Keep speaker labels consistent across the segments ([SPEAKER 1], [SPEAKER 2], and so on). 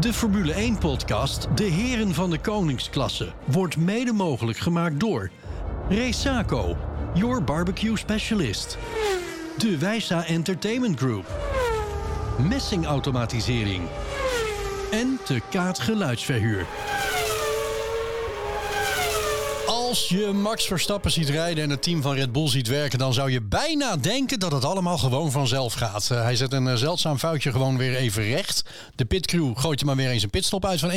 [SPEAKER 1] De Formule 1-podcast De Heren van de Koningsklasse wordt mede mogelijk gemaakt door Resaco, your barbecue specialist. De Wijsa Entertainment Group. Messingautomatisering. En Te Kaat Geluidsverhuur. Als je Max Verstappen ziet rijden en het team van Red Bull ziet werken, dan zou je bijna denken dat het allemaal gewoon vanzelf gaat. Eh, hij zet een eh, zeldzaam foutje gewoon weer even recht. De pitcrew gooit er maar weer eens een pitstop uit van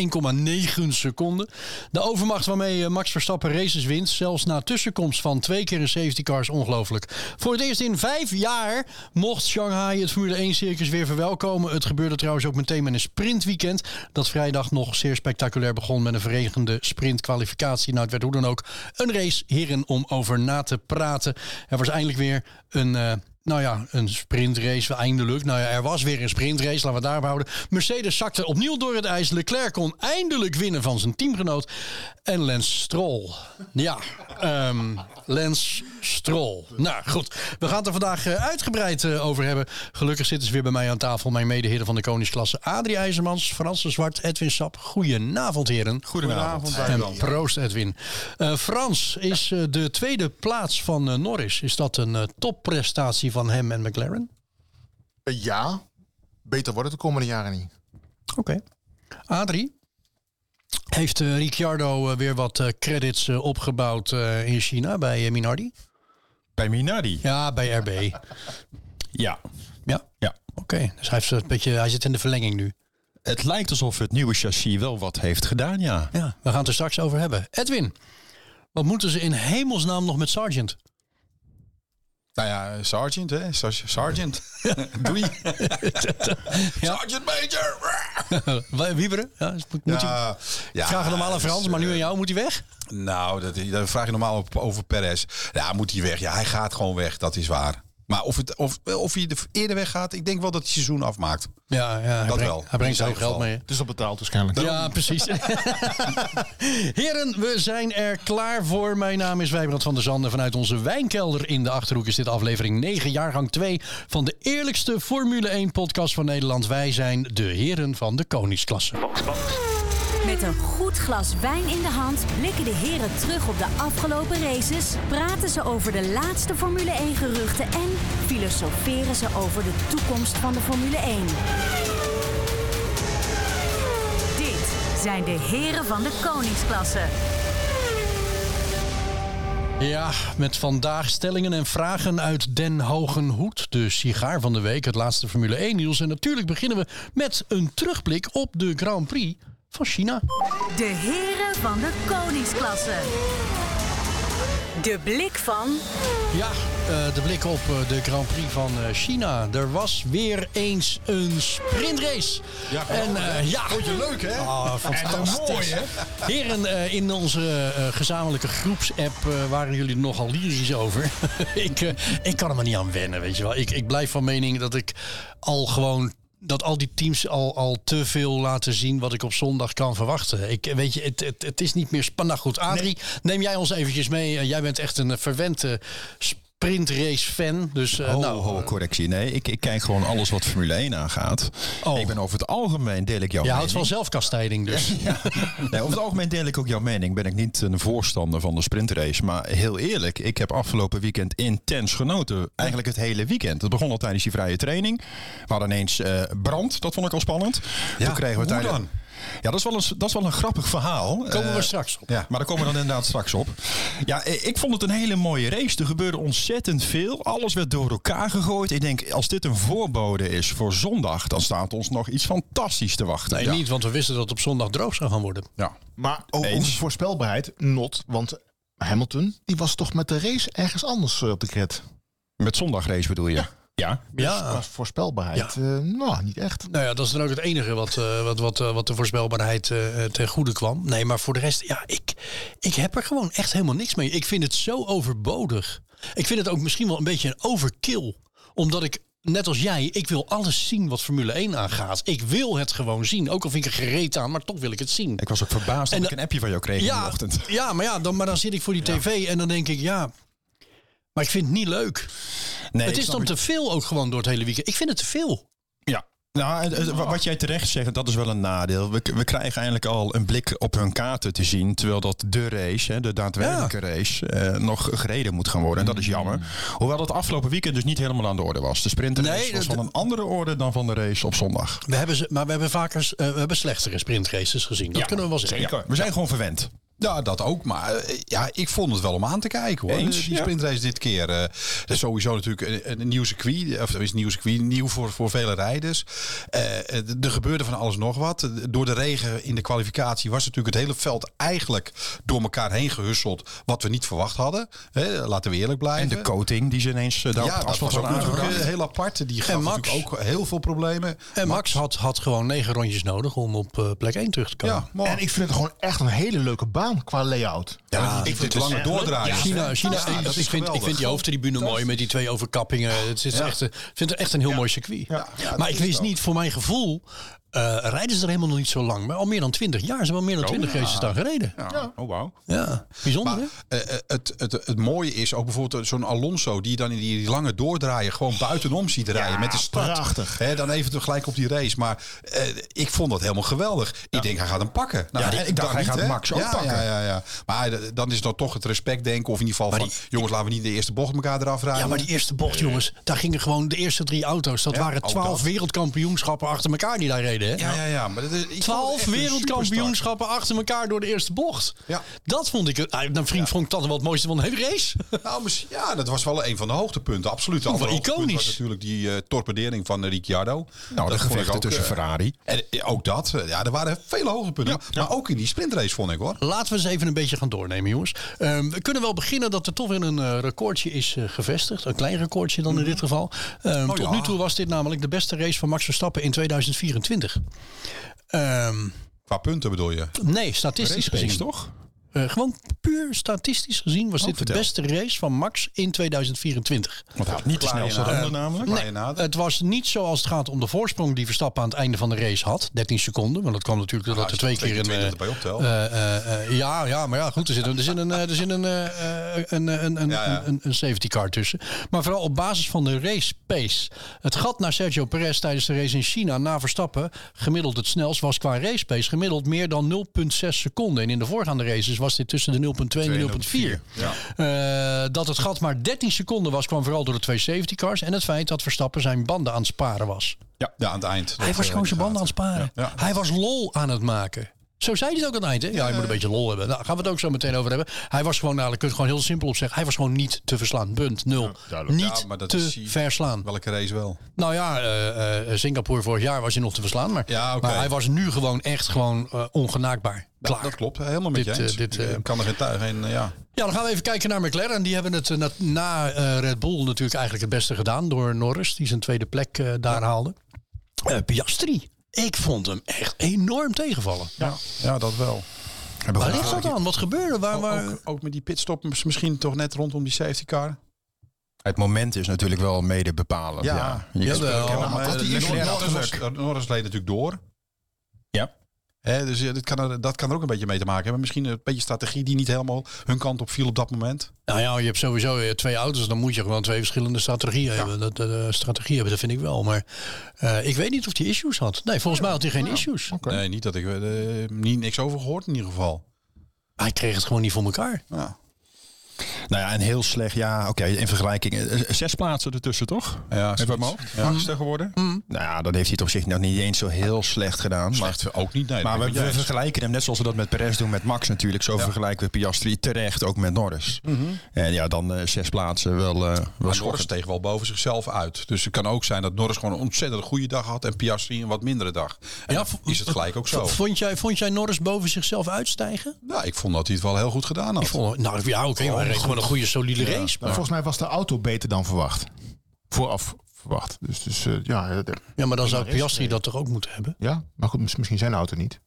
[SPEAKER 1] 1,9 seconden. De overmacht waarmee eh, Max Verstappen races wint, zelfs na tussenkomst van twee keer een safety car, is ongelooflijk. Voor het eerst in vijf jaar mocht Shanghai het Formule 1 circus weer verwelkomen. Het gebeurde trouwens ook meteen met een sprintweekend. Dat vrijdag nog zeer spectaculair begon met een verenigde sprintkwalificatie. Nou, het werd hoe dan ook een race hierin om over na te praten. Er was eindelijk weer een. eh, nou ja, een sprintrace, eindelijk. Nou ja, er was weer een sprintrace, laten we het daarbij houden. Mercedes zakte opnieuw door het ijs. Leclerc kon eindelijk winnen van zijn teamgenoot. En Lens Stroll. Ja, ehm, Lens Stroll. Nou goed, we gaan het er vandaag eh, uitgebreid eh, over hebben. Gelukkig zitten ze weer bij mij aan tafel. Mijn medeheren van de Koningsklasse. Adrie IJzermans, Frans de Zwart, Edwin Sap. Goedenavond, heren.
[SPEAKER 2] Goedenavond.
[SPEAKER 1] En proost, Edwin. Eh, Frans is eh, de tweede plaats van eh, Norris. Is dat een eh, topprestatie van hem en McLaren?
[SPEAKER 2] Eh, Ja, beter wordt het de komende jaren niet.
[SPEAKER 1] Oké. Adrie? Heeft eh, Ricciardo eh, weer wat eh, credits eh, opgebouwd eh, in China bij eh, Minardi?
[SPEAKER 3] Bij Minardi?
[SPEAKER 1] Ja, bij RB.
[SPEAKER 3] Ja.
[SPEAKER 1] Ja,
[SPEAKER 3] ja.
[SPEAKER 1] oké. Dus hij, heeft een beetje, hij zit in de verlenging nu.
[SPEAKER 3] Het lijkt alsof het nieuwe chassis wel wat heeft gedaan, ja.
[SPEAKER 1] Ja, we gaan het er straks over hebben. Edwin, wat moeten ze in hemelsnaam nog met Sargent?
[SPEAKER 2] Nou ja, sergeant, hè? Sar- Sergeant. Doei. Sergeant Major.
[SPEAKER 1] Eh, Wieberen? Ja, is- moet, moet hij-
[SPEAKER 2] Ja, ja,
[SPEAKER 1] Ik vraag het normaal aan
[SPEAKER 2] dus,
[SPEAKER 1] Frans, maar nu aan jou. Moet hij weg?
[SPEAKER 2] Nou, dat, dat vraag je normaal op, over Perez. Ja, moet hij weg? Ja, hij gaat gewoon weg, dat is waar. Maar of, het, of, of hij er eerder weggaat, ik denk wel dat het seizoen afmaakt.
[SPEAKER 1] Ja, ja hij
[SPEAKER 2] Dat
[SPEAKER 1] brengt,
[SPEAKER 2] wel.
[SPEAKER 1] Hij brengt
[SPEAKER 2] In zijn
[SPEAKER 1] zo geld
[SPEAKER 2] geval.
[SPEAKER 1] mee.
[SPEAKER 3] Het is al betaald waarschijnlijk.
[SPEAKER 1] Ja, precies. Heren, we zijn er klaar voor. Mijn naam is Wijbrand van der Zanden. Vanuit onze wijnkelder in de Achterhoek is dit aflevering 9, jaargang 2 van de eerlijkste Formule 1 podcast van Nederland. Wij zijn de heren van de koningsklasse.
[SPEAKER 4] Met een goed glas wijn in de hand blikken de heren terug op de afgelopen races, praten ze over de laatste Formule 1 geruchten en filosoferen ze over de toekomst van de Formule 1. Dit zijn de heren van de koningsklasse.
[SPEAKER 1] Ja, met vandaag stellingen en vragen uit Den Hogenhoed. De sigaar van de week, het laatste Formule 1 nieuws. En natuurlijk beginnen we met een terugblik op de Grand Prix van China.
[SPEAKER 4] De heren van de koningsklasse. De blik van
[SPEAKER 1] Ja, eh, de blik op eh, de Grand Prix van eh, China. Er was weer eens een sprintrace.
[SPEAKER 2] Ja,
[SPEAKER 1] en,
[SPEAKER 2] geweldig,
[SPEAKER 1] eh,
[SPEAKER 2] hè?
[SPEAKER 1] ja.
[SPEAKER 2] Vond je leuk, hè?
[SPEAKER 1] Ah, fantastisch.
[SPEAKER 2] En mooi, hè?
[SPEAKER 1] Heren, eh, in onze eh, gezamenlijke groepsapp eh, waren jullie er nogal lyrisch over. ik, eh, ik kan er maar niet aan wennen, weet je wel. Ik, ik blijf van mening dat ik al gewoon dat al die teams al, al te veel laten zien wat ik op zondag kan verwachten. Ik, eh, weet je, het, het, het is niet meer spannend. goed, Adrie, neem jij ons eventjes mee. Eh, jij bent echt een eh, verwente sprintrace-fan. Dus eh,
[SPEAKER 3] Oh,
[SPEAKER 1] nou,
[SPEAKER 3] ho, correctie. Nee, ik, ik kijk gewoon alles wat Formule 1 aangaat.
[SPEAKER 1] Oh.
[SPEAKER 3] Ik ben over het algemeen deel ik jouw
[SPEAKER 1] je houdt
[SPEAKER 3] mening.
[SPEAKER 1] van zelfkastijding dus.
[SPEAKER 3] Ja. Nee, over het algemeen deel ik ook jouw mening. Ben ik niet een voorstander van de sprintrace. Maar heel eerlijk, ik heb afgelopen weekend intens genoten. Eigenlijk het hele weekend. Het begon al tijdens die vrije training. We hadden ineens eh, brand. Dat vond ik al spannend.
[SPEAKER 2] Ja,
[SPEAKER 3] Toen kregen we
[SPEAKER 2] hoe
[SPEAKER 3] tijdens-
[SPEAKER 2] dan?
[SPEAKER 3] Ja, dat is, wel een, dat is wel een grappig verhaal.
[SPEAKER 1] Komen we
[SPEAKER 3] Eh,
[SPEAKER 1] straks op.
[SPEAKER 3] Ja, maar daar komen we dan inderdaad straks op. Ja, eh, ik vond het een hele mooie race. Er gebeurde ontzettend veel. Alles werd door elkaar gegooid. Ik denk, als dit een voorbode is voor zondag, dan staat ons nog iets fantastisch te wachten.
[SPEAKER 1] Nee,
[SPEAKER 3] ja.
[SPEAKER 1] niet, want we wisten dat het op zondag droog zou gaan worden.
[SPEAKER 3] Ja.
[SPEAKER 5] Maar ook
[SPEAKER 3] Eens.
[SPEAKER 5] onze Oh, voorspelbaarheid, not. Want Hamilton, die was toch met de race ergens anders eh, op de cred.
[SPEAKER 3] Ah. Met zondagrace bedoel je? Ja.
[SPEAKER 1] Ja.
[SPEAKER 5] Qua voorspelbaarheid,
[SPEAKER 1] Ja.
[SPEAKER 5] eh, nou, niet echt.
[SPEAKER 1] Nou ja, dat is dan ook het enige wat, eh, wat, wat, eh, wat de voorspelbaarheid eh, eh, ten goede kwam. Nee, maar voor de rest, ja, ik, ik heb er gewoon echt helemaal niks mee. Ik vind het zo overbodig. Ik vind het ook misschien wel een beetje een overkill. Omdat ik, net als jij, ik wil alles zien wat Formule 1 aangaat. Ik wil het gewoon zien. Ook al vind ik er gereed aan, maar toch wil ik het zien.
[SPEAKER 3] Ik was ook verbaasd
[SPEAKER 1] En
[SPEAKER 3] dat ik
[SPEAKER 1] dan-
[SPEAKER 3] een appje van jou kreeg in de
[SPEAKER 1] Ja,
[SPEAKER 3] ochtend.
[SPEAKER 1] ja, maar ja, dan, maar dan zit ik voor die tv en dan denk ik, ja... Maar ik vind het niet leuk.
[SPEAKER 3] Nee,
[SPEAKER 1] het is dan te veel ook gewoon door het hele weekend. Ik vind het te veel.
[SPEAKER 3] Ja. Nou, het- het- wa- wat jij terecht zegt, dat is wel een nadeel. We, k- we krijgen eigenlijk al een blik op hun kaarten te zien. Terwijl dat de race, hè, de daadwerkelijke race, eh, nog gereden moet gaan worden. En dat is jammer. Hoewel dat afgelopen weekend dus niet helemaal aan de orde was. De sprintrace
[SPEAKER 1] Nee,
[SPEAKER 3] was
[SPEAKER 1] dat-
[SPEAKER 3] van een andere orde dan van de race op zondag.
[SPEAKER 1] We hebben ze, maar we hebben vaker s- eh, we hebben slechtere sprintraces gezien. Dat
[SPEAKER 3] Ja,
[SPEAKER 1] kunnen we wel zeggen.
[SPEAKER 3] Ja, we zijn gewoon verwend.
[SPEAKER 2] Ja, dat ook. Maar eh, ja, ik vond het wel om aan te kijken hoor.
[SPEAKER 3] Eens,
[SPEAKER 2] die
[SPEAKER 3] ja.
[SPEAKER 2] sprintrace dit keer. eh, dat is sowieso natuurlijk een- een, nieuw circuit. Of is een nieuw circuit, nieuw voor, voor vele rijders. Eh, eh, er gebeurde van alles nog wat. Door de regen in de kwalificatie was natuurlijk het hele veld eigenlijk door elkaar heen gehusseld. Wat we niet verwacht hadden. Hè, laten we eerlijk blijven.
[SPEAKER 3] En de coating die ze ineens eh, daar op
[SPEAKER 2] ja,
[SPEAKER 3] het
[SPEAKER 2] dat
[SPEAKER 3] asfalt
[SPEAKER 2] was ook
[SPEAKER 3] hadden
[SPEAKER 2] natuurlijk
[SPEAKER 3] aangebracht.
[SPEAKER 2] eh, heel apart. Die gaf
[SPEAKER 1] Max.
[SPEAKER 2] natuurlijk ook heel veel problemen.
[SPEAKER 1] En Max had, had gewoon negen rondjes nodig om op eh, plek 1 terug te komen.
[SPEAKER 2] Ja, maar
[SPEAKER 5] En ik vind het gewoon echt een hele leuke baan qua layout.
[SPEAKER 3] Ah,
[SPEAKER 2] ja, ik vind het lange doordraaien.
[SPEAKER 1] China, China
[SPEAKER 2] Ah, Ja,
[SPEAKER 1] ik,
[SPEAKER 2] dat is
[SPEAKER 1] vind, ik
[SPEAKER 2] geweldig.
[SPEAKER 1] vind die hoofdtribune mooi met die twee overkappingen. Het is echt, eh, ik vind het echt een heel mooi circuit. maar ik wist niet, voor mijn gevoel, eh, rijden ze er helemaal nog niet zo lang. Maar al meer dan 20 jaar. Ze hebben al meer dan 20 races daar gereden. Ja,
[SPEAKER 3] Oh, wauw.
[SPEAKER 1] bijzonder hè?
[SPEAKER 2] Eh, eh, het, het, het mooie is ook bijvoorbeeld eh, zo'n Alonso die dan in die lange doordraaien gewoon buitenom ziet rijden met de start.
[SPEAKER 5] prachtig.
[SPEAKER 2] Hè, dan even tegelijk op die race. Maar eh, ik vond dat helemaal geweldig. Ik denk hij gaat hem pakken. Nou,
[SPEAKER 3] Ja, ik dacht, hij
[SPEAKER 2] niet,
[SPEAKER 3] gaat
[SPEAKER 2] hè?
[SPEAKER 3] Max ook
[SPEAKER 2] Ja,
[SPEAKER 3] pakken.
[SPEAKER 2] Ja, ja, ja. Maar eh, dan is dan toch het respect denken of in ieder geval
[SPEAKER 1] Maar
[SPEAKER 2] van jongens laten we niet de eerste bocht elkaar eraf rijden.
[SPEAKER 1] Ja, maar die eerste bocht, jongens, daar gingen gewoon de eerste drie auto's. Dat waren
[SPEAKER 2] ook
[SPEAKER 1] twaalf
[SPEAKER 2] Oh, dat.
[SPEAKER 1] wereldkampioenschappen achter elkaar die daar reden. Hè?
[SPEAKER 2] ja, ja, ja, maar dat is, ik vond het
[SPEAKER 1] Twaalf
[SPEAKER 2] echt een superstar.
[SPEAKER 1] wereldkampioenschappen achter elkaar door de eerste bocht.
[SPEAKER 2] Ja.
[SPEAKER 1] Dat vond ik. eh, Een vriend vond ik dat wel het mooiste van de hele race.
[SPEAKER 2] Nou, misschien- ja, dat was wel een van de hoogtepunten. Absoluut. De andere
[SPEAKER 1] Wel
[SPEAKER 2] hoogtepunt
[SPEAKER 1] iconisch.
[SPEAKER 2] was natuurlijk die eh, torpedering van Ricciardo.
[SPEAKER 3] Nou, de
[SPEAKER 2] vond ik
[SPEAKER 3] gevechten
[SPEAKER 2] ook,
[SPEAKER 3] tussen
[SPEAKER 2] eh,
[SPEAKER 3] Ferrari.
[SPEAKER 2] En eh, ook dat, eh, ja, er waren vele hoogtepunten. Maar ook in die sprintrace vond ik hoor.
[SPEAKER 1] Laten we eens even een beetje gaan doornemen, jongens. Ehm, we kunnen wel beginnen dat er toch weer een eh, recordje is eh, gevestigd. Een klein recordje dan
[SPEAKER 3] Mhm.
[SPEAKER 1] in dit geval.
[SPEAKER 3] Oh,
[SPEAKER 1] Ehm, tot
[SPEAKER 2] ja.
[SPEAKER 1] nu toe was dit namelijk de beste race van Max Verstappen in 2024. Ehm,
[SPEAKER 2] Qua punten bedoel je.
[SPEAKER 1] nee, statistisch gezien.
[SPEAKER 3] toch? Oh,
[SPEAKER 1] Eh, gewoon puur statistisch gezien was dit
[SPEAKER 3] vertel.
[SPEAKER 1] de beste race van Max in 2024.
[SPEAKER 3] Want hij had niet de
[SPEAKER 2] Klaar je
[SPEAKER 3] snelste
[SPEAKER 2] na.
[SPEAKER 3] ronde namelijk.
[SPEAKER 2] Klaar je nader.
[SPEAKER 1] Het was niet zoals het gaat om de voorsprong die Verstappen aan het einde van de race had. 13 seconden, want dat kwam natuurlijk doordat er
[SPEAKER 2] als je
[SPEAKER 1] twee
[SPEAKER 2] twee
[SPEAKER 1] keer
[SPEAKER 2] keer
[SPEAKER 1] een...
[SPEAKER 2] twee
[SPEAKER 1] eh,
[SPEAKER 2] erbij optelt.
[SPEAKER 1] eh, eh, eh, ja, ja, maar ja, goed, er zit een, er zit een, eh, er zit een, eh, eh, een, eh, een, een,
[SPEAKER 2] Ja, ja.
[SPEAKER 1] een, een safety car tussen. Maar vooral op basis van de race pace. Het gat naar Sergio Perez tijdens de race in China na Verstappen, gemiddeld het snelst, was qua race pace gemiddeld meer dan 0,6 seconden. En in de voorgaande races was dit tussen de 0,2 en 0,4. Eh, dat het gat maar 13 seconden was, kwam vooral door de twee safety cars. En het feit dat Verstappen zijn banden aan het sparen was.
[SPEAKER 2] Ja, ja aan het eind. Eh,
[SPEAKER 1] Hij was gewoon zijn banden aan het sparen.
[SPEAKER 2] Ja.
[SPEAKER 1] Hij was lol aan het maken. Zo zei hij het ook aan het eind. Hè? Ja, je moet een beetje lol hebben. Nou, gaan we het ook zo meteen over hebben. Hij was gewoon, nou, ik kun je het gewoon heel simpel op zeggen. Hij was gewoon niet te verslaan. Punt. Nul.
[SPEAKER 5] duidelijk.
[SPEAKER 1] niet
[SPEAKER 2] Ja, maar dat is
[SPEAKER 1] te
[SPEAKER 2] hij-
[SPEAKER 1] verslaan.
[SPEAKER 2] Welke race wel?
[SPEAKER 1] Nou ja, eh, eh, Singapore vorig jaar was hij nog te verslaan. Maar,
[SPEAKER 2] Ja, oké.
[SPEAKER 1] maar hij was nu gewoon echt gewoon eh, ongenaakbaar.
[SPEAKER 2] Dat,
[SPEAKER 1] Klaar.
[SPEAKER 2] dat klopt, helemaal met
[SPEAKER 1] Dit,
[SPEAKER 2] je eens.
[SPEAKER 1] eh, dit,
[SPEAKER 2] Ik, eh,
[SPEAKER 1] eh,
[SPEAKER 2] kan er geen tuig in, eh, ja.
[SPEAKER 1] Ja, dan gaan we even kijken naar McLaren. Die hebben het eh, na, na, eh, Red Bull natuurlijk eigenlijk het beste gedaan door Norris, die zijn tweede plek eh, daar haalde. Eh, Piastri, ik vond hem echt enorm tegenvallen.
[SPEAKER 2] Ja, dat wel.
[SPEAKER 1] Waar ligt dat aan? Wat gebeurde? Waar, waar...
[SPEAKER 2] Ook, ook met die pitstop misschien toch net rondom die safety car.
[SPEAKER 3] Het moment is natuurlijk wel mede bepalend.
[SPEAKER 2] Ja.
[SPEAKER 3] Ja, Je
[SPEAKER 1] Jawel.
[SPEAKER 3] hebt-
[SPEAKER 1] Ja,
[SPEAKER 2] Ja,
[SPEAKER 1] maar
[SPEAKER 2] maar
[SPEAKER 3] had
[SPEAKER 2] eh,
[SPEAKER 3] die
[SPEAKER 2] Norris-
[SPEAKER 3] Leclerc had
[SPEAKER 2] Norris, Norris leed natuurlijk door.
[SPEAKER 3] Ja.
[SPEAKER 2] Hè, dus eh, dit kan er, dat kan er ook een beetje mee te maken hebben. Misschien een beetje strategie die niet helemaal hun kant op viel op dat moment.
[SPEAKER 1] Nou ja, je hebt sowieso eh, twee auto's. Dan moet je gewoon twee verschillende strategieën hebben. Dat, eh, strategie hebben, dat vind ik wel. Maar eh, ik weet niet of hij issues had. Nee, volgens mij had hij geen issues.
[SPEAKER 2] Nee, niet dat ik eh, niet niks over gehoord in ieder geval.
[SPEAKER 1] Hij kreeg het gewoon niet voor elkaar.
[SPEAKER 2] Ja,
[SPEAKER 3] Nou ja, en heel slecht. Ja, oké, in vergelijking. eh, eh, Zes plaatsen ertussen, toch?
[SPEAKER 2] ja
[SPEAKER 3] Heb ik
[SPEAKER 2] zoiets.
[SPEAKER 3] hem ook? Achtste geworden?
[SPEAKER 1] Mm.
[SPEAKER 3] Nou ja, dat heeft hij toch zich nog niet eens zo heel slecht gedaan. Maar,
[SPEAKER 2] Slecht ook niet. Nee,
[SPEAKER 3] maar
[SPEAKER 2] dat ben ik
[SPEAKER 3] we, we
[SPEAKER 2] niet eens.
[SPEAKER 3] vergelijken hem, net zoals we dat met Perez doen met Max natuurlijk. Zo vergelijken we Piastri terecht ook met Norris.
[SPEAKER 1] Mhm.
[SPEAKER 3] En ja, dan eh, zes plaatsen wel, eh wel
[SPEAKER 2] Maar Norris
[SPEAKER 3] schokkend.
[SPEAKER 2] steeg wel boven zichzelf uit. Dus het kan ook zijn dat Norris gewoon een ontzettend goede dag had en Piastri een wat mindere dag.
[SPEAKER 1] Ja,
[SPEAKER 2] En dan
[SPEAKER 1] v-
[SPEAKER 2] is het gelijk ook zo.
[SPEAKER 1] Vond jij, vond jij Norris boven zichzelf uitstijgen?
[SPEAKER 2] Nou, ik vond dat hij het wel heel goed gedaan had.
[SPEAKER 1] Ik vond, nou ja, oké, maar hij reed gewoon een goede solide race.
[SPEAKER 5] Maar volgens mij was de auto beter dan verwacht. Vooraf verwacht. Dus, dus eh, ja, eh, de-
[SPEAKER 1] Ja, maar dan zou
[SPEAKER 5] race
[SPEAKER 1] Piastri dat toch ook moeten hebben?
[SPEAKER 5] ja, maar goed, mis- misschien zijn auto niet.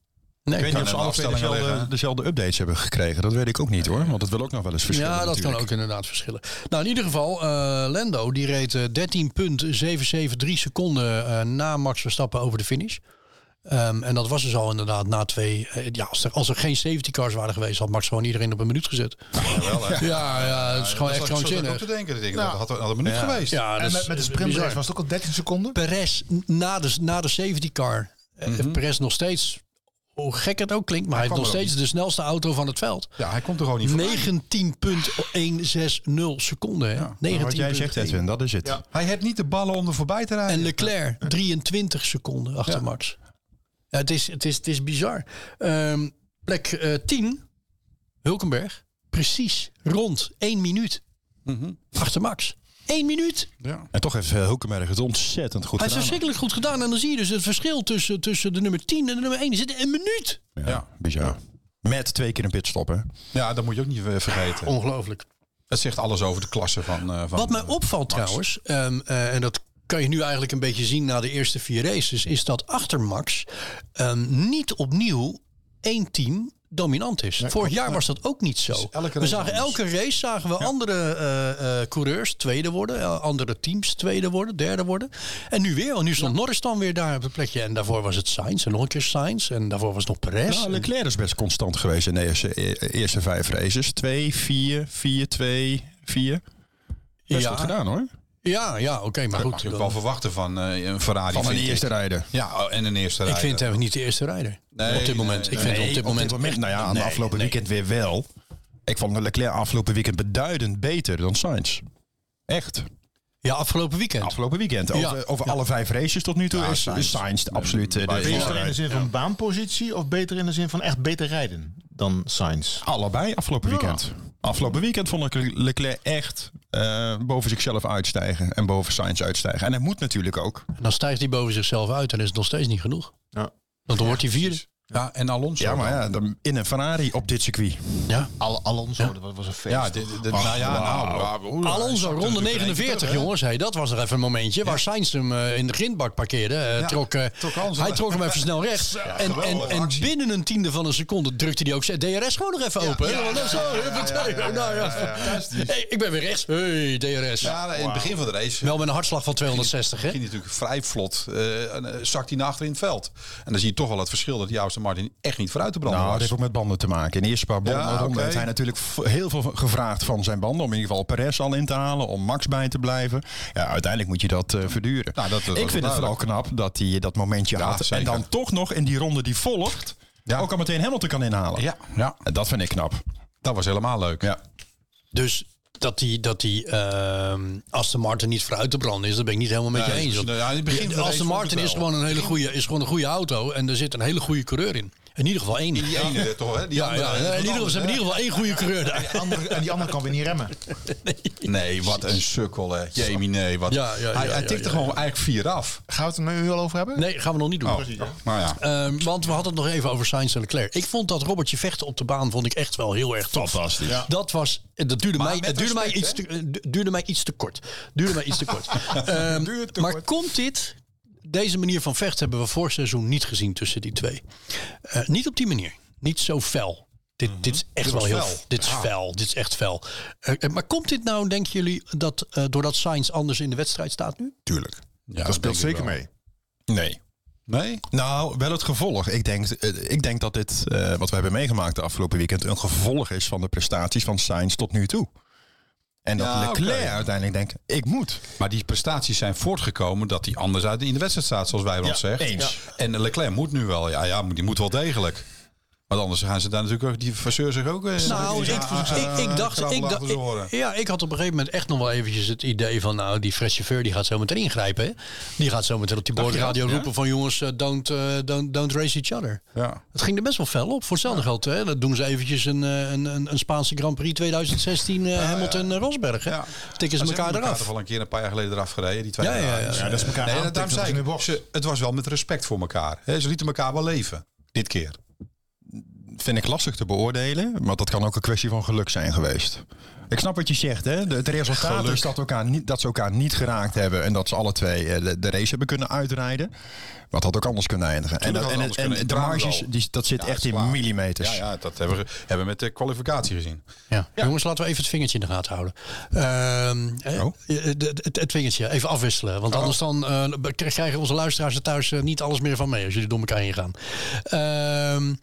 [SPEAKER 1] Nee,
[SPEAKER 3] Ik weet niet of
[SPEAKER 2] kan
[SPEAKER 3] ze
[SPEAKER 2] een
[SPEAKER 3] alle twee
[SPEAKER 2] afstelling
[SPEAKER 3] dezelfde,
[SPEAKER 2] leggen.
[SPEAKER 3] dezelfde updates hebben gekregen. Dat weet ik ook niet hoor. Want dat wil ook nog wel eens verschillen
[SPEAKER 1] Ja, dat
[SPEAKER 3] natuurlijk.
[SPEAKER 1] kan ook inderdaad verschillen. Nou, in ieder geval, eh, Lando die reed eh, 13,773 seconden eh, na Max Verstappen over de finish. Ehm, en dat was dus al inderdaad na twee. eh, ja, als er, als er geen safety cars waren geweest, had Max gewoon iedereen op een minuut gezet.
[SPEAKER 2] Jawel, hè.
[SPEAKER 1] Ja, ja, het is gewoon echt
[SPEAKER 2] Dat zat ik zo
[SPEAKER 1] krankzinnig.
[SPEAKER 2] ook te denken. Ik denk,
[SPEAKER 5] Ja.
[SPEAKER 2] Dat had, had een minuut geweest.
[SPEAKER 1] Ja, dat
[SPEAKER 5] en
[SPEAKER 1] is-
[SPEAKER 5] met, met de
[SPEAKER 1] is
[SPEAKER 5] sprintrace
[SPEAKER 1] Dus, eh, bizar.
[SPEAKER 5] was het ook al 13 seconden.
[SPEAKER 1] Perez na de, na de safety car. eh, Perez nog steeds, hoe gek het ook klinkt, maar hij,
[SPEAKER 2] Mhm. kwam
[SPEAKER 1] heeft nog
[SPEAKER 2] er ook
[SPEAKER 1] steeds de snelste auto van het veld.
[SPEAKER 2] Ja, hij komt er gewoon niet van.
[SPEAKER 1] 19.160 seconden. Hè?
[SPEAKER 3] Maar nou, Wat jij
[SPEAKER 1] 19.1.
[SPEAKER 3] zegt, Edwin, dat is het.
[SPEAKER 2] Hij heeft niet de ballen om er voorbij te rijden.
[SPEAKER 1] En Leclerc 23 seconden achter
[SPEAKER 2] Ja.
[SPEAKER 1] Max. Ja, het, is, het, is, het is bizar. Ehm, plek eh, 10, Hulkenberg. Precies rond 1 minuut
[SPEAKER 3] Mhm.
[SPEAKER 1] achter Max. 1 minuut.
[SPEAKER 2] Ja.
[SPEAKER 3] En toch heeft eh, Hulkenberg het ontzettend goed
[SPEAKER 1] Hij heeft
[SPEAKER 3] gedaan.
[SPEAKER 1] verschrikkelijk goed gedaan. En dan zie je dus het verschil tussen, tussen de nummer 10 en de nummer 1. Er zit een minuut.
[SPEAKER 3] Ja, bizar. Met twee keer een pitstop, hè?
[SPEAKER 2] ja, dat moet je ook niet eh, vergeten.
[SPEAKER 1] Ongelooflijk.
[SPEAKER 2] Het zegt alles over de klasse van... eh, van
[SPEAKER 1] Wat mij opvalt trouwens, ehm, eh, en dat kan je nu eigenlijk een beetje zien na de eerste vier races, is dat achter Max ehm, niet opnieuw één team dominant is. Vorig jaar was dat ook niet zo.
[SPEAKER 2] Dus elke
[SPEAKER 1] we
[SPEAKER 2] race
[SPEAKER 1] zagen
[SPEAKER 2] anders.
[SPEAKER 1] elke race zagen we andere eh, eh, coureurs tweede worden, eh, andere teams tweede worden, derde worden. En nu weer, want nu stond Norris dan weer daar op het plekje. En daarvoor was het Sainz en nog een keer Sainz en daarvoor was het nog Perez.
[SPEAKER 3] Nou, Leclerc is best constant geweest in de eerste, e- eerste vijf races. 2, 4, 4, 2, 4. Best
[SPEAKER 1] Ja.
[SPEAKER 3] goed gedaan hoor.
[SPEAKER 1] ja, ja, oké, maar
[SPEAKER 2] Dat
[SPEAKER 1] goed.
[SPEAKER 2] mag je ook
[SPEAKER 1] dan-
[SPEAKER 2] wel verwachten van eh, een Ferrari.
[SPEAKER 3] Van een
[SPEAKER 2] vind ik.
[SPEAKER 3] eerste rijder.
[SPEAKER 2] Ja, oh, en een eerste
[SPEAKER 1] ik
[SPEAKER 2] rijder.
[SPEAKER 1] vind hem niet de eerste rijder.
[SPEAKER 2] Nee,
[SPEAKER 1] op dit moment.
[SPEAKER 2] nee,
[SPEAKER 1] ik vind hem op dit moment.
[SPEAKER 3] nou ja, aan
[SPEAKER 1] Nee,
[SPEAKER 3] de afgelopen
[SPEAKER 1] nee.
[SPEAKER 3] weekend weer wel. Ik vond Leclerc afgelopen weekend beduidend beter dan Sainz. Echt.
[SPEAKER 1] Ja, afgelopen weekend.
[SPEAKER 3] Afgelopen weekend. Over,
[SPEAKER 1] Ja.
[SPEAKER 3] over
[SPEAKER 1] Ja.
[SPEAKER 3] alle vijf races tot nu toe
[SPEAKER 2] Ja,
[SPEAKER 3] is
[SPEAKER 2] Sainz.
[SPEAKER 3] is Sainz de absolute... eh,
[SPEAKER 2] Bij-
[SPEAKER 3] de-
[SPEAKER 2] Beter
[SPEAKER 5] Beter in de zin van baanpositie of beter in de zin van echt beter rijden dan Sainz?
[SPEAKER 3] Allebei afgelopen weekend. Afgelopen weekend vond ik Le- Leclerc echt eh, boven zichzelf uitstijgen. En boven Sainz uitstijgen. En hij moet natuurlijk ook.
[SPEAKER 1] En dan stijgt hij boven zichzelf uit en is het nog steeds niet genoeg.
[SPEAKER 5] Ja.
[SPEAKER 1] Want dan wordt hij vierde.
[SPEAKER 2] Ja, en Alonso.
[SPEAKER 3] Ja, maar
[SPEAKER 2] dan.
[SPEAKER 3] ja, dan Nou, in een Ferrari op dit circuit.
[SPEAKER 1] Ja.
[SPEAKER 5] Al Alonso, dat was een feest.
[SPEAKER 2] Ja, dit, dit- nou ja, nou, ja, broer, hij
[SPEAKER 1] Alonso,
[SPEAKER 2] zakte
[SPEAKER 1] ronde
[SPEAKER 2] natuurlijk in één keer
[SPEAKER 1] 49,
[SPEAKER 2] terug, hè.
[SPEAKER 1] jongens. Hey, dat was er even een momentje waar Sainz hem eh, in de grindbak parkeerde. Eh,
[SPEAKER 2] Ja,
[SPEAKER 1] trok, eh,
[SPEAKER 2] trok Alonso.
[SPEAKER 1] hij trok hem even snel recht. en, en,
[SPEAKER 2] geweldige
[SPEAKER 1] en
[SPEAKER 2] actie.
[SPEAKER 1] binnen een tiende van een seconde drukte hij ook zijn DRS gewoon nog even open. hè?
[SPEAKER 2] ja,
[SPEAKER 1] Want dat is
[SPEAKER 2] ja,
[SPEAKER 1] zo,
[SPEAKER 2] ja,
[SPEAKER 1] huppatee.
[SPEAKER 2] ja, ja,
[SPEAKER 1] Nou ja. Hey, ik ben weer rechts. Hey, DRS.
[SPEAKER 2] Ja, in het begin van de race.
[SPEAKER 1] Wel met een hartslag van 260, hè?
[SPEAKER 2] ging natuurlijk vrij vlot. eh, en, eh, zakt hij naar achter in het veld. En dan zie je toch wel het verschil dat die Aston Martin echt niet vooruit te branden
[SPEAKER 3] Nou, dat
[SPEAKER 2] was.
[SPEAKER 3] heeft ook met banden te maken. In de eerste paar banden
[SPEAKER 2] Ja,
[SPEAKER 3] ronden
[SPEAKER 2] oké.
[SPEAKER 3] heeft hij natuurlijk v- heel veel gevraagd van zijn banden. Om in ieder geval Perez al in te halen, om Max bij te blijven. Ja, uiteindelijk moet je dat eh, verduren.
[SPEAKER 2] Nou, dat- dat
[SPEAKER 3] ik
[SPEAKER 2] was
[SPEAKER 3] vind het vooral
[SPEAKER 2] duidelijk.
[SPEAKER 3] knap dat hij eh, dat momentje had.
[SPEAKER 2] zeker.
[SPEAKER 3] En dan toch nog in die ronde die volgt,
[SPEAKER 2] Ja.
[SPEAKER 3] ook al meteen Hamilton kan inhalen.
[SPEAKER 2] Ja, ja,
[SPEAKER 3] En Dat vind ik knap.
[SPEAKER 2] dat was helemaal leuk.
[SPEAKER 3] Ja.
[SPEAKER 1] Dus dat die, dat die ehm Aston Martin niet vooruit te branden is, dat ben ik niet helemaal met je
[SPEAKER 2] Nee,
[SPEAKER 1] eens.
[SPEAKER 2] dus,
[SPEAKER 1] Want
[SPEAKER 2] nou ja, in het begin
[SPEAKER 1] die-
[SPEAKER 2] van de
[SPEAKER 1] Aston
[SPEAKER 2] race
[SPEAKER 1] Martin
[SPEAKER 2] vond ik
[SPEAKER 1] is
[SPEAKER 2] wel.
[SPEAKER 1] gewoon, een hele goede, is gewoon een goede auto en er zit een hele goede coureur in. In ieder geval één.
[SPEAKER 2] Die ene werd toch, hè? Die
[SPEAKER 1] ja,
[SPEAKER 2] andere
[SPEAKER 1] ja,
[SPEAKER 2] werd
[SPEAKER 1] in
[SPEAKER 2] wat
[SPEAKER 1] ieder geval,
[SPEAKER 2] anders,
[SPEAKER 1] ze hebben in
[SPEAKER 2] hè?
[SPEAKER 1] ieder geval één goede coureur daar.
[SPEAKER 5] Andere, en die andere kan weer niet remmen.
[SPEAKER 2] Nee, wat een sukkel, hè. Jamie, nee. Wat.
[SPEAKER 1] Ja, ja, ja,
[SPEAKER 2] hij hij
[SPEAKER 1] ja,
[SPEAKER 2] tikte
[SPEAKER 1] ja,
[SPEAKER 2] gewoon eigenlijk vier af.
[SPEAKER 5] Gaan we het er nu al over hebben?
[SPEAKER 1] Nee, gaan we nog niet doen.
[SPEAKER 2] Nou ja.
[SPEAKER 1] Ehm, want we hadden het nog even over Sainz en Leclerc. Ik vond dat Robertje vechten op de baan vond ik echt wel heel erg tof.
[SPEAKER 3] Fantastisch.
[SPEAKER 1] Dat was, eh, dat duurde, mij,
[SPEAKER 2] met
[SPEAKER 1] het duurde, mij
[SPEAKER 2] respect,
[SPEAKER 1] iets te, eh, duurde mij iets te kort. Duurde mij iets te kort. Ehm, maar komt dit, deze manier van vechten hebben we vorig seizoen niet gezien tussen die twee. Eh, niet op die manier. Niet zo fel. Dit, dit is echt wel
[SPEAKER 2] Mhm. was
[SPEAKER 1] heel.
[SPEAKER 2] fel. Ah.
[SPEAKER 1] Dit is fel. Dit is echt fel. Eh, eh, maar komt dit nou, denken jullie, dat eh, doordat Sainz anders in de wedstrijd staat nu?
[SPEAKER 3] Tuurlijk.
[SPEAKER 2] Ja, dat
[SPEAKER 5] speelt zeker mee.
[SPEAKER 3] Nee.
[SPEAKER 2] Nee?
[SPEAKER 3] Nou, wel het gevolg. Ik denk, eh, ik denk dat dit, eh, wat we hebben meegemaakt de afgelopen weekend, een gevolg is van de prestaties van Sainz tot nu toe. En dat
[SPEAKER 2] Ja,
[SPEAKER 3] Leclerc
[SPEAKER 2] oké.
[SPEAKER 3] uiteindelijk denkt, ik moet.
[SPEAKER 2] Maar die prestaties zijn voortgekomen dat hij anders uit in de wedstrijd staat, zoals wij ons zegt.
[SPEAKER 3] eens.
[SPEAKER 2] En Leclerc moet nu wel. Ja, ja, die moet wel degelijk. Want anders gaan ze daar natuurlijk ook, die verseur zich ook... eh,
[SPEAKER 1] Nou, ik,
[SPEAKER 2] die-
[SPEAKER 1] ik,
[SPEAKER 2] eh,
[SPEAKER 1] ik, dacht,
[SPEAKER 2] krabbelen
[SPEAKER 1] ik
[SPEAKER 2] achter
[SPEAKER 1] dacht
[SPEAKER 2] de oren.
[SPEAKER 1] ik- ja, ik had op een gegeven moment echt nog wel eventjes het idee van, nou, die fresh chauffeur die gaat zo meteen ingrijpen. Hè? Die gaat zo meteen op die boordradio
[SPEAKER 2] ja?
[SPEAKER 1] roepen van, jongens, eh, don't, eh, don't, don't race each other.
[SPEAKER 2] Ja.
[SPEAKER 1] Het ging er best wel fel op. Voor hetzelfde geld, hè? dat doen ze eventjes een, eh, een, een, een Spaanse Grand Prix 2016 eh, Hamilton eh, Rosberg. Hè?
[SPEAKER 2] Ja.
[SPEAKER 1] Tikken ze
[SPEAKER 2] Maar
[SPEAKER 1] elkaar
[SPEAKER 2] hebben
[SPEAKER 1] eraf.
[SPEAKER 2] toch al een keer een paar jaar geleden eraf gereden, die twee
[SPEAKER 1] Ja, ja, ja.
[SPEAKER 2] Ferraris.
[SPEAKER 1] Ja,
[SPEAKER 5] dat is elkaar
[SPEAKER 2] nee,
[SPEAKER 5] aantikken,
[SPEAKER 2] daarom
[SPEAKER 5] dat is
[SPEAKER 2] zei
[SPEAKER 5] in
[SPEAKER 2] ik,
[SPEAKER 5] de bocht.
[SPEAKER 2] ze, het was wel met respect voor elkaar. hè. ze lieten elkaar wel leven, dit keer.
[SPEAKER 3] Vind ik lastig te beoordelen, maar dat kan ook een kwestie van geluk zijn geweest. Ik snap wat je zegt. Hè? De- het resultaat
[SPEAKER 2] Geluk.
[SPEAKER 3] is dat, elkaar niet, dat ze elkaar niet geraakt hebben. En dat ze alle twee eh, de, de race hebben kunnen uitrijden. Wat had ook anders kunnen eindigen. En,
[SPEAKER 2] Tuurlijk
[SPEAKER 3] dat-
[SPEAKER 2] had
[SPEAKER 3] en,
[SPEAKER 2] het anders
[SPEAKER 3] en
[SPEAKER 2] kunnen.
[SPEAKER 3] de
[SPEAKER 2] Dat mag
[SPEAKER 3] marges,
[SPEAKER 2] wel.
[SPEAKER 3] die, dat zit
[SPEAKER 2] Ja,
[SPEAKER 3] echt
[SPEAKER 2] dat is
[SPEAKER 3] in
[SPEAKER 2] waar.
[SPEAKER 3] millimeters.
[SPEAKER 2] Ja, ja, dat hebben we, hebben we met de kwalificatie gezien.
[SPEAKER 1] Ja. Jongens, laten we even het vingertje in de gaten houden. Ehm, eh,
[SPEAKER 3] Oh.
[SPEAKER 1] eh, de- de- het, het vingertje, even afwisselen. Want anders dan, eh, k- krijgen onze luisteraars er thuis eh, niet alles meer van mee. Als jullie door elkaar heen gaan. Ehm,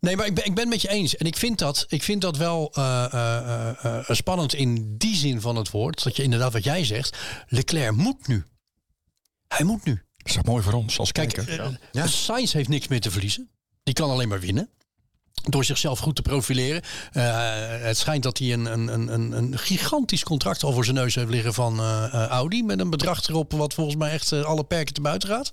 [SPEAKER 1] nee, maar ik ben, ik ben het met je eens. En ik vind dat, ik vind dat wel eh, eh, eh, eh, spannend in die zin van het woord. Dat je inderdaad wat jij zegt. Leclerc moet nu. Hij moet nu.
[SPEAKER 3] Dat is toch mooi voor ons als
[SPEAKER 1] Kijk,
[SPEAKER 3] kijker.
[SPEAKER 1] eh, eh, Sainz heeft niks meer te verliezen. Die kan alleen maar winnen. Door zichzelf goed te profileren. Eh, het schijnt dat hij een, een, een- een, een gigantisch contract al voor zijn neus heeft liggen van eh, eh, Audi. Met een bedrag erop wat volgens mij echt eh, alle perken te buiten gaat.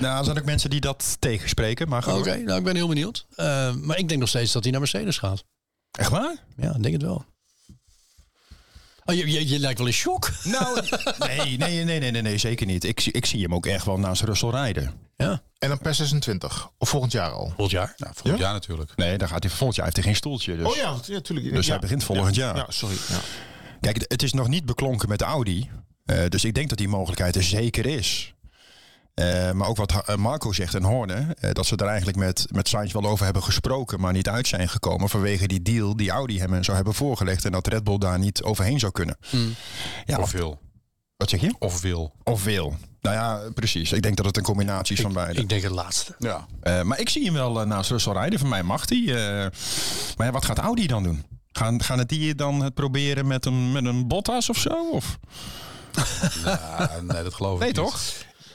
[SPEAKER 3] Nou, er zijn ook mensen die dat tegenspreken. Maar
[SPEAKER 1] Oké,
[SPEAKER 3] goed.
[SPEAKER 1] nou ik ben heel benieuwd. Eh, maar ik denk nog steeds dat hij naar Mercedes gaat.
[SPEAKER 3] Echt waar?
[SPEAKER 1] Ja, ik denk het wel. Oh, je, je, je lijkt wel in shock.
[SPEAKER 3] Nou, nee, nee, nee, nee, nee, nee, zeker niet. Ik, zie- ik zie hem ook echt wel naast Russell rijden.
[SPEAKER 1] Ja,
[SPEAKER 5] En dan per 26. Of volgend jaar al.
[SPEAKER 1] volgend jaar.
[SPEAKER 2] Nou, volgend jaar natuurlijk.
[SPEAKER 3] Nee, dan gaat hij volgend jaar heeft hij geen stoeltje. Dus.
[SPEAKER 5] Oh ja, natuurlijk.
[SPEAKER 3] Dus hij begint volgend jaar.
[SPEAKER 5] Ja, sorry. Ja.
[SPEAKER 3] Kijk, het- het is nog niet beklonken met de Audi. Eh, dus ik denk dat die mogelijkheid er zeker is. Eh, maar ook wat Ha- eh, Marco zegt en Horne, eh, dat ze er eigenlijk met, met Sainz wel over hebben gesproken, maar niet uit zijn gekomen vanwege die deal die Audi hem zou hebben voorgelegd en dat Red Bull daar niet overheen zou kunnen. Ja,
[SPEAKER 2] Of
[SPEAKER 3] of,
[SPEAKER 2] wil.
[SPEAKER 3] wat zeg je?
[SPEAKER 2] Of wil.
[SPEAKER 3] Of wil. Nou ja, precies. Ik denk dat het een combinatie is van beide.
[SPEAKER 1] Ik denk het laatste.
[SPEAKER 2] Ja.
[SPEAKER 3] Eh, maar ik zie hem wel eh, naast Russell rijden. Van mij mag hij. eh. maar ja, wat gaat Audi dan doen? Gaan, gaan het die dan het proberen met een, met een Bottas of zo? Of?
[SPEAKER 2] Ah, nee, dat geloof
[SPEAKER 3] Nee,
[SPEAKER 2] ik
[SPEAKER 3] toch?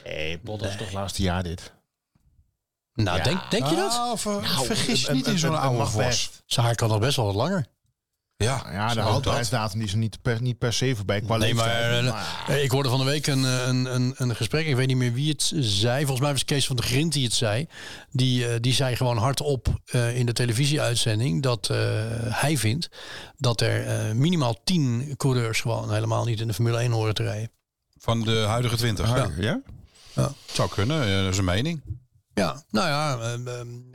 [SPEAKER 5] Nee, Bottas is toch laatste jaar dit.
[SPEAKER 1] Nou, denk, denk je dat?
[SPEAKER 2] Ah,
[SPEAKER 3] Nou,
[SPEAKER 2] ver- vergis je niet in zo'n oude vos.
[SPEAKER 1] Zijn haar kan nog best wel wat langer.
[SPEAKER 2] Ja,
[SPEAKER 5] Ja, de
[SPEAKER 2] zo dat.
[SPEAKER 5] houdbaarheidsdatum die is er niet per, niet per se voorbij qua
[SPEAKER 1] Nee, maar,
[SPEAKER 5] leeftijd.
[SPEAKER 1] eh, eh, ik hoorde van de week een, eh, een, een, een gesprek. Ik weet niet meer wie het zei. Volgens mij was Kees van de Grint die het zei. Die, eh, die zei gewoon hardop eh, in de televisieuitzending dat eh, hij vindt dat er eh, minimaal tien coureurs gewoon helemaal niet in de Formule 1 horen te rijden.
[SPEAKER 2] Van de huidige 20. Ja.
[SPEAKER 3] ja?
[SPEAKER 2] Zou kunnen, eh, dat is een mening.
[SPEAKER 1] Ja, nou ja, eh,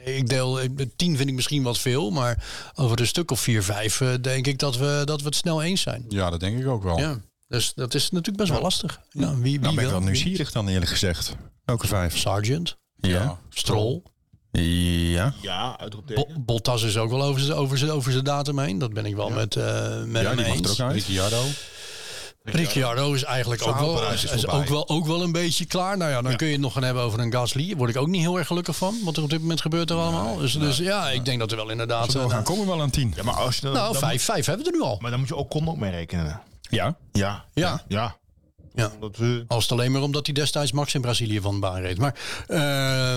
[SPEAKER 1] eh, ik deel eh, tien vind ik misschien wat veel, maar over een stuk of vier, vijf eh, denk ik dat we, dat we het snel eens zijn.
[SPEAKER 2] Ja, dat denk ik ook wel.
[SPEAKER 1] Ja, dus dat is natuurlijk best wel lastig. Ja, wie, wie
[SPEAKER 3] Nou ben ik wel
[SPEAKER 1] wel?
[SPEAKER 3] nieuwsgierig dan eerlijk gezegd. Elke vijf.
[SPEAKER 1] Sergeant,
[SPEAKER 3] Ja.
[SPEAKER 1] Stroll.
[SPEAKER 3] Ja.
[SPEAKER 5] ja,
[SPEAKER 1] Bo-
[SPEAKER 5] uitroepteken.
[SPEAKER 1] Bottas is ook wel over zijn over zijn- over zijn datum heen. Dat ben ik wel met, eh met
[SPEAKER 3] Ja,
[SPEAKER 1] hem
[SPEAKER 3] die mag er
[SPEAKER 1] eens.
[SPEAKER 3] ook uit.
[SPEAKER 2] Ricciardo.
[SPEAKER 1] Ricciardo is eigenlijk
[SPEAKER 2] Zijn
[SPEAKER 1] ook wel,
[SPEAKER 2] houdbaarheid
[SPEAKER 1] is,
[SPEAKER 2] is
[SPEAKER 1] is
[SPEAKER 2] voorbij.
[SPEAKER 1] ook, wel, ook wel een beetje klaar. Nou ja, dan kun je het nog gaan hebben over een Gasly. Daar word ik ook niet heel erg gelukkig van. Wat er op dit moment gebeurt er allemaal. Dus, dus ja, ik denk dat er wel inderdaad...
[SPEAKER 3] We
[SPEAKER 1] eh,
[SPEAKER 3] gaan komen wel aan tien.
[SPEAKER 5] Ja, maar als je dan,
[SPEAKER 1] nou,
[SPEAKER 5] dan-
[SPEAKER 1] vijf, vijf hebben we er nu al.
[SPEAKER 5] Maar dan moet je ook kon ook mee rekenen.
[SPEAKER 3] Ja.
[SPEAKER 5] Ja.
[SPEAKER 1] Ja.
[SPEAKER 5] Ja.
[SPEAKER 1] Ja.
[SPEAKER 5] Omdat eh, we...
[SPEAKER 1] Als het alleen maar omdat hij destijds Max in Brazilië van de baan reed. Maar, ehm, eh,
[SPEAKER 2] Ja,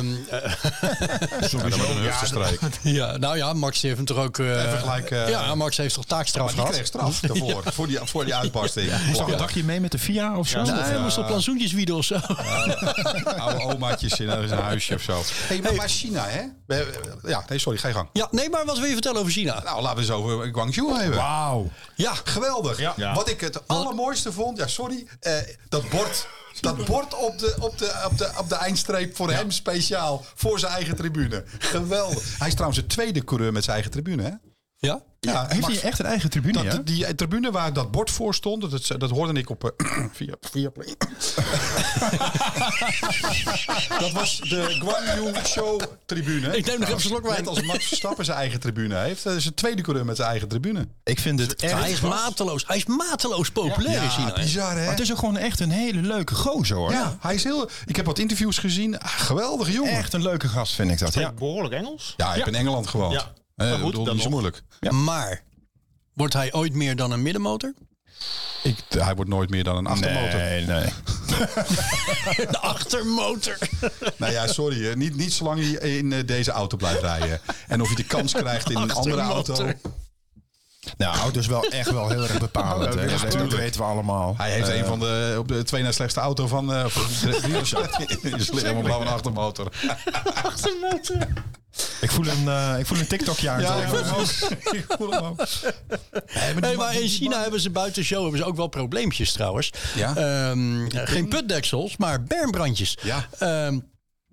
[SPEAKER 2] dat was een Oostenrijk.
[SPEAKER 1] ja, nou ja, Max heeft hem toch ook... eh,
[SPEAKER 2] Even gelijk, eh,
[SPEAKER 1] ja, Max heeft toch taakstraf
[SPEAKER 2] Maar die
[SPEAKER 1] gehad?
[SPEAKER 2] kreeg straf daarvoor, voor, die, voor die uitbarsting.
[SPEAKER 3] Toch een dagje mee met de FIA of zo?
[SPEAKER 1] Nee,
[SPEAKER 3] Of,
[SPEAKER 1] hij
[SPEAKER 3] eh,
[SPEAKER 1] moest op plantsoentjes wieden of zo.
[SPEAKER 2] Oude omaatjes in een huisje of zo. Hey, maar, maar China, hè? We- Ja, nee, sorry, ga je gang.
[SPEAKER 1] Ja, nee, maar wat wil je vertellen over China?
[SPEAKER 2] Nou, laten we het eens over Guangzhou hebben.
[SPEAKER 3] Wauw.
[SPEAKER 1] Ja,
[SPEAKER 2] Geweldig.
[SPEAKER 5] Ja.
[SPEAKER 2] Wat ik het allermooiste vond, ja, sorry, eh, dat bord. Dat bord op de, op, de, op, de, op de eindstreep voor hem speciaal. Voor zijn eigen tribune. Geweldig. Hij is trouwens de tweede coureur met zijn eigen tribune. Hè?
[SPEAKER 1] ja.
[SPEAKER 2] Ja,
[SPEAKER 3] Heeft
[SPEAKER 2] Max-
[SPEAKER 3] hij echt een eigen tribune?
[SPEAKER 2] dat,
[SPEAKER 3] ja?
[SPEAKER 2] Die tribune waar dat bord voor stond, dat, dat hoorde ik op eh, via, via Play. dat was de Guangzhou Show tribune.
[SPEAKER 1] Ik neem nog even een slok wijn.
[SPEAKER 2] Net als Max Verstappen zijn eigen tribune heeft. Dat is de tweede coureur met zijn eigen tribune.
[SPEAKER 3] Ik vind het echt...
[SPEAKER 1] Hij is mateloos. Hij is mateloos populair in China. hè?
[SPEAKER 2] Ah, bizar hè?
[SPEAKER 3] Maar het is ook gewoon echt een hele leuke gozer hoor.
[SPEAKER 2] Ja, hij is heel... Ik heb wat interviews gezien. Ah, Geweldig jongen.
[SPEAKER 3] Echt een leuke gast vind ik dat. Ja.
[SPEAKER 5] Behoorlijk Engels.
[SPEAKER 2] Ja, ik heb in Engeland gewoond.
[SPEAKER 5] Ja.
[SPEAKER 2] Eh,
[SPEAKER 5] Maar goed,
[SPEAKER 2] ik bedoel,
[SPEAKER 5] dan
[SPEAKER 2] niet zo
[SPEAKER 5] nog.
[SPEAKER 2] moeilijk.
[SPEAKER 1] Maar wordt hij ooit meer dan een middenmotor?
[SPEAKER 2] Ik, hij wordt nooit meer dan een achtermotor.
[SPEAKER 3] Nee, nee.
[SPEAKER 1] De achtermotor.
[SPEAKER 2] Nou ja, sorry. eh, Niet, niet zolang hij in eh, deze auto blijft rijden. En of je de kans krijgt in een andere auto.
[SPEAKER 1] Achtermotor.
[SPEAKER 3] Nou, auto's wel echt wel heel erg bepalend. hè. dat, dat weten we allemaal.
[SPEAKER 2] Hij heeft een van de, op de twee na slechtste auto van eh, van de wereld. Die is helemaal blauw en achtermotor.
[SPEAKER 3] Ik voel een, eh, ik voel een TikTokje aan.
[SPEAKER 2] Ja,
[SPEAKER 3] komen.
[SPEAKER 2] ik voel hem ook. Ik voel hem ook. Nee, die
[SPEAKER 1] Hey,
[SPEAKER 2] man-
[SPEAKER 1] maar in
[SPEAKER 2] die
[SPEAKER 1] China hebben ze buiten show hebben ze ook wel probleempjes trouwens.
[SPEAKER 2] Ja.
[SPEAKER 1] Ehm, geen putdeksels, maar bermbrandjes.
[SPEAKER 2] Ja.
[SPEAKER 1] Ehm,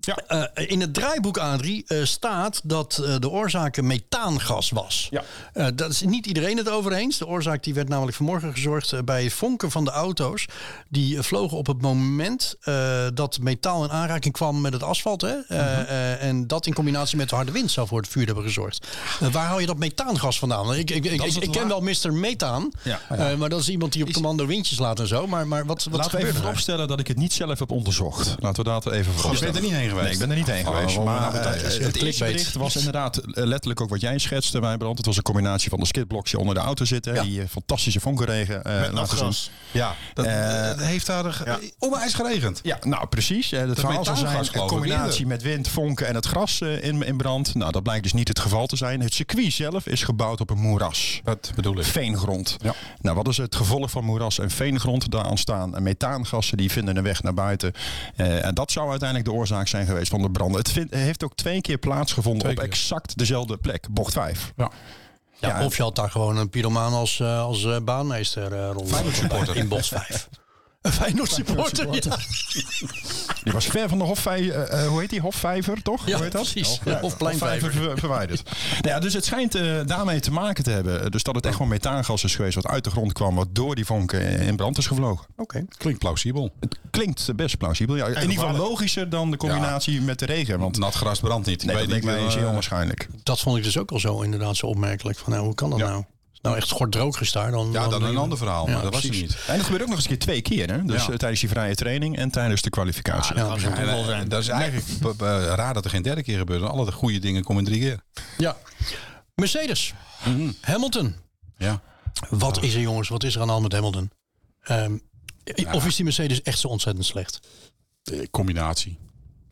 [SPEAKER 3] Ja.
[SPEAKER 1] Eh, in het draaiboek, Adrie, eh, staat dat eh, de oorzaak methaangas was.
[SPEAKER 3] Ja.
[SPEAKER 1] Eh, dat is niet iedereen het over eens. De oorzaak die werd namelijk vanmorgen gezorgd eh, bij vonken van de auto's. Die eh, vlogen op het moment eh, dat metaal in aanraking kwam met het asfalt. Hè? Eh, eh, en dat in combinatie met de harde wind zou voor het vuur hebben gezorgd. Eh, waar haal je dat methaangas vandaan? Ik, ik, ik, ik,
[SPEAKER 2] is het
[SPEAKER 1] ik ken
[SPEAKER 2] la-
[SPEAKER 1] wel Mr. Methaan.
[SPEAKER 3] Ja.
[SPEAKER 1] eh, maar dat is iemand die op commando windjes laat en zo. Maar, maar wat, wat
[SPEAKER 3] Laten
[SPEAKER 1] gebeurt
[SPEAKER 3] we even
[SPEAKER 1] er? eigenlijk?
[SPEAKER 3] vooropstellen dat ik het niet zelf heb onderzocht. Laten we dat even vooropstellen.
[SPEAKER 2] je bent er niet heen geweest?
[SPEAKER 3] Nee, ik ben er niet heen
[SPEAKER 2] Oh,
[SPEAKER 3] geweest.
[SPEAKER 2] waarom
[SPEAKER 3] Maar
[SPEAKER 2] nou?
[SPEAKER 3] eh,
[SPEAKER 2] Dat
[SPEAKER 1] is een
[SPEAKER 3] het eerste
[SPEAKER 1] clickbait.
[SPEAKER 3] bericht was inderdaad eh, letterlijk ook wat jij schetste, Wijbrand. Het was een combinatie van de skidblokje onder de auto zitten.
[SPEAKER 1] Ja.
[SPEAKER 3] Die eh, fantastische vonkenregen eh laten
[SPEAKER 5] nat
[SPEAKER 3] zien.
[SPEAKER 5] gras.
[SPEAKER 3] Ja,
[SPEAKER 2] Dat,
[SPEAKER 3] eh,
[SPEAKER 2] dat heeft daar
[SPEAKER 5] ja.
[SPEAKER 2] eh, onwijs geregend.
[SPEAKER 3] ja, nou precies. Eh, dat
[SPEAKER 2] is
[SPEAKER 3] verhaal zou zijn
[SPEAKER 2] metaalgas,
[SPEAKER 3] een
[SPEAKER 2] geloof ik,
[SPEAKER 3] combinatie
[SPEAKER 2] eerder.
[SPEAKER 3] met wind, vonken en het gras eh, in, in brand. Nou, dat blijkt dus niet het geval te zijn. Het circuit zelf is gebouwd op een moeras.
[SPEAKER 2] Dat bedoel ik.
[SPEAKER 3] Veengrond.
[SPEAKER 2] Ja.
[SPEAKER 3] Nou, wat is het gevolg van moeras en veengrond? Daar ontstaan methaangassen, die vinden een weg naar buiten. Eh, en dat zou uiteindelijk de oorzaak zijn geweest van de branden. Het vind- heeft ook twee keer plaatsgevonden
[SPEAKER 2] Twee
[SPEAKER 3] op
[SPEAKER 2] keer.
[SPEAKER 3] exact dezelfde plek, bocht 5.
[SPEAKER 2] Ja.
[SPEAKER 1] Ja,
[SPEAKER 3] Ja,
[SPEAKER 1] of je had daar gewoon een pyromaan als, eh, als eh, baanmeester eh rond.
[SPEAKER 2] Feyenoord supporter.
[SPEAKER 1] In Bos 5. Een Feyenoord supporter, ja.
[SPEAKER 3] Die was ver van de hofvijver, hoe heet die? Hofvijver, toch?
[SPEAKER 1] Ja,
[SPEAKER 3] hoe heet dat?
[SPEAKER 1] precies.
[SPEAKER 3] Hofvijver.
[SPEAKER 1] Of Pleinvijver.
[SPEAKER 3] Hofvijver ver- verwijderd. nou ja, dus het schijnt eh, daarmee te maken te hebben. Eh, Dus dat het echt gewoon methaangas is geweest wat uit de grond kwam, wat door die vonken eh, in brand is gevlogen.
[SPEAKER 1] Oké.
[SPEAKER 2] Klinkt plausibel.
[SPEAKER 3] Het klinkt best plausibel. Ja, in ieder geval
[SPEAKER 5] gevaarlijk.
[SPEAKER 3] logischer dan de combinatie met de regen.
[SPEAKER 2] Want
[SPEAKER 3] Want
[SPEAKER 2] nat gras brandt niet. Ik
[SPEAKER 3] Nee,
[SPEAKER 2] Nou, weet
[SPEAKER 3] dat
[SPEAKER 2] niet
[SPEAKER 3] lijkt mij
[SPEAKER 2] eh,
[SPEAKER 3] zeer onwaarschijnlijk.
[SPEAKER 1] Dat vond ik dus ook al zo inderdaad zo opmerkelijk. Van, nou, hoe kan dat nou? Als het nou echt schortdroog is daar, dan...
[SPEAKER 2] Ja, dan een ander verhaal.
[SPEAKER 1] Ja,
[SPEAKER 2] maar dat
[SPEAKER 1] precies.
[SPEAKER 2] was het niet.
[SPEAKER 3] En dat gebeurt ook nog eens een keer twee keer. Hè? Dus
[SPEAKER 2] Ja.
[SPEAKER 3] eh, tijdens die vrije training en tijdens de kwalificatie.
[SPEAKER 1] Ja, dat is
[SPEAKER 2] En, eh, dat is eigenlijk b- b- raar dat er geen derde keer gebeurt. want Alle de goede dingen komen drie keer.
[SPEAKER 1] Ja. Mercedes. Hamilton.
[SPEAKER 2] Mhm. Ja.
[SPEAKER 1] Wat is er, jongens? Wat is er aan de hand met Hamilton? Ehm, Of is die Mercedes echt zo ontzettend slecht?
[SPEAKER 2] Eh, Combinatie.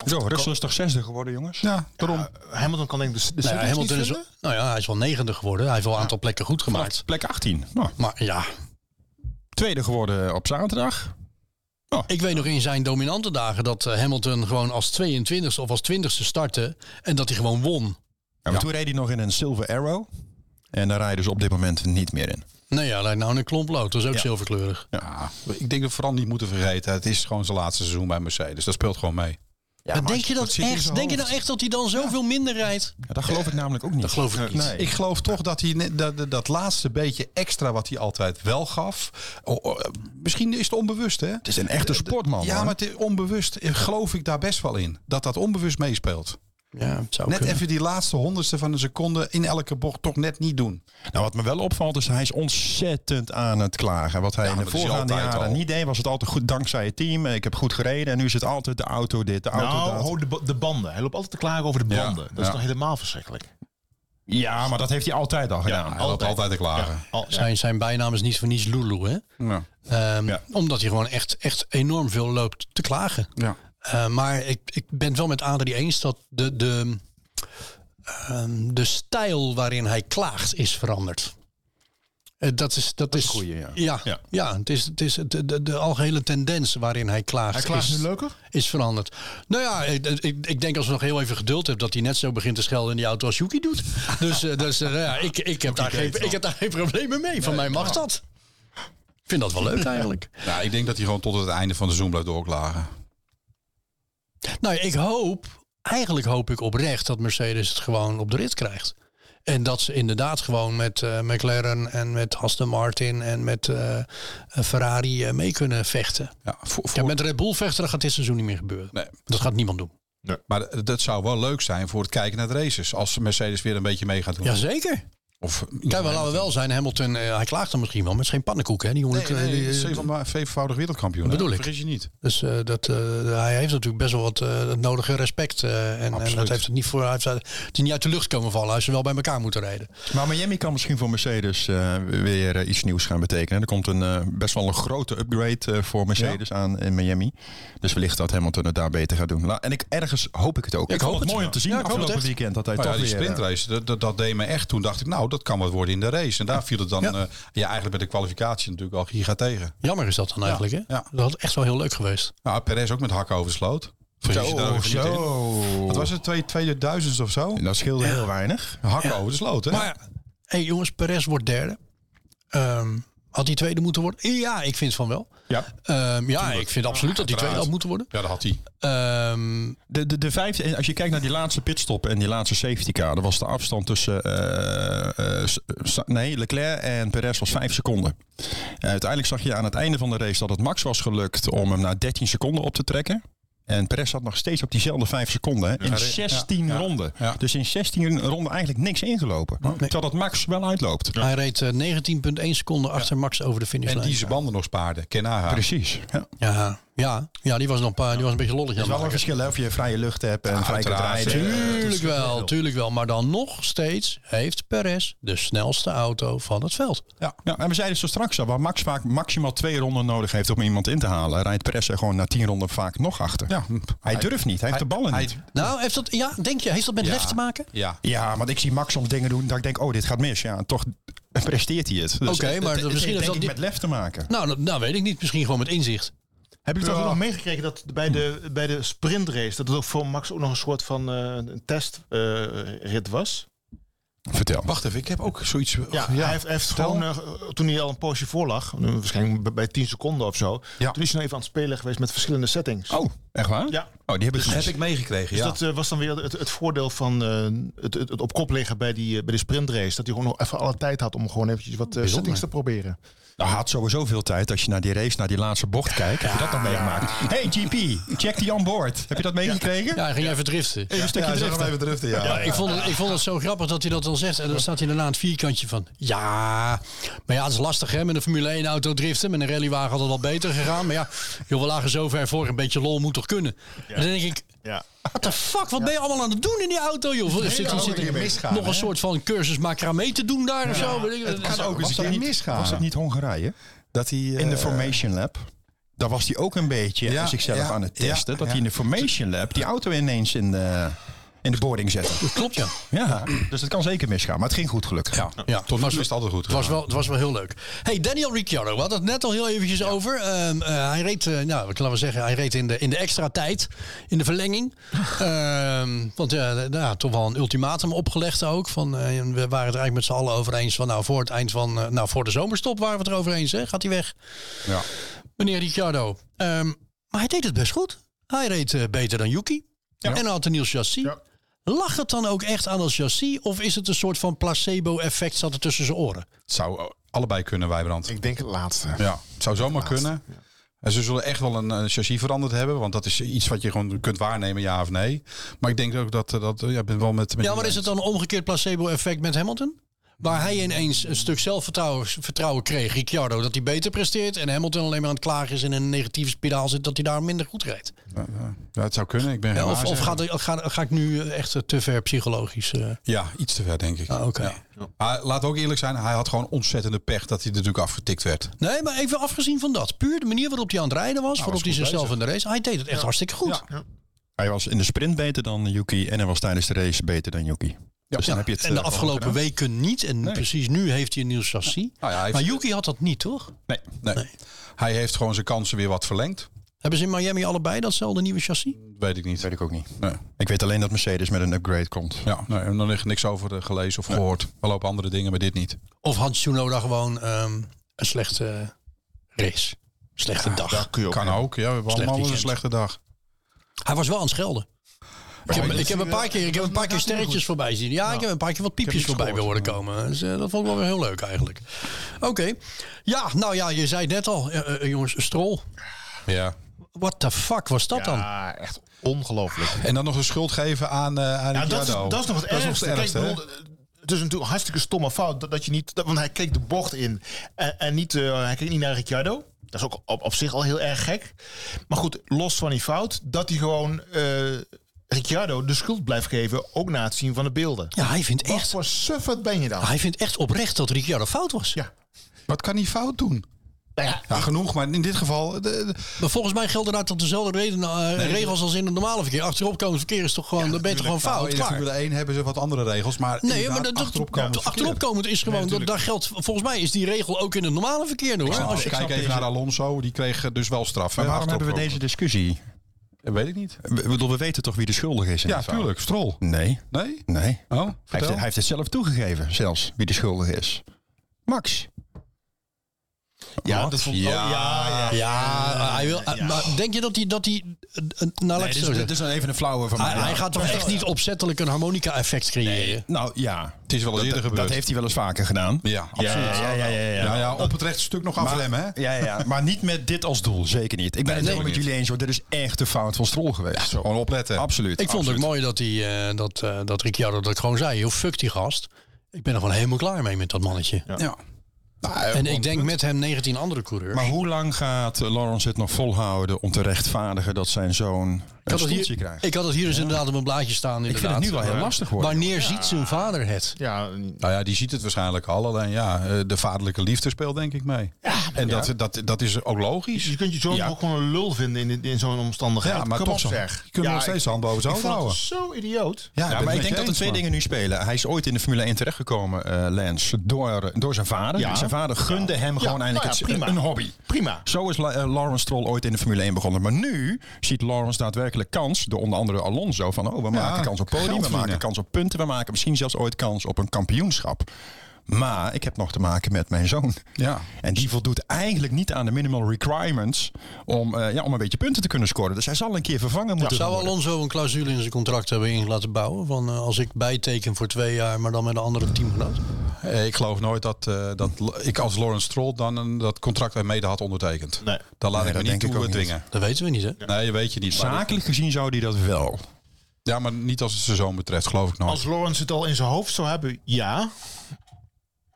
[SPEAKER 3] Zo, Russell is toch zesde geworden, jongens?
[SPEAKER 2] Ja, daarom.
[SPEAKER 5] Hamilton kan denk ik de, de
[SPEAKER 1] Nou ja,
[SPEAKER 5] series
[SPEAKER 1] Hamilton
[SPEAKER 5] niet
[SPEAKER 1] is,
[SPEAKER 5] vullen.
[SPEAKER 1] nou ja, hij is wel negende geworden. Hij heeft wel een aantal plekken goed gemaakt.
[SPEAKER 3] Plek 18. Nou,
[SPEAKER 1] Maar ja,
[SPEAKER 3] tweede geworden op zaterdag.
[SPEAKER 1] Ik weet nog in zijn dominante dagen dat eh, Hamilton gewoon als 22e of als 20e startte. En dat hij gewoon won.
[SPEAKER 3] Ja, maar toen reed hij nog in een Silver Arrow. En daar rijden dus op dit moment niet meer in.
[SPEAKER 1] Nee, ja, lijkt nou een klomplood. Dat is ook
[SPEAKER 3] Ja.
[SPEAKER 1] zilverkleurig.
[SPEAKER 2] Ja, ik denk dat we vooral niet moeten vergeten. Het is gewoon zijn laatste seizoen bij Mercedes. Dat speelt gewoon mee.
[SPEAKER 1] maar denk je,
[SPEAKER 2] dat
[SPEAKER 1] dat
[SPEAKER 2] zit in
[SPEAKER 1] echt,
[SPEAKER 2] zijn
[SPEAKER 1] denk je
[SPEAKER 2] hoofd.
[SPEAKER 1] nou echt dat hij dan zoveel minder rijdt?
[SPEAKER 3] Ja, dat geloof ik namelijk ook niet. Dat
[SPEAKER 1] geloof ik niet.
[SPEAKER 3] Nee.
[SPEAKER 2] Ik geloof toch dat hij net- dat, dat, dat laatste beetje extra wat hij altijd wel gaf. o- o- misschien is het onbewust, hè?
[SPEAKER 3] het is een echte sportman.
[SPEAKER 2] Ja,
[SPEAKER 3] hoor.
[SPEAKER 2] maar het is onbewust eh, geloof ik daar best wel in. Dat dat onbewust meespeelt.
[SPEAKER 1] Ja, het zou
[SPEAKER 2] Net
[SPEAKER 1] kunnen.
[SPEAKER 2] even die laatste honderdste van een seconde in elke bocht toch net niet doen.
[SPEAKER 3] Nou, wat me wel opvalt is hij is ontzettend aan het klagen. Wat hij
[SPEAKER 2] Ja,
[SPEAKER 3] in de
[SPEAKER 2] maar dat is
[SPEAKER 3] voorgaande
[SPEAKER 2] altijd
[SPEAKER 3] jaren
[SPEAKER 2] al.
[SPEAKER 3] niet deed, was het altijd goed dankzij het team. Ik heb goed gereden en nu is het altijd de auto dit, de auto
[SPEAKER 5] Nou,
[SPEAKER 3] dat.
[SPEAKER 5] ho, de, ba- de banden. Hij loopt altijd te klagen over de
[SPEAKER 2] Ja,
[SPEAKER 5] banden. Dat is
[SPEAKER 2] ja.
[SPEAKER 5] toch helemaal verschrikkelijk.
[SPEAKER 3] Ja, maar dat heeft hij altijd al gedaan.
[SPEAKER 2] Hij loopt altijd te klagen.
[SPEAKER 5] Al, ja.
[SPEAKER 1] Zijn, zijn bijnaam is niet voor niets Lulu, hè?
[SPEAKER 2] Ja.
[SPEAKER 1] Ehm,
[SPEAKER 3] Ja.
[SPEAKER 1] Omdat hij gewoon echt, echt enorm veel loopt te klagen.
[SPEAKER 2] Ja.
[SPEAKER 1] Eh, maar ik, ik ben het wel met Adrie eens dat de, de, ehm, de stijl waarin hij klaagt is veranderd. Eh, dat is, dat is,
[SPEAKER 3] goeie, ja.
[SPEAKER 1] Ja, ja.
[SPEAKER 3] Ja.
[SPEAKER 1] het is, het is de, de, de algehele tendens waarin hij klaagt.
[SPEAKER 5] Hij klaagt
[SPEAKER 1] is,
[SPEAKER 5] nu leuker?
[SPEAKER 1] Is veranderd. Nou ja, ik, ik, ik denk als we nog heel even geduld hebben dat hij net zo begint te schelden in die auto als Yuki doet. Dus, eh, dus eh, nou ja, ik, ik, heb daar geen, ik heb daar geen problemen mee. Van mij mag dat. Ik vind dat wel leuk eigenlijk.
[SPEAKER 2] Nou, ik denk dat hij gewoon tot het einde van de seizoen blijft doorklagen.
[SPEAKER 1] Nou, ik hoop, eigenlijk hoop ik oprecht dat Mercedes het gewoon op de rit krijgt. En dat ze inderdaad gewoon met eh, McLaren en met Aston Martin en met eh, eh, Ferrari eh, mee kunnen vechten.
[SPEAKER 2] Ja, voor,
[SPEAKER 1] Ja,
[SPEAKER 2] voor-
[SPEAKER 1] met Red Bull vechten dat gaat dit seizoen niet meer gebeuren.
[SPEAKER 2] Nee.
[SPEAKER 1] Dat gaat niemand doen.
[SPEAKER 2] Maar dat zou wel leuk zijn voor het kijken naar de races. Als Mercedes weer een beetje mee gaat doen.
[SPEAKER 1] Jazeker.
[SPEAKER 2] Of,
[SPEAKER 1] Kijk, wel, laten we wel zijn. Hamilton, eh, hij klaagt er misschien wel, maar het is geen pannenkoek. Hè? Die jongen,
[SPEAKER 2] Nee,
[SPEAKER 3] eh,
[SPEAKER 2] nee,
[SPEAKER 1] die-
[SPEAKER 2] hij is zeven- zevenvoudig wereldkampioen.
[SPEAKER 1] Dat
[SPEAKER 2] hè?
[SPEAKER 1] bedoel ik.
[SPEAKER 2] Vergis je niet.
[SPEAKER 1] Dus eh, dat, eh, hij heeft natuurlijk best wel wat eh, het nodige respect. eh, en, en dat
[SPEAKER 2] Absoluut.
[SPEAKER 1] heeft het niet voor. Hij heeft, het is niet uit de lucht komen vallen. Hij is wel bij elkaar moeten rijden.
[SPEAKER 3] Maar Nou, Miami kan misschien voor Mercedes eh, weer eh, iets nieuws gaan betekenen. Er komt een, eh, best wel een grote upgrade eh, voor Mercedes aan in Miami. Dus wellicht dat Hamilton het daar beter gaat doen. La- en ik, ergens hoop ik het ook.
[SPEAKER 1] Ik hoop
[SPEAKER 3] vond
[SPEAKER 1] het.
[SPEAKER 3] mooi om te zien
[SPEAKER 1] Ja, ik hoop het
[SPEAKER 3] afgelopen
[SPEAKER 1] echt. Oh
[SPEAKER 3] weekend dat hij
[SPEAKER 2] Maar
[SPEAKER 3] toch
[SPEAKER 2] ja, die
[SPEAKER 3] weer... eh,
[SPEAKER 2] sprintrace, dat, dat, dat deed me echt. Toen dacht ik, nou, dat kan wat worden in de race. En daar viel het dan
[SPEAKER 1] Ja.
[SPEAKER 2] ja. ja, eigenlijk bij de kwalificatie natuurlijk al giga tegen.
[SPEAKER 1] Jammer is dat dan eigenlijk. Hè?
[SPEAKER 2] ja.
[SPEAKER 1] Dat had echt wel heel leuk geweest.
[SPEAKER 2] Nou, Perez ook met hakken oversloot. Vergis je daar
[SPEAKER 3] Zo,
[SPEAKER 2] ook niet in.
[SPEAKER 1] Oh,
[SPEAKER 3] zo.
[SPEAKER 2] Wat was het, twee, 2000 of zo?
[SPEAKER 3] Dat scheelde heel weinig.
[SPEAKER 2] Hakken over de sloot, hè?
[SPEAKER 1] Maar hey, jongens, Perez wordt derde. Ehm, Had die tweede moeten worden? Ja, ik vind van wel.
[SPEAKER 3] Ja.
[SPEAKER 1] Ehm, ja, ik vind absoluut dat die tweede had moeten worden.
[SPEAKER 2] Ja, dat had hij.
[SPEAKER 1] Ehm,
[SPEAKER 3] De, de, de vijfde, en als je kijkt naar die laatste pitstop en die laatste safety car, dan was de afstand tussen eh, eh, Sa- nee, Leclerc en Perez was vijf seconden. En uiteindelijk zag je aan het einde van de race dat het Max was gelukt om hem naar 13 seconden op te trekken. En Perez zat nog steeds op diezelfde vijf seconden hè,
[SPEAKER 2] Ja,
[SPEAKER 3] in
[SPEAKER 2] ja,
[SPEAKER 3] 16
[SPEAKER 2] ja,
[SPEAKER 3] ronden.
[SPEAKER 2] ja.
[SPEAKER 3] Dus in 16 ronden eigenlijk niks ingelopen. Terwijl dat Max wel uitloopt.
[SPEAKER 1] Hij reed eh, 19,1 seconden achter Max over de
[SPEAKER 2] En
[SPEAKER 1] finishlijn.
[SPEAKER 2] die zijn banden nog spaarde. Ken haar.
[SPEAKER 3] Precies. Ja.
[SPEAKER 1] ja, ja, ja, die was nog een paar, die was een beetje lollig. aan
[SPEAKER 3] Het
[SPEAKER 1] het
[SPEAKER 3] is wel een
[SPEAKER 1] maken.
[SPEAKER 3] verschil hè, of je vrije lucht hebt en vrij kunt
[SPEAKER 2] uiteraard.
[SPEAKER 3] rijden.
[SPEAKER 1] Tuurlijk wel, tuurlijk wel. Maar dan nog steeds heeft Perez de snelste auto van het veld.
[SPEAKER 3] Ja. ja, en we zeiden zo straks al, waar Max vaak maximaal twee ronden nodig heeft om iemand in te halen, rijdt Perez er gewoon na tien ronden vaak nog achter.
[SPEAKER 2] Ja.
[SPEAKER 3] Hij durft niet, hij heeft de ballen
[SPEAKER 2] hij-
[SPEAKER 3] niet.
[SPEAKER 1] Nou, heeft dat, ja, denk je, heeft dat met
[SPEAKER 2] Ja.
[SPEAKER 1] lef te maken?
[SPEAKER 2] Ja.
[SPEAKER 3] Ja, want ik zie Max soms dingen doen dat ik denk, oh, dit gaat mis. Ja, en toch presteert hij het. Dus
[SPEAKER 1] Oké,
[SPEAKER 3] het-
[SPEAKER 1] maar
[SPEAKER 3] het-
[SPEAKER 1] misschien
[SPEAKER 3] het heeft
[SPEAKER 1] heeft dat
[SPEAKER 3] denk ik
[SPEAKER 1] niet-
[SPEAKER 3] met lef te maken.
[SPEAKER 1] Nou, dat- nou weet ik niet. Misschien gewoon met inzicht.
[SPEAKER 6] Hebben jullie toch ook nog meegekregen dat bij de, bij de sprintrace, dat het ook voor Max ook nog een soort van eh, een testrit was?
[SPEAKER 3] Vertel.
[SPEAKER 2] Wacht even, ik heb ook zoiets.
[SPEAKER 6] Ja, hij heeft, hij heeft
[SPEAKER 2] vertel.
[SPEAKER 6] gewoon, eh, toen hij al een poosje voor lag, eh, waarschijnlijk bij- bij 10 seconden of zo,
[SPEAKER 2] Ja.
[SPEAKER 6] toen is hij nog even aan het spelen geweest met verschillende settings.
[SPEAKER 3] Oh, echt waar?
[SPEAKER 6] Ja.
[SPEAKER 3] Oh, die heb
[SPEAKER 2] Dat
[SPEAKER 3] ik
[SPEAKER 2] heb
[SPEAKER 3] gemist.
[SPEAKER 2] ik meegekregen.
[SPEAKER 6] Dus
[SPEAKER 2] Ja.
[SPEAKER 6] dat eh, was dan weer het, het voordeel van eh, het, het, het op kop liggen bij die, eh, bij die sprintrace. Dat hij gewoon nog even alle tijd had om gewoon eventjes wat eh, settings te proberen.
[SPEAKER 3] Nou, hij had sowieso veel tijd als je naar die race, naar die laatste bocht kijkt. Heb je dat nog meegemaakt? Hey GP, check die on board. Heb je dat meegekregen?
[SPEAKER 1] Ja, hij ging even driften.
[SPEAKER 3] Even een stukje driften.
[SPEAKER 2] even driften,
[SPEAKER 1] Ja, ik, vond het, ik vond het zo grappig dat hij dat dan zegt. En dan staat hij daarna aan het vierkantje van... Ja, maar ja, het is lastig hè, met een Formule 1-auto driften. Met een rallywagen had het wel beter gegaan. Maar ja, joh, we lagen zo ver voor. Een beetje lol moet toch kunnen? En dan denk ik...
[SPEAKER 6] Ja.
[SPEAKER 1] What the fuck, wat ben je allemaal aan het doen in die auto, joh? Zit- zit er-
[SPEAKER 2] auto
[SPEAKER 1] zit er
[SPEAKER 2] die nou, misgaan,
[SPEAKER 1] nog een
[SPEAKER 2] hè?
[SPEAKER 1] soort van cursus macramé te doen daar of zo? Weet ik-
[SPEAKER 3] Was dat-
[SPEAKER 2] eens een
[SPEAKER 3] was dat
[SPEAKER 2] keer
[SPEAKER 3] niet-
[SPEAKER 2] misgaan.
[SPEAKER 3] Was dat niet Hongarije?
[SPEAKER 2] Dat hij. eh,
[SPEAKER 3] in de Formation Lab. Daar was hij ook een beetje
[SPEAKER 2] Ja,
[SPEAKER 3] zichzelf
[SPEAKER 2] ja,
[SPEAKER 3] aan het testen.
[SPEAKER 2] ja,
[SPEAKER 3] dat
[SPEAKER 2] ja.
[SPEAKER 3] hij in de Formation Lab die auto ineens in de, in de boarding zette.
[SPEAKER 1] Dat klopt, ja.
[SPEAKER 3] Ja, dus dat kan zeker misgaan. Maar het ging goed gelukkig.
[SPEAKER 2] Ja, Dus
[SPEAKER 1] Ja,
[SPEAKER 2] tot nu
[SPEAKER 1] was-
[SPEAKER 2] toe is het altijd goed.
[SPEAKER 1] Het was wel, het was wel heel leuk. Hey, Daniel Ricciardo, we hadden het net al heel eventjes over. Ehm, eh, hij reed, eh, nou, ik laat maar zeggen, hij reed in de, in de extra tijd, in de verlenging. Ehm, want ja, nou ja, toch wel een ultimatum opgelegd ook. Van, eh, we waren het eigenlijk met z'n allen over eens van, nou, voor het eind van, eh, nou, voor de zomerstop waren we het erover eens, hè? Gaat hij weg?
[SPEAKER 3] Ja.
[SPEAKER 1] Meneer Ricciardo. Ehm, maar hij deed het best goed. Hij reed eh, beter dan Yuki. En had een nieuw chassis. Lag het dan ook echt aan het chassis? Of is het een soort van placebo-effect zat er tussen zijn oren?
[SPEAKER 2] Het zou allebei kunnen, Wijbrand.
[SPEAKER 5] Ik denk het laatste.
[SPEAKER 2] Ja, het zou zomaar kunnen. En ze zullen echt wel een, eh, een chassis veranderd hebben, want dat is iets wat je gewoon kunt waarnemen, ja of nee. Maar ik denk ook dat eh, dat eh, ja, ik ben wel met, met
[SPEAKER 1] Ja,
[SPEAKER 2] je
[SPEAKER 1] maar is het
[SPEAKER 2] eens.
[SPEAKER 1] dan een omgekeerd placebo-effect met Hamilton? Waar hij ineens een stuk zelfvertrouwen vertrouwen kreeg, Ricciardo, dat hij beter presteert. En Hamilton alleen maar aan het klagen is en in een negatieve spiraal zit dat hij daar minder goed reed.
[SPEAKER 2] Ja, het zou kunnen. Ik ben
[SPEAKER 1] Ja,
[SPEAKER 2] geen
[SPEAKER 1] of of
[SPEAKER 2] waarzegger.
[SPEAKER 1] ga, ga, ga ik nu eh, echt te ver psychologisch? eh?
[SPEAKER 2] Ja, iets te ver denk ik.
[SPEAKER 1] Ah, oké.
[SPEAKER 2] Ja. Maar laat ook eerlijk zijn, hij had gewoon ontzettende pech dat hij er natuurlijk afgetikt werd.
[SPEAKER 1] Nee, maar even afgezien van dat. Puur de manier waarop hij aan het rijden
[SPEAKER 2] Nou,
[SPEAKER 1] was, waarop hij zichzelf in de race. Hij deed het echt hartstikke goed.
[SPEAKER 3] Hij was in de sprint beter dan Yuki. En hij was tijdens de race beter dan Yuki. Dus dan heb je het
[SPEAKER 1] en de
[SPEAKER 3] eh, wel
[SPEAKER 1] afgelopen
[SPEAKER 3] goed gedaan.
[SPEAKER 1] weken niet. En precies nu heeft hij een nieuw chassis.
[SPEAKER 2] Nou ja, hij heeft-
[SPEAKER 1] Maar Yuki had dat niet, toch?
[SPEAKER 2] Nee, nee. Hij heeft gewoon zijn kansen weer wat verlengd.
[SPEAKER 1] Hebben ze in Miami allebei datzelfde nieuwe chassis?
[SPEAKER 2] Weet ik niet.
[SPEAKER 3] Weet ik ook niet.
[SPEAKER 2] Nee.
[SPEAKER 3] Ik weet alleen dat Mercedes met een upgrade komt.
[SPEAKER 2] Ja, nee, en dan is niks over eh, gelezen of gehoord. Er lopen andere dingen, maar dit niet.
[SPEAKER 1] Of had Tsunoda gewoon ehm, een slechte race? Slechte dag.
[SPEAKER 2] Kan ook. Ja, we hebben allemaal wel eens een
[SPEAKER 1] weekend.
[SPEAKER 2] slechte dag.
[SPEAKER 1] Hij was wel aan het schelden. Ik heb, ik heb een paar keer, ik heb een paar keer sterretjes voorbij zien. Ja, ik heb een paar keer wat piepjes voorbij weer horen komen. Dus, eh, dat vond ik wel weer heel leuk eigenlijk. Oké. Ja, nou ja, je zei het net al, eh, eh, jongens, Strol.
[SPEAKER 2] Ja.
[SPEAKER 1] What the fuck was dat dan?
[SPEAKER 5] Ja, echt ongelooflijk.
[SPEAKER 2] En dan nog een schuld geven aan, eh
[SPEAKER 6] Ja,
[SPEAKER 2] aan
[SPEAKER 6] dat, is,
[SPEAKER 2] Ricciardo.
[SPEAKER 3] nou,
[SPEAKER 6] dat is nog het
[SPEAKER 2] Dat is nog
[SPEAKER 6] ergste.
[SPEAKER 2] het
[SPEAKER 6] Kijk,
[SPEAKER 2] ergste,
[SPEAKER 6] ik
[SPEAKER 2] hè?
[SPEAKER 6] bedoel, eh, het is natuurlijk een hartstikke stomme fout. Dat, dat je niet, dat- want hij keek de bocht in. En, en niet, eh, hij keek niet naar Ricciardo. Dat is ook op, op zich al heel erg gek. Maar goed, los van die fout. Dat hij gewoon eh, Ricciardo de schuld blijft geven. Ook na het zien van de beelden.
[SPEAKER 1] Ja, hij vindt
[SPEAKER 6] Wat
[SPEAKER 1] echt,
[SPEAKER 6] voor suffert ben je dan?
[SPEAKER 1] hij vindt echt oprecht dat Ricciardo fout was.
[SPEAKER 6] Ja.
[SPEAKER 2] Wat kan hij fout doen?
[SPEAKER 6] Nou ja,
[SPEAKER 2] Ja, genoeg, maar in dit geval... eh, de- de-
[SPEAKER 1] Maar volgens mij gelden daar tot dezelfde reden, eh, regels als in het normale verkeer. Achterop komen verkeer is toch gewoon, dan ben je toch gewoon
[SPEAKER 2] Nou,
[SPEAKER 1] fout.
[SPEAKER 2] in de
[SPEAKER 1] klaar.
[SPEAKER 2] Formule 1 hebben ze wat andere regels, maar
[SPEAKER 1] Nee, maar dat, dat,
[SPEAKER 2] achterop komen.
[SPEAKER 1] dat- achterop komend is gewoon, dat, daar geldt, volgens mij is die regel ook in het normale verkeer hoor. Als je-
[SPEAKER 2] kijk even naar Alonso, die kreeg eh, dus wel straf.
[SPEAKER 3] Maar
[SPEAKER 2] hè,
[SPEAKER 3] waarom hebben we
[SPEAKER 2] achterop
[SPEAKER 3] deze discussie?
[SPEAKER 2] komen. Weet ik niet.
[SPEAKER 3] We, ik bedoel, we weten toch wie de schuldig is? in
[SPEAKER 2] Ja,
[SPEAKER 3] dit verhaal?
[SPEAKER 2] tuurlijk. Strol.
[SPEAKER 3] Nee.
[SPEAKER 2] Nee?
[SPEAKER 3] Nee.
[SPEAKER 2] Oh,
[SPEAKER 3] Hij heeft,
[SPEAKER 2] vertel.
[SPEAKER 3] hij heeft het zelf toegegeven, zelfs wie de schuldige is. Max.
[SPEAKER 6] Ja, dat vond ik ook-
[SPEAKER 3] Ja.
[SPEAKER 6] ja, ja.
[SPEAKER 1] Oh, Ja, hij wil,
[SPEAKER 6] ja.
[SPEAKER 1] maar denk je dat hij... Dat hij eh, eh, nou, laat ik
[SPEAKER 3] Nee,
[SPEAKER 1] het
[SPEAKER 3] dit,
[SPEAKER 1] zo
[SPEAKER 3] is,
[SPEAKER 1] zeggen.
[SPEAKER 3] dit is dan even een flauwe van mij.
[SPEAKER 1] Hij, hij gaat toch echt niet opzettelijk een harmonica-effect creëren?
[SPEAKER 3] Nou ja,
[SPEAKER 2] Het is wel eens eerder gebeurd.
[SPEAKER 3] dat heeft hij wel eens vaker gedaan.
[SPEAKER 2] Ja, absoluut.
[SPEAKER 3] ja, ja, ja, ja.
[SPEAKER 2] Nou ja, op het rechtstuk nog afremmen, hè?
[SPEAKER 3] Ja, ja, maar niet met dit als doel. Zeker niet. Ik ben het helemaal met jullie eens. Hoor. Dit is echt de fout van Strol geweest.
[SPEAKER 2] Gewoon opletten.
[SPEAKER 3] Absoluut.
[SPEAKER 1] Ik vond het
[SPEAKER 3] absoluut.
[SPEAKER 1] ook mooi dat, die, eh, dat, eh dat Ricciardo dat gewoon zei. Heel fuck die gast. Ik ben er gewoon helemaal klaar mee met dat mannetje.
[SPEAKER 2] Ja. Nou, eh,
[SPEAKER 1] En ik denk met hem 19 andere coureurs.
[SPEAKER 3] Maar hoe lang gaat eh, Lawrence het nog volhouden om te rechtvaardigen dat zijn zoon
[SPEAKER 1] ik, had het
[SPEAKER 3] een stoeltje
[SPEAKER 1] hier,
[SPEAKER 3] krijgt?
[SPEAKER 1] ik had het hier dus inderdaad op mijn blaadje staan. Inderdaad.
[SPEAKER 3] het nu wel heel
[SPEAKER 1] Maar
[SPEAKER 3] lastig worden.
[SPEAKER 1] Wanneer ziet zijn vader het?
[SPEAKER 6] Ja,
[SPEAKER 2] Nou ja, die ziet het waarschijnlijk al. Alleen ja, eh, de vaderlijke liefde speelt denk ik mee. en dat, dat, dat is ook logisch.
[SPEAKER 6] je kunt je zoon
[SPEAKER 2] Ja.
[SPEAKER 6] ook gewoon een lul vinden in, in zo'n omstandigheid.
[SPEAKER 2] Ja, maar
[SPEAKER 6] Kom
[SPEAKER 2] toch
[SPEAKER 6] op,
[SPEAKER 2] zo.
[SPEAKER 6] zeg.
[SPEAKER 2] Je kunt
[SPEAKER 6] Ja,
[SPEAKER 2] nog steeds de hand boven
[SPEAKER 6] ik
[SPEAKER 2] zijn
[SPEAKER 6] vond
[SPEAKER 2] hoofd houden.
[SPEAKER 6] het zo idioot.
[SPEAKER 2] Ja,
[SPEAKER 3] Ja,
[SPEAKER 2] ben het
[SPEAKER 3] maar ik denk
[SPEAKER 2] mee
[SPEAKER 3] dat er twee
[SPEAKER 2] eens,
[SPEAKER 3] dingen nu spelen. Hij is ooit in de Formule 1 terechtgekomen, eh Lance, door, door zijn vader.
[SPEAKER 6] Ja.
[SPEAKER 3] Zijn vader gunde hem gewoon
[SPEAKER 6] nou
[SPEAKER 3] eindelijk
[SPEAKER 6] ja,
[SPEAKER 3] het-
[SPEAKER 6] prima.
[SPEAKER 3] een hobby.
[SPEAKER 6] Prima.
[SPEAKER 3] Zo is La- eh, Lawrence Stroll ooit in de Formule 1 begonnen. Maar nu ziet Lawrence daadwerkelijk kans door onder andere Alonso. Van oh, we maken kans op podium,
[SPEAKER 2] geld
[SPEAKER 3] we maken
[SPEAKER 2] verdienen.
[SPEAKER 3] kans op punten. We maken misschien zelfs ooit kans op een kampioenschap. Maar ik heb nog te maken met mijn zoon.
[SPEAKER 2] Ja.
[SPEAKER 3] En die voldoet eigenlijk niet aan de minimal requirements om, eh, ja, om een beetje punten te kunnen scoren. Dus hij zal een keer vervangen moeten
[SPEAKER 1] Zou
[SPEAKER 3] worden.
[SPEAKER 1] Alonso een clausule in zijn contract hebben in laten bouwen? Van eh, als ik bijteken voor twee jaar, maar dan met een andere teamgenoot?
[SPEAKER 2] Eh, Ik geloof nooit dat, eh, dat l- ik als Lawrence Stroll dan een, dat contract er mede had ondertekend.
[SPEAKER 6] Nee.
[SPEAKER 2] Dan laat
[SPEAKER 3] Nee,
[SPEAKER 2] ik
[SPEAKER 3] dat
[SPEAKER 2] me niet
[SPEAKER 3] denk ik
[SPEAKER 2] toe
[SPEAKER 3] ook
[SPEAKER 2] dwingen.
[SPEAKER 1] Dat weten we niet, hè?
[SPEAKER 2] Nee, je weet je niet. Maar-
[SPEAKER 3] Zakelijk gezien zou hij dat wel.
[SPEAKER 2] Ja, maar niet als het seizoen betreft, geloof ik nooit.
[SPEAKER 6] Als Lawrence het al in zijn hoofd zou hebben, ja.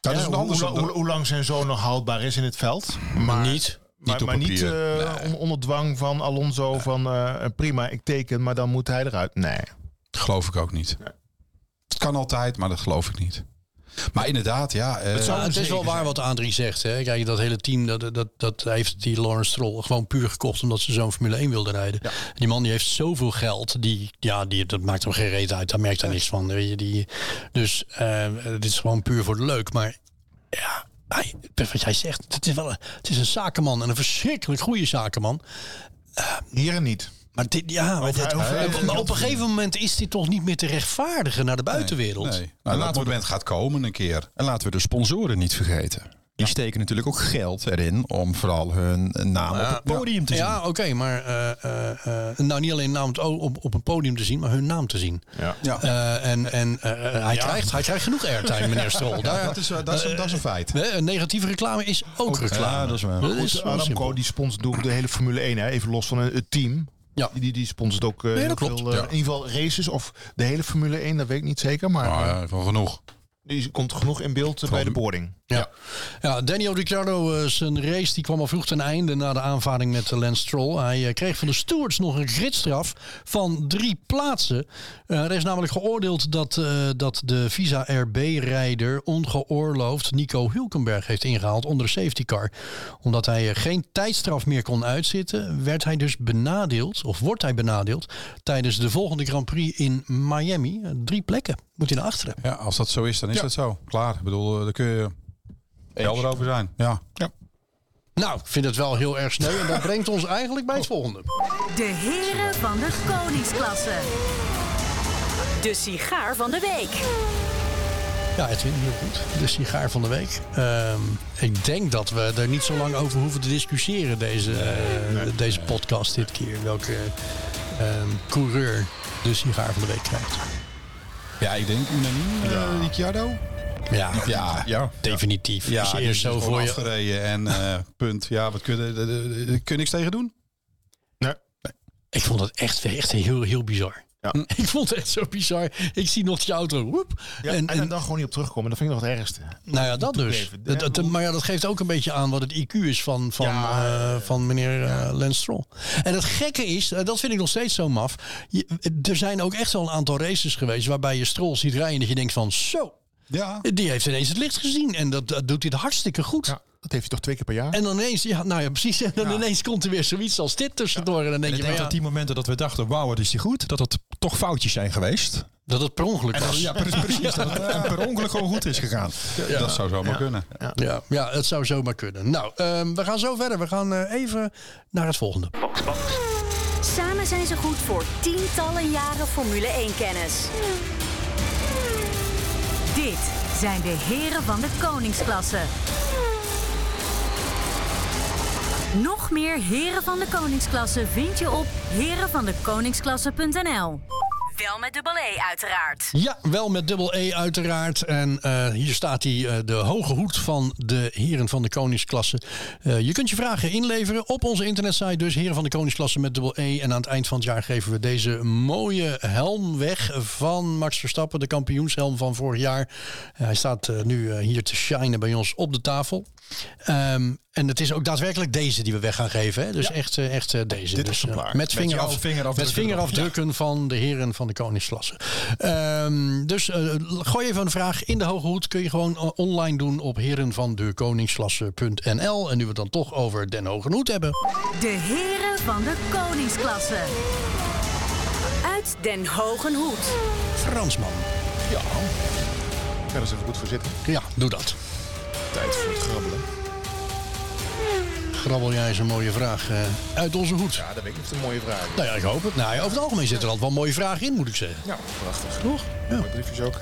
[SPEAKER 2] dat is
[SPEAKER 6] Ja,
[SPEAKER 2] een
[SPEAKER 6] hoe,
[SPEAKER 2] ander
[SPEAKER 6] hoe,
[SPEAKER 2] soort-
[SPEAKER 6] hoe- hoe lang zijn zoon nog houdbaar is in het veld.
[SPEAKER 1] Maar niet.
[SPEAKER 6] Maar
[SPEAKER 2] op
[SPEAKER 6] maar niet,
[SPEAKER 2] papier.
[SPEAKER 6] eh, on- onder dwang van Alonso van eh, prima, ik teken, maar dan moet hij eruit. Nee.
[SPEAKER 2] geloof ik ook niet. Het kan altijd, maar dat geloof ik niet. Nou, Maar inderdaad, ja. eh,
[SPEAKER 1] Ja, het is wel waar wat Adrie zegt. Hè. Kijk, dat hele team, dat, dat, dat heeft die Lawrence Stroll gewoon puur gekocht omdat ze zo'n Formule 1 wilden rijden. Die man die heeft zoveel geld, die, ja, die, dat maakt hem geen reet uit. Daar merkt hij niks van. Weet je, die, dus eh, het is gewoon puur voor de leuk. Maar ja, hij, wat jij zegt, het is, wel een, het is een zakenman en een verschrikkelijk goede zakenman.
[SPEAKER 6] Hier en niet.
[SPEAKER 1] Maar dit, ja, maar dit-
[SPEAKER 6] hoeveel-
[SPEAKER 1] maar
[SPEAKER 6] hoeveel-
[SPEAKER 1] op een gegeven moment is dit toch niet meer te rechtvaardigen naar de buitenwereld.
[SPEAKER 2] Nee. Nou, dat
[SPEAKER 3] laten we-
[SPEAKER 2] moment gaat komen een keer.
[SPEAKER 3] En laten we de sponsoren niet vergeten. Die steken natuurlijk ook geld erin om vooral hun naam op het podium te zien.
[SPEAKER 1] Ja, oké, maar eh, eh, eh, nou niet alleen naam het o- op, op een podium te zien, maar hun naam te zien.
[SPEAKER 6] Ja.
[SPEAKER 1] Eh, en en eh, eh, hij, krijgt, hij krijgt genoeg airtime, meneer Strol. Daar,
[SPEAKER 2] Dat is, eh, dat is, dat is een feit.
[SPEAKER 1] hè, een negatieve reclame is ook, reclame.
[SPEAKER 3] ja, dat is waar.
[SPEAKER 1] Dat is
[SPEAKER 6] Goed,
[SPEAKER 1] zo simpel.
[SPEAKER 6] Aramco die sponsort ook de hele Formule 1, hè? even los van eh, het team.
[SPEAKER 1] Ja.
[SPEAKER 6] Die, die sponsort ook eh,
[SPEAKER 1] dat
[SPEAKER 6] heel
[SPEAKER 1] klopt.
[SPEAKER 6] veel, eh,
[SPEAKER 1] Ja.
[SPEAKER 6] in ieder geval races of de hele Formule 1, dat weet ik niet zeker. Maar
[SPEAKER 2] Maar
[SPEAKER 6] eh,
[SPEAKER 2] eh, wel genoeg.
[SPEAKER 6] die komt genoeg in beeld eh, bij de boarding.
[SPEAKER 1] Ja. ja, Daniel Ricciardo, eh, zijn race die kwam al vroeg ten einde na de aanvaring met eh, Lance Stroll. Hij eh, kreeg van de stewards nog een gridstraf van drie plaatsen. Eh, er is namelijk geoordeeld dat, eh, dat de Visa RB-rijder ongeoorloofd Nico Hulkenberg heeft ingehaald onder de safety car. Omdat hij eh, geen tijdstraf meer kon uitzitten, werd hij dus benadeeld, of wordt hij benadeeld, tijdens de volgende Grand Prix in Miami. Eh, drie plekken moet hij naar achteren.
[SPEAKER 2] Ja, als dat zo is, dan is dat zo. Klaar. Ik bedoel, eh, daar kun je helder over zijn. Ja.
[SPEAKER 1] Nou, ik vind het wel heel erg sneu. En dat brengt ons eigenlijk bij het volgende.
[SPEAKER 4] De heren van de koningsklasse. De sigaar van de week.
[SPEAKER 1] Ja, het is heel goed. De sigaar van de week. Ehm, ik denk dat we er niet zo lang over hoeven te discussiëren deze, eh, deze podcast dit keer. Welke ehm, coureur de sigaar van de week krijgt.
[SPEAKER 2] Ja, ik denk unaniem. eh, Ricciardo.
[SPEAKER 1] Ja,
[SPEAKER 2] Ja.
[SPEAKER 3] Ja.
[SPEAKER 1] definitief.
[SPEAKER 2] Ja,
[SPEAKER 1] Als je
[SPEAKER 2] die
[SPEAKER 1] eerst
[SPEAKER 2] is
[SPEAKER 1] zo
[SPEAKER 2] gewoon
[SPEAKER 1] voor je...
[SPEAKER 2] afgereden en eh, punt. Ja, wat eh, kun je, de- de- de- de- kun je niks tegen doen?
[SPEAKER 1] Ik vond het echt, echt heel, heel bizar.
[SPEAKER 6] Ja.
[SPEAKER 1] Ik vond het echt zo bizar. Ik zie nog die auto. Woep,
[SPEAKER 6] Ja, en, en dan gewoon niet op terugkomen, dat vind ik nog het ergste.
[SPEAKER 1] Nou ja, dat dus.
[SPEAKER 6] toegeven.
[SPEAKER 1] Dat, dat-
[SPEAKER 6] Ja,
[SPEAKER 1] maar ja, dat geeft ook een beetje aan wat het IQ is van, van,
[SPEAKER 6] Ja,
[SPEAKER 1] eh, van meneer eh Lance Stroll. En het gekke is, eh, dat vind ik nog steeds zo maf. Je- eh, er zijn ook echt wel een aantal races geweest waarbij je Stroll ziet rijden en dat je denkt van zo, Eh,
[SPEAKER 2] Ja.
[SPEAKER 1] die heeft ineens het licht gezien. En dat, dat doet hij hartstikke goed.
[SPEAKER 6] Ja, dat heeft hij toch twee keer per jaar?
[SPEAKER 1] En dan ineens, ja, nou ja, precies. En dan ineens komt er weer zoiets als dit tussendoor. En dan denk
[SPEAKER 3] Ik
[SPEAKER 1] je,
[SPEAKER 3] denk
[SPEAKER 1] van, ja,
[SPEAKER 3] dat die momenten dat we dachten, wauw, wat is die goed, dat dat toch foutjes zijn geweest.
[SPEAKER 1] dat het per ongeluk was.
[SPEAKER 3] Ja, pre- precies. Dat het eh, per ongeluk gewoon goed is gegaan.
[SPEAKER 2] Dat zou zomaar kunnen.
[SPEAKER 1] Ja, ja, het zou zomaar kunnen. Nou, ehm, we gaan zo verder. We gaan eh, even naar het volgende.
[SPEAKER 4] Samen zijn ze goed voor tientallen jaren Formule 1-kennis. Dit zijn de heren van de koningsklasse. Nog meer Heren van de Koningsklasse vind je op herenvandekoningsklasse.nl. Wel met dubbel E uiteraard.
[SPEAKER 1] Ja, wel met dubbel E uiteraard. En eh, hier staat hij, eh, de hoge hoed van de heren van de koningsklasse. Eh, je kunt je vragen inleveren op onze internetsite. Dus heren van de koningsklasse met dubbel E. En aan het eind van het jaar geven we deze mooie helm weg van Max Verstappen. De kampioenshelm van vorig jaar. Eh, hij staat eh, nu eh, hier te shinen bij ons op de tafel. Ehm, en het is ook daadwerkelijk deze die we weg gaan geven. Hè? Dus echt, eh, echt eh, deze.
[SPEAKER 3] Dit
[SPEAKER 1] dus,
[SPEAKER 3] is een
[SPEAKER 1] eh,
[SPEAKER 3] plaat.
[SPEAKER 1] met,
[SPEAKER 3] Met
[SPEAKER 1] vingeraf,
[SPEAKER 3] jouw vingerafdrukken
[SPEAKER 1] met vingerafdrukken van de heren van de koningsklasse. Ehm, dus eh, gooi even een vraag in de hoge hoed. Kun je gewoon eh, online doen op herenvandekoningsklasse.nl. En nu we het dan toch over Den Hoge Hoed hebben.
[SPEAKER 4] De Heren van de Koningsklasse. Uit Den Hogen Hoed.
[SPEAKER 1] Fransman.
[SPEAKER 5] Ik ga er eens even goed voor zitten.
[SPEAKER 1] Ja, doe dat.
[SPEAKER 5] Tijd voor het grabbelen.
[SPEAKER 1] Grabbel jij eens een mooie vraag eh, uit onze hoed.
[SPEAKER 5] Ja, dat weet ik niet. Dat is een mooie vraag.
[SPEAKER 1] Nou ja, ik hoop het. Nou, ja, over het algemeen zitten er altijd wel mooie vragen in, moet ik zeggen.
[SPEAKER 5] Ja, prachtig. Toch? Ja. Mooie briefjes ook.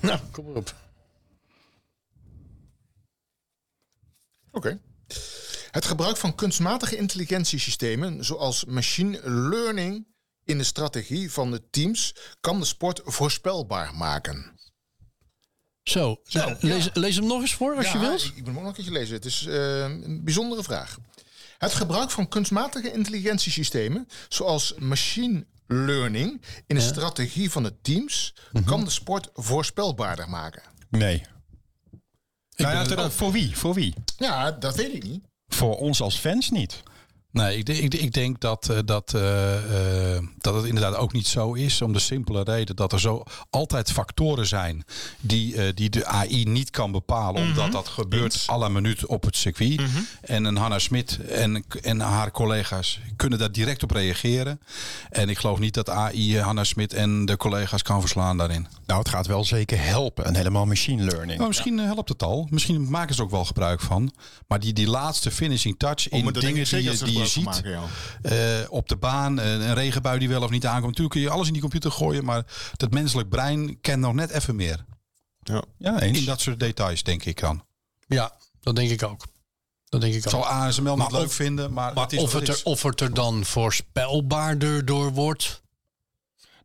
[SPEAKER 1] Nou, kom maar op.
[SPEAKER 5] Oké. Het gebruik van kunstmatige intelligentiesystemen, zoals machine learning, in de strategie van de teams, kan de sport voorspelbaar maken.
[SPEAKER 1] Zo, nou, lees, lees hem nog eens voor als
[SPEAKER 5] Ja,
[SPEAKER 1] je wilt.
[SPEAKER 5] Ik ik moet hem ook nog een keertje lezen. Het is eh, een bijzondere vraag. Het gebruik van kunstmatige intelligentiesystemen, zoals machine learning, in de strategie van de teams,
[SPEAKER 2] Mhm.
[SPEAKER 5] kan de sport voorspelbaarder maken.
[SPEAKER 3] Nee. Nou ja,
[SPEAKER 2] ben-
[SPEAKER 3] terwijl- voor wie? Voor wie?
[SPEAKER 5] Ja, dat weet ik niet.
[SPEAKER 3] Voor ons als fans niet.
[SPEAKER 2] Nee, ik, denk- ik, ik denk dat, eh, dat, eh, eh, dat het inderdaad ook niet zo is. Om de simpele reden dat er zo altijd factoren zijn die, eh, die de AI niet kan bepalen.
[SPEAKER 5] Mhm.
[SPEAKER 2] Omdat dat gebeurt à la minuut op het circuit. En een Hanna Smit en, en haar collega's kunnen daar direct op reageren. En ik geloof niet dat AI Hanna Smit en de collega's kan verslaan daarin.
[SPEAKER 3] Nou, het gaat wel zeker helpen. En helemaal machine
[SPEAKER 2] Maar
[SPEAKER 3] learning.
[SPEAKER 2] misschien eh, helpt het al. Misschien maken ze er ook wel gebruik van. Maar die, die laatste finishing touch in
[SPEAKER 5] Oh, maar dat denk
[SPEAKER 2] dingen
[SPEAKER 5] ik
[SPEAKER 2] die
[SPEAKER 5] zeker
[SPEAKER 2] je,
[SPEAKER 5] dat ze
[SPEAKER 2] die je ziet.
[SPEAKER 5] gebruik van maken,
[SPEAKER 2] eh, op de baan, eh, een regenbui die wel of niet aankomt. Natuurlijk kun je alles in die computer gooien. Maar dat menselijk brein kent nog net even meer.
[SPEAKER 3] Ja,
[SPEAKER 2] In
[SPEAKER 3] eens.
[SPEAKER 2] dat soort details, denk ik dan.
[SPEAKER 1] Ja, dat denk ik ook. Dat denk ik
[SPEAKER 2] Ik
[SPEAKER 1] ook.
[SPEAKER 2] zal ASML
[SPEAKER 1] Maar
[SPEAKER 2] niet leuk
[SPEAKER 1] of-
[SPEAKER 2] vinden, maar,
[SPEAKER 1] Maar
[SPEAKER 2] het is
[SPEAKER 1] of,
[SPEAKER 2] wat
[SPEAKER 1] het
[SPEAKER 2] het
[SPEAKER 1] er,
[SPEAKER 2] is.
[SPEAKER 1] of het er dan voorspelbaarder door wordt.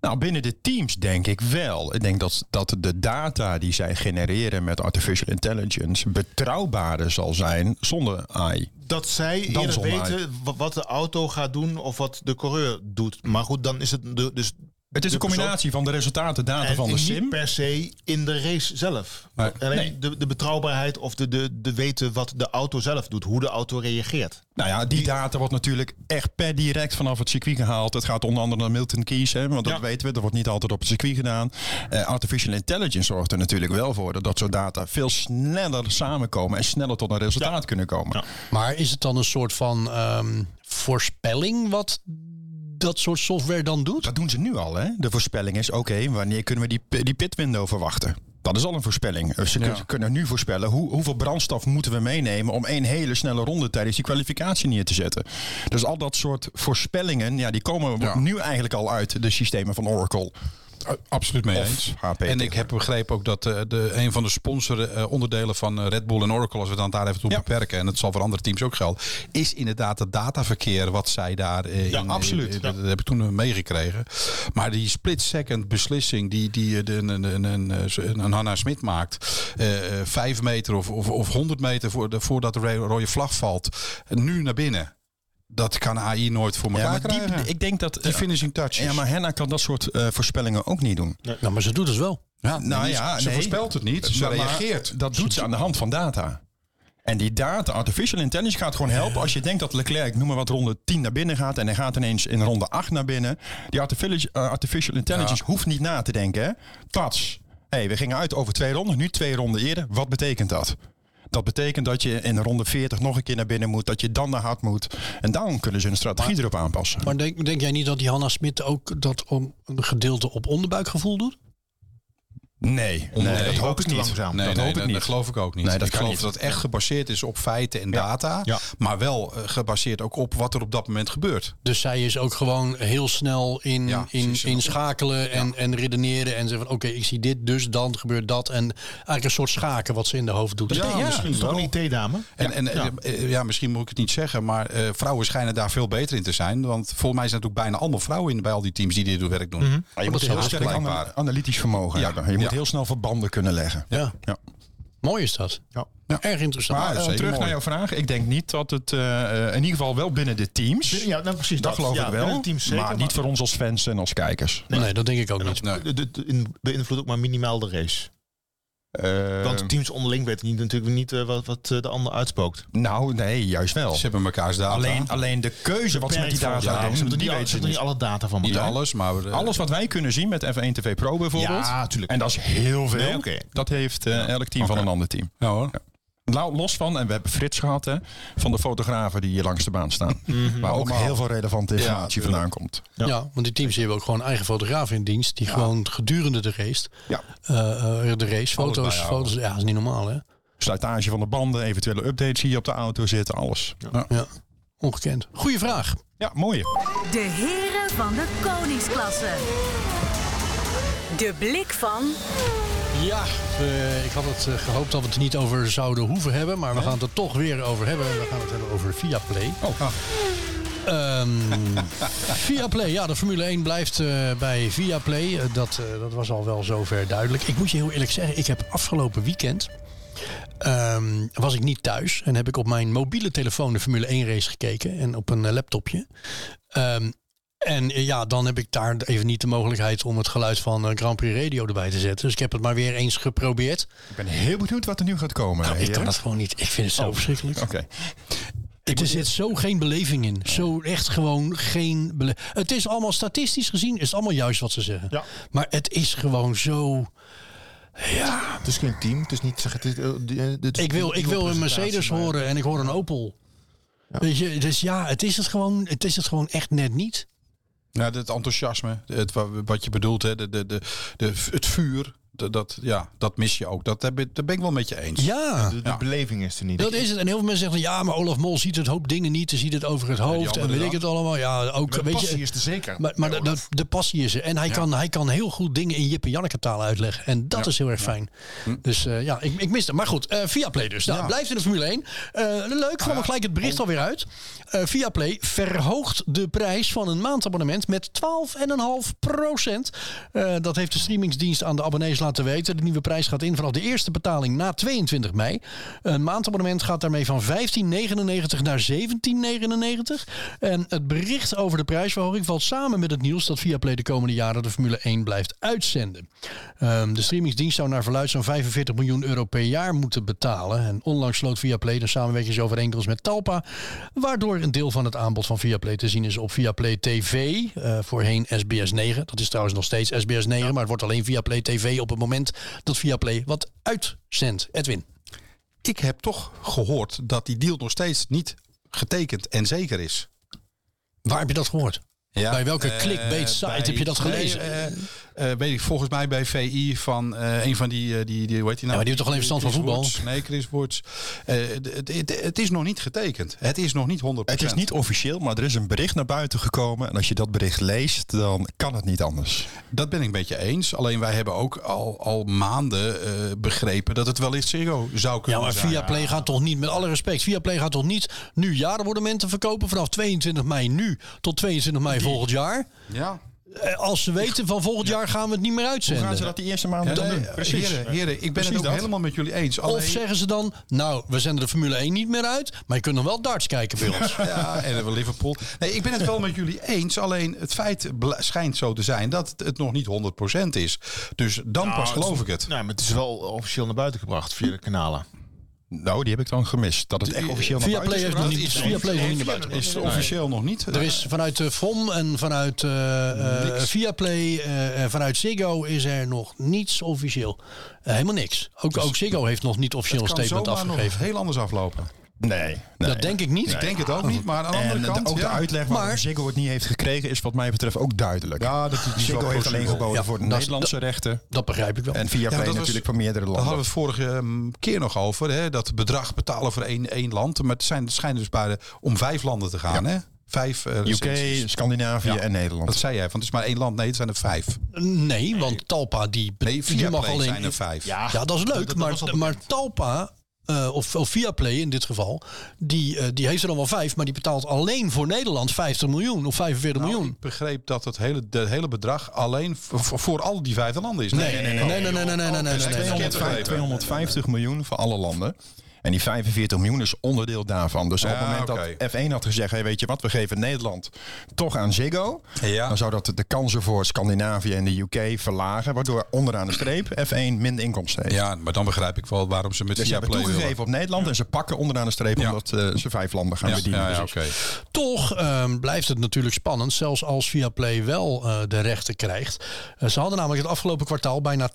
[SPEAKER 3] Nou, binnen de teams denk ik wel. Ik denk dat, dat de data die zij genereren met artificial intelligence betrouwbaarder zal zijn zonder AI.
[SPEAKER 6] Dat zij
[SPEAKER 3] Dan
[SPEAKER 6] eerder
[SPEAKER 3] zonde
[SPEAKER 6] weten wa- wat de auto gaat doen of wat de coureur doet. Maar goed, dan is het de, dus
[SPEAKER 3] Het is
[SPEAKER 6] de
[SPEAKER 3] een combinatie van de resultaten data
[SPEAKER 6] en
[SPEAKER 3] van de
[SPEAKER 6] niet
[SPEAKER 3] sim.
[SPEAKER 6] per se in de race zelf.
[SPEAKER 2] Nee.
[SPEAKER 6] Alleen de, de betrouwbaarheid of de, de, de weten wat de auto zelf doet, hoe de auto reageert.
[SPEAKER 3] Nou ja, die data wordt natuurlijk echt per direct vanaf het circuit gehaald. Het gaat onder andere naar Milton Keys, hè, want dat
[SPEAKER 6] Ja.
[SPEAKER 3] weten we. Dat wordt niet altijd op het circuit gedaan. Eh, artificial intelligence zorgt er natuurlijk wel voor dat dat soort data veel sneller samenkomen en sneller tot een resultaat kunnen komen.
[SPEAKER 1] Maar is het dan een soort van ehm, voorspelling wat dat soort software dan doet?
[SPEAKER 3] Dat doen ze nu al, hè? De voorspelling is: oké, wanneer kunnen we die, pi- die pitwindow verwachten? Dat is al een voorspelling. Dus Ze kun- ze kunnen nu voorspellen hoe, hoeveel brandstof moeten we meenemen om één hele snelle ronde tijdens die kwalificatie neer te zetten. Dus al dat soort voorspellingen, ja, die komen nu eigenlijk al uit de systemen van Oracle.
[SPEAKER 2] Uh, Absoluut mee
[SPEAKER 3] Of
[SPEAKER 2] eens.
[SPEAKER 3] HP
[SPEAKER 2] en ik
[SPEAKER 3] tegenwoordig.
[SPEAKER 2] heb begrepen ook dat eh, de, een van de sponsoren eh, onderdelen van eh, Red Bull en Oracle, als we het dan daar even toe
[SPEAKER 3] Ja.
[SPEAKER 2] beperken, en dat zal voor andere teams ook gelden, is inderdaad het dataverkeer wat zij daar eh, in-
[SPEAKER 3] absoluut.
[SPEAKER 2] eh,
[SPEAKER 3] Ja.
[SPEAKER 2] Dat heb ik toen meegekregen. Maar die split-second beslissing die, die eh, de, een, een, een, een, een- een Hanna Smit maakt, eh, eh, vijf meter of, of, of 100 meter voor de, voordat de ro- rode vlag valt, nu naar binnen. Dat kan AI nooit voor elkaar
[SPEAKER 3] Ja, maar
[SPEAKER 2] krijgen.
[SPEAKER 3] die, ik denk dat.
[SPEAKER 2] Die finishing touches.
[SPEAKER 3] ja, maar Henna kan dat soort eh, voorspellingen ook niet doen.
[SPEAKER 1] Nou, maar ze doet het wel.
[SPEAKER 2] Ja,
[SPEAKER 3] Nou
[SPEAKER 2] die-
[SPEAKER 3] ja,
[SPEAKER 2] Ah, ze
[SPEAKER 3] nee.
[SPEAKER 2] voorspelt het niet, ze
[SPEAKER 3] Maar- maar
[SPEAKER 2] reageert.
[SPEAKER 3] Dat doet ze aan de hand van data. En die data, artificial intelligence, gaat gewoon helpen. Als je denkt dat Leclerc, ik noem maar wat, ronde 10 naar binnen gaat. en hij gaat ineens in ronde 8 naar binnen. Die artificial, eh, artificial intelligence hoeft niet na te denken. Hè? Pats. Hé, hey, we gingen uit over twee ronden, nu twee ronden eerder. Wat betekent dat? Dat betekent dat je in ronde 40 nog een keer naar binnen moet. Dat je dan naar hard moet. En daarom kunnen ze hun strategie erop aanpassen.
[SPEAKER 1] Maar denk, denk jij niet dat die Hanna Smit ook dat om een gedeelte op onderbuikgevoel doet?
[SPEAKER 3] Nee, Nee, nee, dat hoop ik
[SPEAKER 6] te
[SPEAKER 3] niet.
[SPEAKER 6] langzaam.
[SPEAKER 2] Nee,
[SPEAKER 3] Nou, dat
[SPEAKER 2] nee,
[SPEAKER 3] hoop ik niet.
[SPEAKER 2] dat geloof ik ook niet.
[SPEAKER 3] Nee, dat
[SPEAKER 2] ik
[SPEAKER 3] kan
[SPEAKER 2] geloof
[SPEAKER 3] niet.
[SPEAKER 2] dat het echt gebaseerd is op feiten en data.
[SPEAKER 3] Ja.
[SPEAKER 2] Maar wel eh, gebaseerd ook op wat er op dat moment gebeurt.
[SPEAKER 1] Dus zij is ook gewoon heel snel in,
[SPEAKER 2] Ja, ze
[SPEAKER 1] in,
[SPEAKER 2] is een-
[SPEAKER 1] in schakelen en, en redeneren. En zeggen van oké, ik zie dit, dus dan gebeurt dat. En eigenlijk een soort schaken wat ze in de hoofd doet.
[SPEAKER 2] Ja,
[SPEAKER 6] Misschien is toch een IT-dame?
[SPEAKER 2] En, en, eh, ja. misschien moet ik het niet zeggen, maar eh, vrouwen schijnen daar veel beter in te zijn. Want volgens mij zijn natuurlijk bijna allemaal vrouwen in, bij al die teams die dit werk doen. Ah,
[SPEAKER 3] Maar je moet heel sterk
[SPEAKER 2] blijkbaar.
[SPEAKER 3] ana- analytisch vermogen
[SPEAKER 2] Ja.
[SPEAKER 3] hebben. Je moet
[SPEAKER 2] Ja.
[SPEAKER 3] heel snel verbanden kunnen leggen.
[SPEAKER 1] Ja. Mooi is dat.
[SPEAKER 6] Ja.
[SPEAKER 1] Erg interessant.
[SPEAKER 3] Maar eh,
[SPEAKER 2] zeker
[SPEAKER 3] terug
[SPEAKER 2] mooi.
[SPEAKER 3] naar jouw vraag. Ik denk niet dat het, eh, eh, in ieder geval wel binnen de teams.
[SPEAKER 6] Ja, nou, precies.
[SPEAKER 3] dat, geloof
[SPEAKER 6] ja,
[SPEAKER 3] ik wel.
[SPEAKER 6] binnen teams zeker,
[SPEAKER 3] maar niet voor ons als fans en als kijkers.
[SPEAKER 1] nee. dat denk ik ook niet.
[SPEAKER 2] Nee.
[SPEAKER 6] De- de- de- in- beïnvloedt ook maar minimaal de race.
[SPEAKER 3] Eh,
[SPEAKER 6] Want teams onderling weten niet, natuurlijk niet eh, wat, wat eh, de ander uitspookt.
[SPEAKER 3] nou, nee, juist wel.
[SPEAKER 2] Ze hebben mekaars data.
[SPEAKER 3] Alleen, alleen de keuze wat ze met die
[SPEAKER 6] Beperkt
[SPEAKER 3] data
[SPEAKER 6] volgens mij. Ze hebben er
[SPEAKER 3] doen, die
[SPEAKER 6] niet al-
[SPEAKER 3] weten
[SPEAKER 6] ze
[SPEAKER 3] ze
[SPEAKER 6] hebben er niet
[SPEAKER 3] niet.
[SPEAKER 6] alle data van.
[SPEAKER 2] niet
[SPEAKER 6] bekend.
[SPEAKER 2] alles, maar eh,
[SPEAKER 3] Alles wat wij kunnen zien met F1 TV Pro bijvoorbeeld.
[SPEAKER 6] Ja, tuurlijk.
[SPEAKER 3] En dat is heel veel.
[SPEAKER 6] Nee, oké.
[SPEAKER 3] Dat heeft eh, elk team van een ander team.
[SPEAKER 2] Ja, hoor.
[SPEAKER 3] Nou, los van, en we hebben Frits gehad, hè, van de fotografen die hier langs de baan staan.
[SPEAKER 6] Mhm.
[SPEAKER 3] Waar ook heel veel relevante informatie vandaan komt.
[SPEAKER 1] Ja. want die teams die hebben ook gewoon eigen fotograaf in dienst. Die gewoon gedurende de race.
[SPEAKER 3] Ja.
[SPEAKER 1] eh, eh, de race, foto's,
[SPEAKER 2] bijhouden.
[SPEAKER 1] foto's. Ja, dat is niet normaal hè.
[SPEAKER 3] Slijtage van de banden, eventuele updates hier op de auto zitten, alles. Ja,
[SPEAKER 1] Ja. Ongekend. Goeie vraag.
[SPEAKER 3] ja mooie.
[SPEAKER 4] De heren van de koningsklasse. De blik van
[SPEAKER 1] Ja, eh, ik had het eh, gehoopt dat we het er niet over zouden hoeven hebben, maar we gaan het er toch weer over hebben. We gaan het hebben over Viaplay.
[SPEAKER 2] Oh, ah,
[SPEAKER 1] Ehm Viaplay, ja, de Formule 1 blijft eh, bij Viaplay. Eh, dat, eh, dat was al wel zover duidelijk. Ik moet je heel eerlijk zeggen, ik heb afgelopen weekend... ehm, was ik niet thuis en heb ik op mijn mobiele telefoon de Formule 1 race gekeken. En op een eh, laptopje. Ehm, en eh, ja, dan heb ik daar even niet de mogelijkheid om het geluid van eh, Grand Prix Radio erbij te zetten. Dus ik heb het maar weer eens geprobeerd.
[SPEAKER 5] Oh,
[SPEAKER 3] Ik ben heel benieuwd wat er nu gaat komen.
[SPEAKER 1] Nou, ik
[SPEAKER 3] heren.
[SPEAKER 1] kan het gewoon niet. Ik vind het zo
[SPEAKER 5] Oh,
[SPEAKER 1] verschrikkelijk.
[SPEAKER 3] Oké.
[SPEAKER 1] Er zit zo geen beleving in. Zo echt gewoon geen bele- Het is allemaal statistisch gezien, is het allemaal juist wat ze zeggen.
[SPEAKER 6] Ja.
[SPEAKER 1] Maar het is gewoon zo.
[SPEAKER 5] Het is geen team. Het is niet zeggen. het is, eh, die- eh, dit is
[SPEAKER 1] Ik wil, ik wil een Mercedes
[SPEAKER 5] maar-
[SPEAKER 1] horen en ik hoor een Opel. Weet je, dus ja, het is het, gewoon, het is het gewoon echt net niet.
[SPEAKER 2] nou, het enthousiasme, het, wa- wat je bedoelt, hè, de, de, de, de, het vuur, de- dat, ja, dat mis je ook. Dat, heb ik- dat ben ik wel met je eens.
[SPEAKER 1] Ja,
[SPEAKER 6] De, de beleving is er niet.
[SPEAKER 1] dat is het. En heel veel mensen zeggen, van, ja, maar Olaf Mol ziet het hoop dingen niet. Hij ziet het over het hoofd en
[SPEAKER 2] anderen
[SPEAKER 1] weet ik het allemaal. Ja, ook,
[SPEAKER 6] De
[SPEAKER 1] weet
[SPEAKER 6] passie
[SPEAKER 1] je,
[SPEAKER 6] is er zeker.
[SPEAKER 1] maar maar de, de, de passie is er. En hij, kan, hij kan heel goed dingen in Jip en Janneke taal uitleggen. En dat is heel erg fijn. Dus eh, ja, ik, ik mis het. Maar goed, via Viaplay dus. Nou, blijft in de Formule 1. Eh, leuk, kwam er gelijk het bericht alweer uit. Via Viaplay verhoogt de prijs van een maandabonnement met 12,5 procent. Eh, dat heeft de streamingsdienst aan de abonnees laten weten. De nieuwe prijs gaat in vanaf de eerste betaling na 22 mei. Een maandabonnement gaat daarmee van 15,99 naar 17,99. En het bericht over de prijsverhoging valt samen met het nieuws dat Viaplay de komende jaren de Formule 1 blijft uitzenden. Ehm, de streamingsdienst zou naar verluid zo'n 45 miljoen euro per jaar moeten betalen. En onlangs sloot Viaplay een samenwerkingsovereenkomst met Talpa, waardoor een deel van het aanbod van Viaplay te zien is op Viaplay TV, eh, voorheen SBS 9. Dat is trouwens nog steeds SBS 9, maar het wordt alleen Viaplay TV op het moment dat Viaplay wat uitzendt. Edwin.
[SPEAKER 2] Ik heb toch gehoord dat die deal nog steeds niet getekend en zeker is.
[SPEAKER 1] Waar heb je dat gehoord?
[SPEAKER 2] Ja,
[SPEAKER 1] Bij welke
[SPEAKER 2] eh,
[SPEAKER 1] clickbait site
[SPEAKER 2] bij-
[SPEAKER 1] heb je dat
[SPEAKER 2] nee,
[SPEAKER 1] gelezen?
[SPEAKER 2] eh, eh, weet ik, volgens mij bij VI van eh, een van die, eh, die, die, hoe heet
[SPEAKER 1] Ja,
[SPEAKER 2] die nou?
[SPEAKER 1] maar die heeft toch alleen verstand van
[SPEAKER 2] Chris
[SPEAKER 1] voetbal?
[SPEAKER 2] Woerts. nee, Chris Woerts. Eh, d- het- het- het is nog niet getekend. Het is nog niet 100%.
[SPEAKER 3] Het is niet officieel, maar er is een bericht naar buiten gekomen. En als je dat bericht leest, dan kan het niet anders.
[SPEAKER 2] Dat ben ik met je eens. Alleen wij hebben ook al, al maanden eh, begrepen dat het wel eens zero zou
[SPEAKER 1] Ja,
[SPEAKER 2] kunnen
[SPEAKER 1] maar
[SPEAKER 2] zijn.
[SPEAKER 1] Viaplay gaat toch niet, met alle respect, Viaplay gaat toch niet nu jaarabonnementen verkopen vanaf 22 mei nu tot 22 mei volgend jaar?
[SPEAKER 2] Ja.
[SPEAKER 1] Eh, Als ze weten van volgend jaar gaan we het niet meer
[SPEAKER 3] Hoe gaan ze
[SPEAKER 1] uitzenden.
[SPEAKER 3] dat die eerste maanden
[SPEAKER 2] Nee,
[SPEAKER 3] dan doen?
[SPEAKER 2] eh, Heren, heren, ik ben
[SPEAKER 3] Precies
[SPEAKER 2] het ook
[SPEAKER 3] dat.
[SPEAKER 2] helemaal met jullie eens.
[SPEAKER 1] Of
[SPEAKER 2] Alleen-
[SPEAKER 1] zeggen ze dan, nou, we zenden de Formule 1 niet meer uit, maar je kunt nog wel darts kijken bij ons.
[SPEAKER 2] Ja, en wel Liverpool. Nee, ik ben het wel met jullie eens. Alleen het feit bl- schijnt zo te zijn dat het- het nog niet 100% is. Dus dan
[SPEAKER 6] Nou,
[SPEAKER 2] pas
[SPEAKER 6] het-
[SPEAKER 2] geloof ik het.
[SPEAKER 6] Nou, maar het is wel officieel naar buiten gebracht via de kanalen.
[SPEAKER 3] Nou, die heb ik dan gemist. Dat het echt officieel naar
[SPEAKER 1] Viaplay
[SPEAKER 3] buiten is
[SPEAKER 1] heeft nog
[SPEAKER 3] gebracht.
[SPEAKER 1] niet, Viaplay heeft nog niet
[SPEAKER 2] Is officieel nog niet.
[SPEAKER 1] Er is vanuit eh, de FOM en vanuit eh, eh, Viaplay, eh, eh, vanuit Ziggo is er nog niets officieel. Eh, helemaal niks. Ook, ook Ziggo heeft nog niet officieel een
[SPEAKER 2] kan
[SPEAKER 1] statement
[SPEAKER 2] zomaar nog
[SPEAKER 1] afgegeven.
[SPEAKER 2] heel anders aflopen.
[SPEAKER 3] Nee,
[SPEAKER 1] Dat denk ik niet.
[SPEAKER 2] Ik denk het ook niet, maar aan de andere
[SPEAKER 1] eh,
[SPEAKER 3] En eh,
[SPEAKER 2] kant...
[SPEAKER 3] de- ook de
[SPEAKER 2] ja.
[SPEAKER 3] uitleg waarom
[SPEAKER 1] Maar-
[SPEAKER 3] Ziggo het niet heeft gekregen is wat mij betreft ook duidelijk.
[SPEAKER 2] Ja, dat is- die is wel
[SPEAKER 3] Ziggo heeft alleen
[SPEAKER 2] plausibel.
[SPEAKER 3] geboden
[SPEAKER 1] Ja,
[SPEAKER 3] voor de
[SPEAKER 1] dat is-
[SPEAKER 3] Nederlandse rechten.
[SPEAKER 1] Dat begrijp ik wel.
[SPEAKER 3] En via
[SPEAKER 2] Ja,
[SPEAKER 3] Play
[SPEAKER 2] dat was-
[SPEAKER 3] natuurlijk van meerdere
[SPEAKER 2] Daar hadden
[SPEAKER 3] landen.
[SPEAKER 2] we het vorige ehm, keer nog over. Hè? Dat bedrag betalen voor één, één land. Maar het, zijn, het schijnt dus bij de- om vijf landen te gaan. Hè? Vijf eh,
[SPEAKER 3] UK,
[SPEAKER 2] recensies.
[SPEAKER 3] Scandinavië
[SPEAKER 2] Ja.
[SPEAKER 3] en
[SPEAKER 2] Wat
[SPEAKER 3] Nederland.
[SPEAKER 2] zei jij? Van het is maar één land. Nee, het zijn er vijf.
[SPEAKER 1] Nee, want Talpa die,
[SPEAKER 2] Nee,
[SPEAKER 1] die mag
[SPEAKER 2] Viaplay
[SPEAKER 1] alleen...
[SPEAKER 2] zijn er vijf.
[SPEAKER 1] Ja, dat is leuk, maar, maar Talpa, eh, of, of Viaplay in dit geval, die, eh, die heeft er dan wel vijf, maar die betaalt alleen voor Nederland 50 miljoen of 45
[SPEAKER 2] Nou,
[SPEAKER 1] miljoen.
[SPEAKER 2] ik begreep dat het hele, de hele bedrag alleen voor, voor al die vijfde landen is.
[SPEAKER 1] Nee, nee, nee, nee, nee, nee, nee, nee, nee, nee, nee, nee.
[SPEAKER 3] 250, 250 miljoen voor alle landen. En die 45 miljoen is onderdeel daarvan. Dus op het
[SPEAKER 2] Ja,
[SPEAKER 3] moment
[SPEAKER 2] oké.
[SPEAKER 3] dat F1 had gezegd... Hey, weet je wat, we geven Nederland toch aan Ziggo...
[SPEAKER 2] Ja.
[SPEAKER 3] dan zou dat de kansen voor Scandinavië en de UK verlagen... waardoor onderaan de streep F1 minder inkomsten heeft.
[SPEAKER 2] Ja, maar dan begrijp ik wel waarom ze met
[SPEAKER 3] Dus ze hebben
[SPEAKER 2] Viaplay willen.
[SPEAKER 3] toegegeven op Nederland... en ze pakken onderaan de streep
[SPEAKER 2] Ja.
[SPEAKER 3] omdat eh, ze vijf landen gaan
[SPEAKER 2] Ja,
[SPEAKER 3] bedienen.
[SPEAKER 2] ja, ja,
[SPEAKER 3] Dus
[SPEAKER 2] oké.
[SPEAKER 1] Toch ehm, blijft het natuurlijk spannend, zelfs als Viaplay wel eh, de rechten krijgt. Eh, ze hadden namelijk het afgelopen kwartaal bijna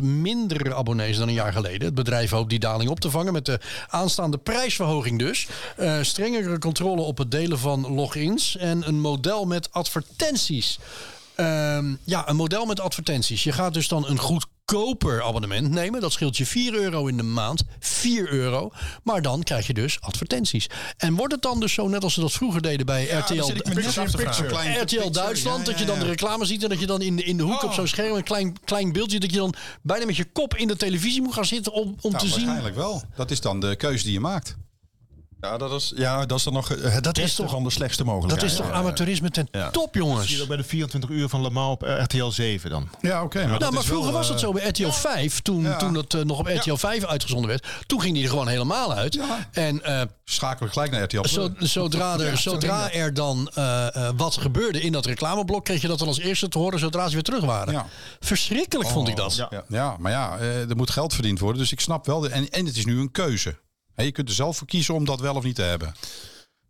[SPEAKER 1] 20% minder abonnees dan een jaar geleden. Het bedrijf hoopt die daling op te vangen met de aanstaande prijsverhoging dus. Eh, strengere controle op het delen van logins en een model met advertenties. Ehm, ja, een model met advertenties. Je gaat dus dan een goedkoper abonnement nemen. Dat scheelt je 4 euro in de maand. 4 euro. Maar dan krijg je dus advertenties. En wordt het dan dus zo, net als ze dat vroeger deden bij RTL,
[SPEAKER 3] zit ik me net af te vragen.
[SPEAKER 1] RTL Duitsland,
[SPEAKER 3] ja,
[SPEAKER 1] dat je
[SPEAKER 3] ja,
[SPEAKER 1] dan
[SPEAKER 3] ja. Oh.
[SPEAKER 1] de reclame ziet en dat je dan in de, in de hoek op zo'n scherm een klein, klein beeldje, dat je dan bijna met je kop in de televisie moet gaan zitten om, om
[SPEAKER 2] Nou,
[SPEAKER 1] te zien.
[SPEAKER 2] waarschijnlijk wel. Dat is dan de keuze die je maakt.
[SPEAKER 3] Ja, dat is, ja, dat is dan nog. eh, Dat is toch gewoon de slechtste mogelijkheid.
[SPEAKER 1] Dat is toch
[SPEAKER 3] Ja,
[SPEAKER 1] amateurisme ten top, jongens.
[SPEAKER 6] Zie je dat bij de 24 uur van Le Mans op eh, RTL 7 dan?
[SPEAKER 2] Ja, oké. maar,
[SPEAKER 1] nou, maar vroeger was dat
[SPEAKER 2] eh,
[SPEAKER 1] zo bij RTL 5, toen, toen dat eh, nog op RTL 5 uitgezonden werd. Toen ging die er gewoon helemaal uit.
[SPEAKER 2] Ja.
[SPEAKER 1] En eh,
[SPEAKER 2] Schakel ik gelijk naar RTL.
[SPEAKER 1] zo, zodra, er, zodra er dan eh, eh, wat gebeurde in dat reclameblok, kreeg je dat dan als eerste te horen zodra ze weer terug waren.
[SPEAKER 2] Ja. Oh,
[SPEAKER 1] Verschrikkelijk vond ik dat.
[SPEAKER 6] ja.
[SPEAKER 2] Ja, ja maar ja, eh, er moet geld verdiend worden. Dus ik snap wel. de- en, en het is nu een keuze. Hè, je kunt er zelf voor kiezen om dat wel of niet te hebben.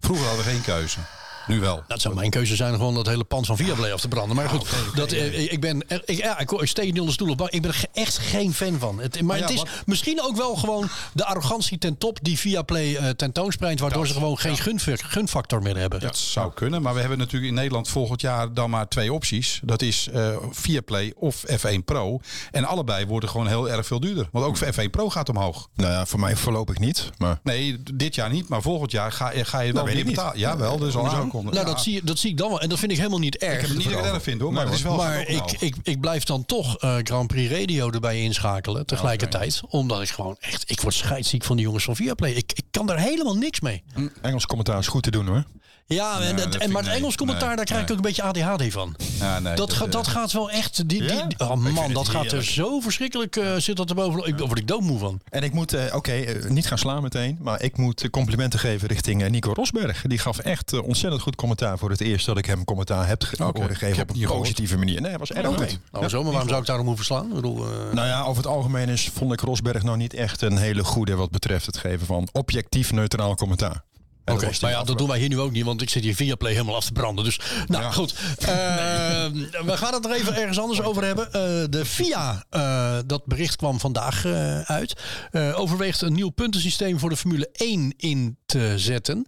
[SPEAKER 2] Vroeger hadden we geen keuze. Nu wel.
[SPEAKER 1] Dat Nou, zou mijn keuze zijn, gewoon dat hele pand van Viaplay af te branden. Maar goed, dat, eh, ik ben, er- ik, ja, ik, ik steek het niet onder stoel op. bank. Ik ben er ge- echt geen fan van. Het, maar
[SPEAKER 2] ja,
[SPEAKER 1] het is
[SPEAKER 2] wat-
[SPEAKER 1] misschien ook wel gewoon de arrogantie ten top die Viaplay eh tentoonspreidt. Waardoor ze gewoon geen gunf- gunfactor meer hebben.
[SPEAKER 2] Dat zou kunnen. Maar we hebben natuurlijk in Nederland volgend jaar dan maar twee opties. Dat is eh Viaplay of F1 Pro. En allebei worden gewoon heel erg veel duurder. Want ook F1 Pro gaat omhoog.
[SPEAKER 3] Nou ja, voor mij voorlopig niet. Maar
[SPEAKER 2] Nee, dit jaar niet. Maar volgend jaar ga, ga je wel
[SPEAKER 3] weet
[SPEAKER 2] meer
[SPEAKER 3] ik niet.
[SPEAKER 2] betalen. Jawel, dus al aankondigd.
[SPEAKER 1] Nou,
[SPEAKER 2] Ja.
[SPEAKER 1] dat zie, je- dat zie ik dan wel. En dat vind ik helemaal niet erg.
[SPEAKER 2] Ik heb het niet dat ik het erg vind hoor. Maar het is wel
[SPEAKER 1] maar
[SPEAKER 2] goedkoop
[SPEAKER 1] ik,
[SPEAKER 2] nou.
[SPEAKER 1] ik, ik blijf dan toch eh, Grand Prix Radio erbij inschakelen tegelijkertijd. Omdat ik gewoon echt, ik word scheidsziek van die jongens van Viaplay. Ik, ik kan daar helemaal niks mee.
[SPEAKER 3] Engels commentaar is goed te doen hoor.
[SPEAKER 1] Ja, en, dat-
[SPEAKER 2] dat
[SPEAKER 1] en,
[SPEAKER 2] vind
[SPEAKER 1] maar
[SPEAKER 2] ik-
[SPEAKER 1] het Engels
[SPEAKER 2] nee,
[SPEAKER 1] commentaar,
[SPEAKER 2] nee,
[SPEAKER 1] daar krijg ik ook een beetje ADHD van.
[SPEAKER 2] Ja, nee,
[SPEAKER 1] dat, ga-
[SPEAKER 2] eh,
[SPEAKER 1] dat gaat wel echt. Die, die, die- oh man, dat gaat er zo verschrikkelijk. eh, zit dat erboven? Ik, daar word ik doodmoe van.
[SPEAKER 3] En ik moet, eh, oké, eh, niet gaan slaan meteen. Maar ik moet eh, complimenten geven richting eh, Nico Rosberg. Die gaf echt eh, ontzettend goed commentaar voor het eerst dat ik hem commentaar heb ge-
[SPEAKER 2] Oké, ik
[SPEAKER 3] horen geven
[SPEAKER 2] heb
[SPEAKER 3] op een
[SPEAKER 2] het niet
[SPEAKER 3] positieve manier. Nee, hij was erg goed.
[SPEAKER 1] Nou, zo, maar waarom zou ik daarom hoeven slaan? Ik bedoel, eh,
[SPEAKER 3] Nou ja, over het algemeen is, vond ik Rosberg nou niet echt een hele goede wat betreft het geven van objectief neutraal commentaar. En dat
[SPEAKER 1] Oké,
[SPEAKER 3] was die
[SPEAKER 1] maar ja, dat doen wij hier nu ook niet, want ik zit hier via Play helemaal af te branden. Dus, nou goed, Ehm, we gaan het er even ergens anders over hebben. Eh, de VIA, eh, dat bericht kwam vandaag eh, uit, eh, overweegt een nieuw puntensysteem voor de Formule 1 in te zetten.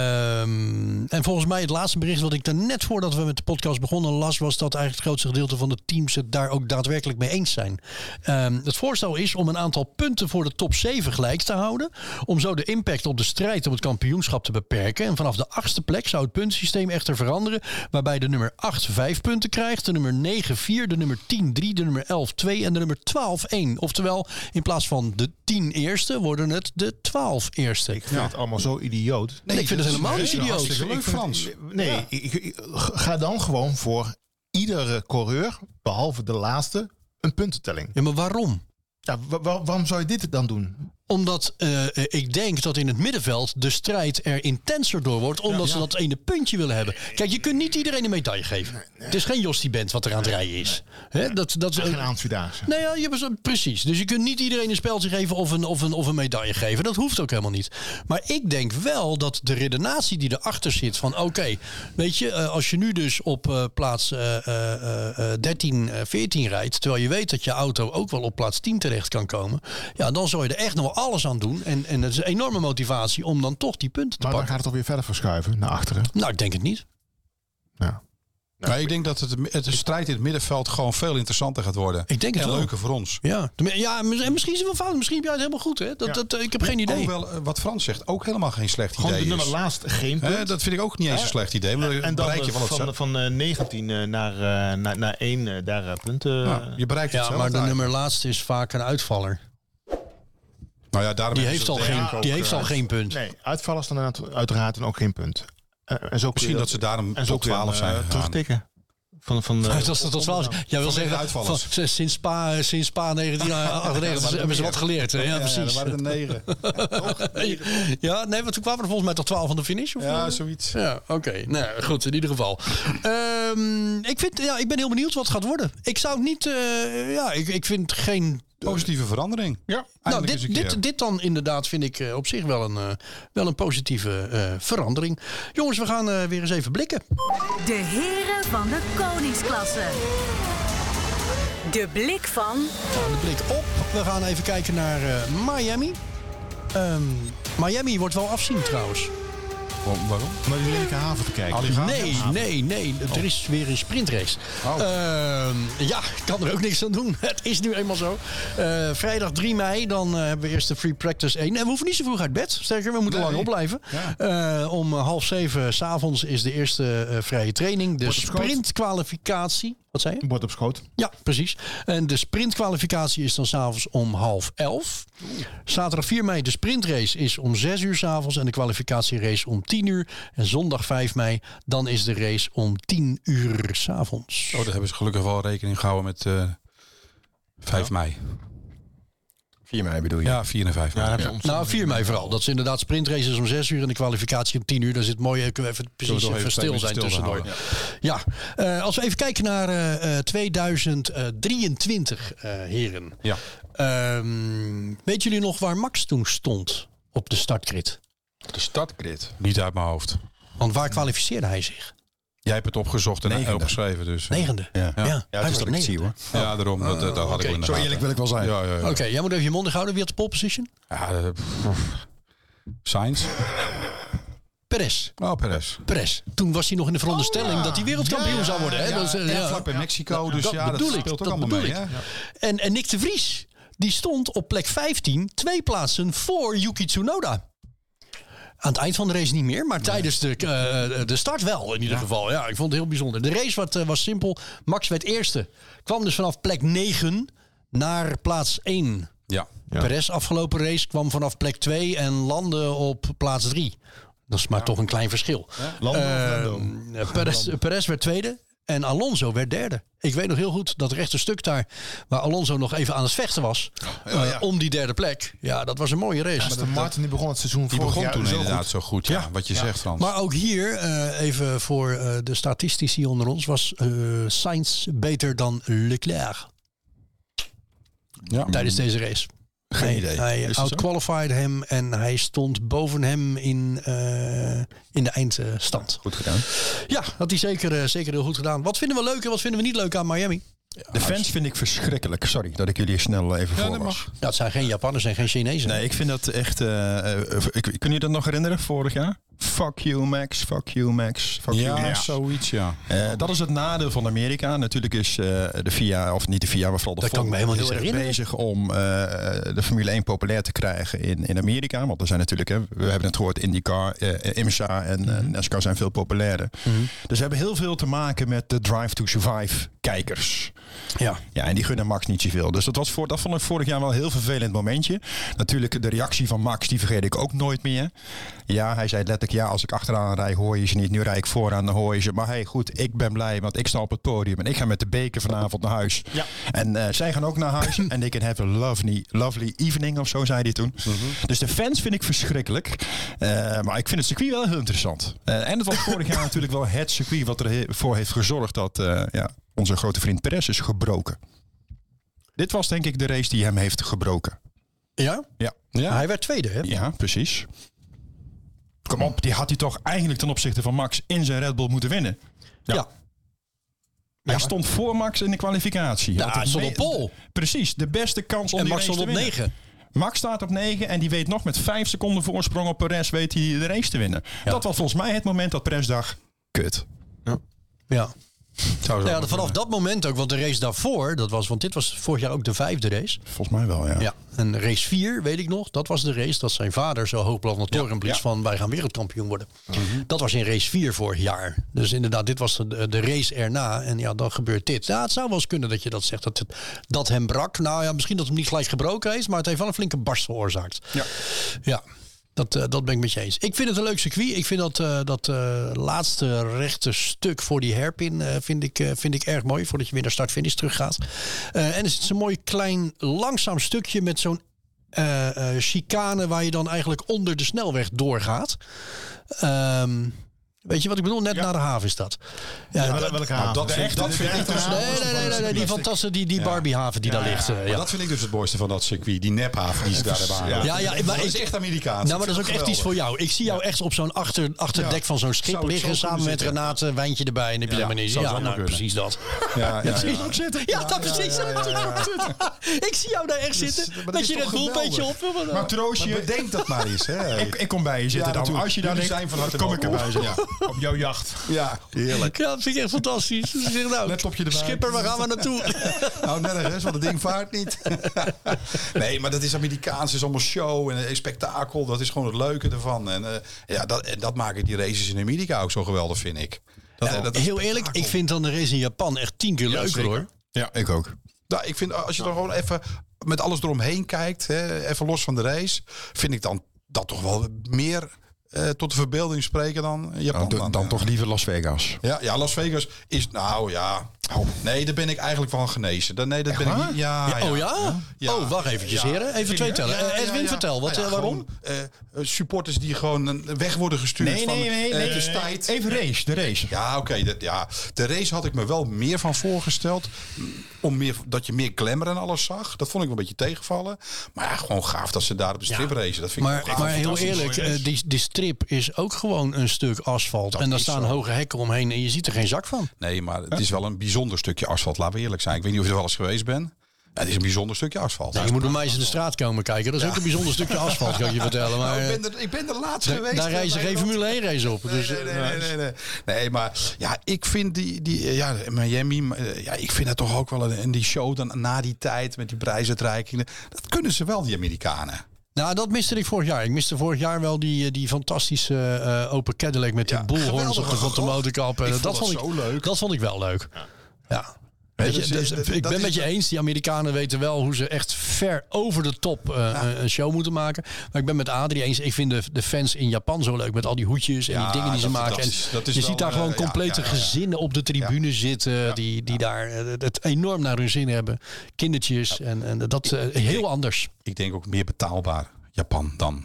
[SPEAKER 1] Ehm, en volgens mij het laatste bericht wat ik er net voordat we met de podcast begonnen las, was dat eigenlijk het grootste gedeelte van de teams het daar ook daadwerkelijk mee eens zijn. Ehm, het voorstel is om een aantal punten voor de top 7 gelijk te houden, om zo de impact op de strijd om het kampioenschap te beperken. En vanaf de achtste plek zou het puntensysteem echter veranderen, waarbij de nummer 8 vijf punten krijgt, de nummer 9 4, de nummer 10 3, de nummer 11 2 en de nummer 12 1. Oftewel, in plaats van de 10 eerste worden het de 12 eerste.
[SPEAKER 6] Ik vind het allemaal zo idioot.
[SPEAKER 1] Nee, ik vind het helemaal niet idioot.
[SPEAKER 2] hartstikke leuk Frans.
[SPEAKER 6] Nee, ik- ik- ik- ga dan gewoon voor iedere coureur, behalve de laatste, een puntentelling.
[SPEAKER 1] Ja, maar waarom?
[SPEAKER 6] Ja, wa- wa- waarom zou je dit dan doen?
[SPEAKER 1] Omdat eh, eh, ik denk dat in het middenveld de strijd er intenser door wordt. Omdat ze dat ene puntje willen hebben. Kijk, je kunt niet iedereen een medaille geven. Het is geen Jostie Bent wat er aan het rijden is. Hè, dat, dat,
[SPEAKER 6] Geen aanvierdaagse.
[SPEAKER 1] Nee, ja, je hebt zo- precies. Dus je kunt niet iedereen een speltje geven of een, of, een, of een medaille geven. Dat hoeft ook helemaal niet. Maar ik denk wel dat de redenatie die erachter zit van... oké, weet je, eh, als je nu dus op eh, plaats eh, eh, eh, 13, eh, 14 rijdt... terwijl je weet dat je auto ook wel op plaats 10 terecht kan komen... ja, dan zou je er echt nog wel alles aan doen. En, en dat is een enorme motivatie om dan toch die punten te
[SPEAKER 5] Maar dan
[SPEAKER 1] pakken.
[SPEAKER 5] gaat het alweer verder verschuiven naar achteren.
[SPEAKER 1] Nou, ik denk het niet.
[SPEAKER 5] Ja.
[SPEAKER 2] Maar ik denk dat het, het de strijd in het middenveld gewoon veel interessanter gaat worden.
[SPEAKER 1] Ik denk het
[SPEAKER 2] en
[SPEAKER 1] wel.
[SPEAKER 2] leuker voor ons.
[SPEAKER 1] Ja, ja en misschien is het wel fout. Misschien heb jij het helemaal goed. Hè? Dat, dat, ik heb geen idee.
[SPEAKER 2] Hoewel, eh, wat Frans zegt, ook helemaal geen slecht
[SPEAKER 6] Gewoon de
[SPEAKER 2] idee
[SPEAKER 6] nummer
[SPEAKER 2] is.
[SPEAKER 6] laatst geen punt.
[SPEAKER 2] Hè, dat vind ik ook niet eens een slecht idee. want dan
[SPEAKER 6] en dan
[SPEAKER 2] bereik je
[SPEAKER 6] eh,
[SPEAKER 2] wel
[SPEAKER 6] van,
[SPEAKER 2] hetzelfde.
[SPEAKER 6] van eh, 19 eh, naar, eh, naar, naar 1 eh, daar eh, punten.
[SPEAKER 2] Ja, je bereikt
[SPEAKER 1] Ja,
[SPEAKER 2] hetzelfde.
[SPEAKER 1] maar de
[SPEAKER 2] eigenlijk.
[SPEAKER 1] nummer laatste is vaak een uitvaller.
[SPEAKER 2] Nou ja, daarom
[SPEAKER 1] Die heeft
[SPEAKER 2] hebben ze
[SPEAKER 1] al
[SPEAKER 2] het denk ik
[SPEAKER 1] geen,
[SPEAKER 2] ook,
[SPEAKER 1] die
[SPEAKER 2] eh,
[SPEAKER 1] heeft al geen punt.
[SPEAKER 5] Nee, uitvallers dan inderdaad uiteraard en ook geen punt. Eh, en zo
[SPEAKER 2] Misschien dat ze daarom
[SPEAKER 6] En zo
[SPEAKER 2] tot 12
[SPEAKER 1] eh,
[SPEAKER 2] zijn gegaan.
[SPEAKER 6] terugtikken. Van, van, eh,
[SPEAKER 1] Dus als dat tot 12 is. Jij wil
[SPEAKER 2] Vanwege
[SPEAKER 1] zeggen,
[SPEAKER 2] uitvallers.
[SPEAKER 1] van- sinds Spa, eh, sinds Spa 1998 hebben ze wat geleerd. hè? Ja, precies.
[SPEAKER 2] Ja, er waren er negen.
[SPEAKER 1] Ja, nee, want toen kwamen er volgens mij toch 12 van de finish? Of
[SPEAKER 2] Ja, zoiets.
[SPEAKER 1] Ja, oké. Nou, goed, in ieder geval. Ehm, ik, vind, ja, ik ben heel benieuwd wat het gaat worden. Ik zou het niet... eh, ja, ik, ik vind geen...
[SPEAKER 2] Positieve verandering.
[SPEAKER 5] Ja.
[SPEAKER 1] Nou,
[SPEAKER 2] Eindelijk
[SPEAKER 1] dit,
[SPEAKER 2] eens een
[SPEAKER 1] dit,
[SPEAKER 2] keer.
[SPEAKER 1] dit dan inderdaad vind ik eh, op zich wel een, eh, wel een positieve eh, verandering. Jongens, we gaan eh, weer eens even blikken.
[SPEAKER 4] De heren van de koningsklasse. De blik van
[SPEAKER 1] De blik Nou, op. We gaan even kijken naar eh, Miami. Ehm, Miami wordt wel afzien trouwens.
[SPEAKER 2] Wa- Waarom?
[SPEAKER 5] Om naar die lelijke haven te kijken.
[SPEAKER 2] Alligator?
[SPEAKER 1] Nee, nee, nee.
[SPEAKER 5] Oh.
[SPEAKER 1] Er is weer een sprintrace.
[SPEAKER 2] Oh.
[SPEAKER 1] Ehm, ja, ik kan er ook niks aan doen. Het is nu eenmaal zo. Eh, vrijdag 3 mei, dan eh, hebben we eerst de Free Practice 1. En we hoeven niet zo vroeg uit bed. Sterker, we moeten
[SPEAKER 2] Nee.
[SPEAKER 1] lang opblijven. Eh, om half zeven s'avonds is de eerste eh, vrije training. De
[SPEAKER 5] Wordt op schoot.
[SPEAKER 1] sprintkwalificatie. Wat zei je?
[SPEAKER 5] Bord op schoot.
[SPEAKER 1] Ja, precies. En de sprintkwalificatie is dan s'avonds om half elf. Zaterdag 4 mei de sprintrace is om 6 uur s'avonds en de kwalificatierace om 10 uur. En zondag 5 mei dan is de race om 10 uur s'avonds.
[SPEAKER 2] Oh, daar hebben ze gelukkig wel rekening gehouden met eh 5 mei.
[SPEAKER 3] 4 mei bedoel je?
[SPEAKER 2] Ja, 4 en 5 mei. Ja,
[SPEAKER 1] Nou, 4 mei vooral. Dat is inderdaad sprintraces om 6 uur en de kwalificatie om 10 uur. Dat is het mooie. eh, Kunnen we even precies
[SPEAKER 2] nog
[SPEAKER 1] even,
[SPEAKER 2] even twee
[SPEAKER 1] stil zijn
[SPEAKER 2] minuten stil
[SPEAKER 1] tussendoor.
[SPEAKER 2] houden.
[SPEAKER 1] Ja, Eh, als we even kijken naar eh, eh, 2023, eh, heren.
[SPEAKER 2] Ja.
[SPEAKER 1] Ehm, weet jullie nog waar Max toen stond op de startgrid?
[SPEAKER 3] De stadgrid.
[SPEAKER 2] Niet uit mijn hoofd.
[SPEAKER 1] Want waar kwalificeerde hij zich?
[SPEAKER 2] Jij hebt het opgezocht en
[SPEAKER 3] Negende.
[SPEAKER 2] opgeschreven. Dus, eh,
[SPEAKER 1] Negende. Ja,
[SPEAKER 3] Ja, het is dat ik het zie
[SPEAKER 1] negende.
[SPEAKER 3] hoor.
[SPEAKER 2] Ja, daarom. Dat, dat had ik wel in de
[SPEAKER 3] Zo
[SPEAKER 2] gaten.
[SPEAKER 3] eerlijk wil ik wel zijn.
[SPEAKER 2] Ja, ja, ja.
[SPEAKER 1] Oké, jij moet even je mond houden. Wie had de pole position?
[SPEAKER 2] ja eh, pff. Sainz.
[SPEAKER 1] Perez.
[SPEAKER 2] Oh, Perez.
[SPEAKER 1] Perez. Toen was hij nog in de veronderstelling
[SPEAKER 2] Oh,
[SPEAKER 1] dat hij wereldkampioen zou worden. Hè? Dat is, eh, ja.
[SPEAKER 2] vlak bij Mexico. Dus
[SPEAKER 1] dat
[SPEAKER 2] ja, dat
[SPEAKER 1] bedoel ik,
[SPEAKER 2] speelt ook
[SPEAKER 1] dat
[SPEAKER 2] allemaal
[SPEAKER 1] bedoel
[SPEAKER 2] mee.
[SPEAKER 1] ik.
[SPEAKER 2] hè?
[SPEAKER 1] En, en Nick de Vries, die stond op plek 15, twee plaatsen voor Yuki Tsunoda. Aan het eind van de race niet meer, maar tijdens de, eh, de start wel in ieder geval. Ja, ik vond het heel bijzonder. De race wat, eh, was simpel. Max werd eerste. Kwam dus vanaf plek 9 naar plaats 1.
[SPEAKER 2] Ja.
[SPEAKER 1] Perez afgelopen race kwam vanaf plek 2 en landde op plaats 3. Dat is maar toch een klein verschil.
[SPEAKER 6] Lando of Lando?
[SPEAKER 1] Ehm, eh, Perez, Perez werd tweede en Alonso werd derde. Ik weet nog heel goed dat rechte stuk daar, waar Alonso nog even aan het vechten was, eh, om die derde plek. Ja, dat was een mooie race.
[SPEAKER 5] Aston Martin die begon het seizoen
[SPEAKER 2] Die
[SPEAKER 5] vorig
[SPEAKER 2] begon
[SPEAKER 5] jaar
[SPEAKER 2] toen
[SPEAKER 5] zo
[SPEAKER 2] inderdaad
[SPEAKER 5] goed.
[SPEAKER 2] zo goed. Ja, wat je zegt, Frans.
[SPEAKER 1] Maar ook hier, eh, even voor eh, de statistici onder ons, was eh Sainz beter dan Leclerc
[SPEAKER 2] ja.
[SPEAKER 1] tijdens deze race.
[SPEAKER 3] Geen
[SPEAKER 1] Hij-
[SPEAKER 3] idee. Is
[SPEAKER 1] Hij
[SPEAKER 3] dat
[SPEAKER 1] outqualified hem en hij stond boven hem in, eh, in de eindstand.
[SPEAKER 3] Goed gedaan.
[SPEAKER 1] Ja, dat hij zeker, eh, zeker heel goed gedaan. Wat vinden we leuk en wat vinden we niet leuk aan Miami?
[SPEAKER 3] De fans vind ik verschrikkelijk. Sorry dat ik jullie snel eh, even voor was.
[SPEAKER 1] Dat zijn geen Japanners en geen Chinezen.
[SPEAKER 3] Nee, ik vind dat echt. eh, eh, ik, kun je dat nog herinneren vorig jaar? Fuck you, Max. Fuck you, Max. Fuck you,
[SPEAKER 2] Ja,
[SPEAKER 3] Max.
[SPEAKER 2] zoiets, ja.
[SPEAKER 3] Eh, dat is het nadeel van Amerika. Natuurlijk is eh, de FIA, of niet de FIA, maar vooral de
[SPEAKER 1] Dat kan ik me
[SPEAKER 3] FOM,
[SPEAKER 1] helemaal niet
[SPEAKER 3] is echt
[SPEAKER 1] herinneren.
[SPEAKER 3] bezig om eh, de Formule 1 populair te krijgen in, in Amerika. Want er zijn natuurlijk, hè, we hebben het gehoord, IndyCar, eh, IMSA en eh,
[SPEAKER 1] Mhm.
[SPEAKER 3] NASCAR zijn veel populairder. Dus we hebben heel veel te maken met de Drive to Survive kijkers.
[SPEAKER 1] Ja.
[SPEAKER 3] Ja, en die gunnen Max niet zoveel. Dus dat, was voor, dat vond ik vorig jaar wel een heel vervelend momentje. Natuurlijk, de reactie van Max, die vergeet ik ook nooit meer. Ja, hij zei letterlijk, ja, als ik achteraan rij, hoor je ze niet. Nu rij ik vooraan, dan hoor je ze. Maar hey, goed, ik ben blij, want ik sta op het podium. En ik ga met de beker vanavond naar huis.
[SPEAKER 6] Ja.
[SPEAKER 3] En eh, zij gaan ook naar huis. en ik can have a lovely, lovely evening, of zo zei hij toen. Dus de fans vind ik verschrikkelijk. Eh, maar ik vind het circuit wel heel interessant. Eh, en het was vorig jaar natuurlijk wel het circuit wat ervoor heeft gezorgd dat... eh, ja, onze grote vriend Perez is gebroken. Dit was denk ik de race die hem heeft gebroken.
[SPEAKER 1] Ja?
[SPEAKER 3] Ja,
[SPEAKER 1] Hij werd tweede, hè?
[SPEAKER 3] ja precies. Kom op, die had hij toch eigenlijk ten opzichte van Max in zijn Red Bull moeten winnen.
[SPEAKER 1] Ja.
[SPEAKER 3] Hij stond voor Max in de kwalificatie.
[SPEAKER 1] Ja,
[SPEAKER 3] Hij had
[SPEAKER 1] hij
[SPEAKER 3] het
[SPEAKER 1] stond
[SPEAKER 3] me-
[SPEAKER 1] op pole.
[SPEAKER 3] Precies, de beste kans om
[SPEAKER 1] En
[SPEAKER 3] die
[SPEAKER 1] Max
[SPEAKER 3] race
[SPEAKER 1] stond op
[SPEAKER 3] te winnen.
[SPEAKER 1] negen.
[SPEAKER 3] Max staat op 9 en die weet nog met 5 seconden voorsprong op Perez weet hij de race te winnen. Dat was volgens mij het moment dat Perez dacht, kut.
[SPEAKER 1] Ja.
[SPEAKER 3] Zou zo
[SPEAKER 1] Nou ja, vanaf dat moment ook, want de race daarvoor, dat was, want dit was vorig jaar ook de vijfde race.
[SPEAKER 3] Volgens mij wel, ja.
[SPEAKER 1] Ja, en race 4, weet ik nog, dat was de race dat zijn vader zo hoog boven de toren blies
[SPEAKER 3] ja. Mhm.
[SPEAKER 1] van wij gaan wereldkampioen worden. Dat was in race 4 vorig jaar. Dus inderdaad, dit was de, de race erna en ja, dan gebeurt dit. Ja, het zou wel eens kunnen dat je dat zegt, dat, het, dat hem brak. Nou ja, misschien dat hem niet gelijk gebroken heeft, maar het heeft wel een flinke barst veroorzaakt.
[SPEAKER 3] Ja.
[SPEAKER 1] Ja, dat, eh, dat ben ik met je eens. Ik vind het een leuk circuit. Ik vind dat, eh, dat eh, laatste rechte stuk voor die hairpin eh, vind, ik, eh, vind ik erg mooi. Voordat je weer naar start-finish terug gaat. Eh, en het is een mooi klein langzaam stukje met zo'n eh, eh, chicane waar je dan eigenlijk onder de snelweg doorgaat. Ehm, weet je wat ik bedoel? Net naar de haven is dat. Ja, dat-
[SPEAKER 6] welke
[SPEAKER 2] Nou, dat, vind, dat, vind ik dus,
[SPEAKER 1] nee, nee, nee, nee, nee, die fantastische, die, die Barbiehaven die daar ligt. eh,
[SPEAKER 2] maar
[SPEAKER 1] ja.
[SPEAKER 2] dat vind ik dus het mooiste van dat circuit. Die nephaven die ze daar hebben aangehaald.
[SPEAKER 1] Ja, ja, maar
[SPEAKER 2] dat is
[SPEAKER 1] ik-
[SPEAKER 2] echt Amerikaans.
[SPEAKER 1] Nou, maar dat is ook echt iets voor jou. Ik zie jou echt op zo'n achter, achterdek
[SPEAKER 2] Ja.
[SPEAKER 1] van zo'n
[SPEAKER 2] Zou
[SPEAKER 1] schip
[SPEAKER 2] ik zo
[SPEAKER 1] liggen.
[SPEAKER 2] kunnen
[SPEAKER 1] Samen met
[SPEAKER 2] zitten.
[SPEAKER 1] Renate, een wijntje erbij. En heb je
[SPEAKER 2] Ja,
[SPEAKER 1] daar meneer.
[SPEAKER 2] zou
[SPEAKER 1] Ja,
[SPEAKER 2] het allemaal
[SPEAKER 1] nou,
[SPEAKER 2] kunnen.
[SPEAKER 1] precies dat.
[SPEAKER 2] Ja, ja,
[SPEAKER 1] Precies ook zitten. Ja, dat precies. Ik zie jou daar echt zitten.
[SPEAKER 2] maar dat
[SPEAKER 1] dat
[SPEAKER 2] is
[SPEAKER 1] je
[SPEAKER 2] toch
[SPEAKER 1] dat doelpuntje op
[SPEAKER 2] geweldig?
[SPEAKER 1] wil.
[SPEAKER 3] Maar troostje,
[SPEAKER 2] Maar bedenk dat maar eens. Hè.
[SPEAKER 3] ik, ik kom bij je zitten dan.
[SPEAKER 2] natuurlijk.
[SPEAKER 3] Als je daar
[SPEAKER 2] Jullie
[SPEAKER 3] denkt,
[SPEAKER 2] zijn van harte
[SPEAKER 3] kom ik
[SPEAKER 2] welkom.
[SPEAKER 3] erbij zitten.
[SPEAKER 6] Op jouw jacht.
[SPEAKER 2] Ja, heerlijk.
[SPEAKER 1] Ja, dat vind ik echt fantastisch. Dus ik zeg, nou,
[SPEAKER 2] Laptopje erbij.
[SPEAKER 1] Schipper, waar gaan we naartoe?
[SPEAKER 2] Nou, nergens, want het ding vaart niet. nee, maar dat is Amerikaans, is allemaal show en eh, spektakel. Dat is gewoon het leuke ervan. En eh, ja, dat, en dat maken die races in Amerika ook zo geweldig, vind ik. Dat, eh, dat is
[SPEAKER 1] Heel eerlijk,
[SPEAKER 2] spektakel.
[SPEAKER 1] ik vind dan de race in Japan echt tien keer leuker
[SPEAKER 2] zeker.
[SPEAKER 1] hoor.
[SPEAKER 3] Ja, ik ook.
[SPEAKER 2] Nou, ik vind eh, als je dan gewoon even met alles eromheen kijkt, hè, even los van de race, vind ik dan dat toch wel meer eh, tot de verbeelding spreken dan Japan.
[SPEAKER 3] Nou, d- dan
[SPEAKER 2] ja.
[SPEAKER 3] toch liever Las Vegas.
[SPEAKER 2] Ja, ja, Las Vegas is nou ja. Nee, daar ben ik eigenlijk van genezen. Dan- Nee, dat ben ik
[SPEAKER 3] waar?
[SPEAKER 2] niet. Ah, Ja,
[SPEAKER 1] Oh ja?
[SPEAKER 2] Ja.
[SPEAKER 1] Oh, wacht eventjes
[SPEAKER 2] Ja.
[SPEAKER 1] heren. Even twee tellen.
[SPEAKER 2] Ja, ja,
[SPEAKER 1] Eh, Edwin,
[SPEAKER 2] ja.
[SPEAKER 1] vertel. Wat,
[SPEAKER 2] Nou
[SPEAKER 1] eh,
[SPEAKER 2] ja,
[SPEAKER 1] waarom?
[SPEAKER 2] gewoon, eh, supporters die gewoon eh, weg worden gestuurd. van, eh, het is tijd.
[SPEAKER 3] Even race, de race.
[SPEAKER 2] Ja, oké. dat- ja. De race had ik me wel meer van voorgesteld. Om meer, dat je meer glamour en alles zag. Dat vond ik wel een beetje tegenvallen. Maar ja, gewoon gaaf dat ze daar op de strip racen. Dat vind ik
[SPEAKER 1] Maar,
[SPEAKER 2] wel gaaf.
[SPEAKER 1] maar heel
[SPEAKER 2] Fantastisch.
[SPEAKER 1] eerlijk,
[SPEAKER 6] mooie
[SPEAKER 1] eh,
[SPEAKER 6] race.
[SPEAKER 1] die, die strip is ook gewoon een stuk asfalt. en daar
[SPEAKER 2] is
[SPEAKER 1] staan
[SPEAKER 2] zo.
[SPEAKER 1] hoge hekken omheen en je ziet er geen zak van. Nou,
[SPEAKER 2] Nee, maar het is wel een bijzonder stukje asfalt. Laten we eerlijk zijn. Ik weet niet of je er wel eens geweest bent. Het is een bijzonder stukje asfalt.
[SPEAKER 1] je moet bij mij eens in de straat komen kijken. Dat is ook een bijzonder stukje asfalt, kan ik je vertellen. Maar,
[SPEAKER 2] Nou,
[SPEAKER 1] eh,
[SPEAKER 2] ik, ben er, ik ben er laatst
[SPEAKER 1] daar-
[SPEAKER 2] geweest.
[SPEAKER 1] daar
[SPEAKER 2] eh,
[SPEAKER 1] reizen
[SPEAKER 2] bij
[SPEAKER 1] geen
[SPEAKER 2] dat-
[SPEAKER 1] Formule 1 race op.
[SPEAKER 2] Nee,
[SPEAKER 1] Dus,
[SPEAKER 2] nee, nee,
[SPEAKER 1] eh,
[SPEAKER 2] nee, nee, nee. Nee, maar ja, ik vind die, die eh, ja, Miami, maar, eh, ja, ik vind het toch ook wel een, en die show dan na die tijd met die prijsuitreikingen. Dat kunnen ze wel, die Amerikanen.
[SPEAKER 1] Nou, dat miste ik vorig jaar. Ik miste vorig jaar wel die, eh, die fantastische eh, open Cadillac met die
[SPEAKER 2] Ja,
[SPEAKER 1] boelhorns op
[SPEAKER 2] geweldige
[SPEAKER 1] de, op de
[SPEAKER 2] gogh.
[SPEAKER 1] motorkap. Eh,
[SPEAKER 2] Ik
[SPEAKER 1] dat
[SPEAKER 2] vond dat
[SPEAKER 1] vond ik
[SPEAKER 2] zo leuk.
[SPEAKER 1] Dat vond ik wel leuk. Ja. Weet
[SPEAKER 2] dat
[SPEAKER 1] je,
[SPEAKER 2] is-
[SPEAKER 1] dus,
[SPEAKER 2] dat-
[SPEAKER 1] ik
[SPEAKER 2] dat
[SPEAKER 1] ben
[SPEAKER 2] is-
[SPEAKER 1] met je eens, die Amerikanen weten wel hoe ze echt ver over de top eh, een- een show moeten maken. Maar ik ben met Adrie eens, ik vind de, de fans in Japan zo leuk met al die hoedjes en
[SPEAKER 2] Ja,
[SPEAKER 1] die dingen die ze
[SPEAKER 2] dat-
[SPEAKER 1] maken.
[SPEAKER 2] dat
[SPEAKER 1] En
[SPEAKER 2] is- dat is
[SPEAKER 1] je
[SPEAKER 2] wel,
[SPEAKER 1] ziet daar
[SPEAKER 2] eh,
[SPEAKER 1] gewoon
[SPEAKER 2] ja,
[SPEAKER 1] complete
[SPEAKER 2] ja, ja, ja.
[SPEAKER 1] gezinnen op de tribune zitten, die, die daar eh, het enorm naar hun zin hebben. Kindertjes en, en dat eh, heel anders.
[SPEAKER 2] Ik denk ook meer betaalbaar, Japan dan.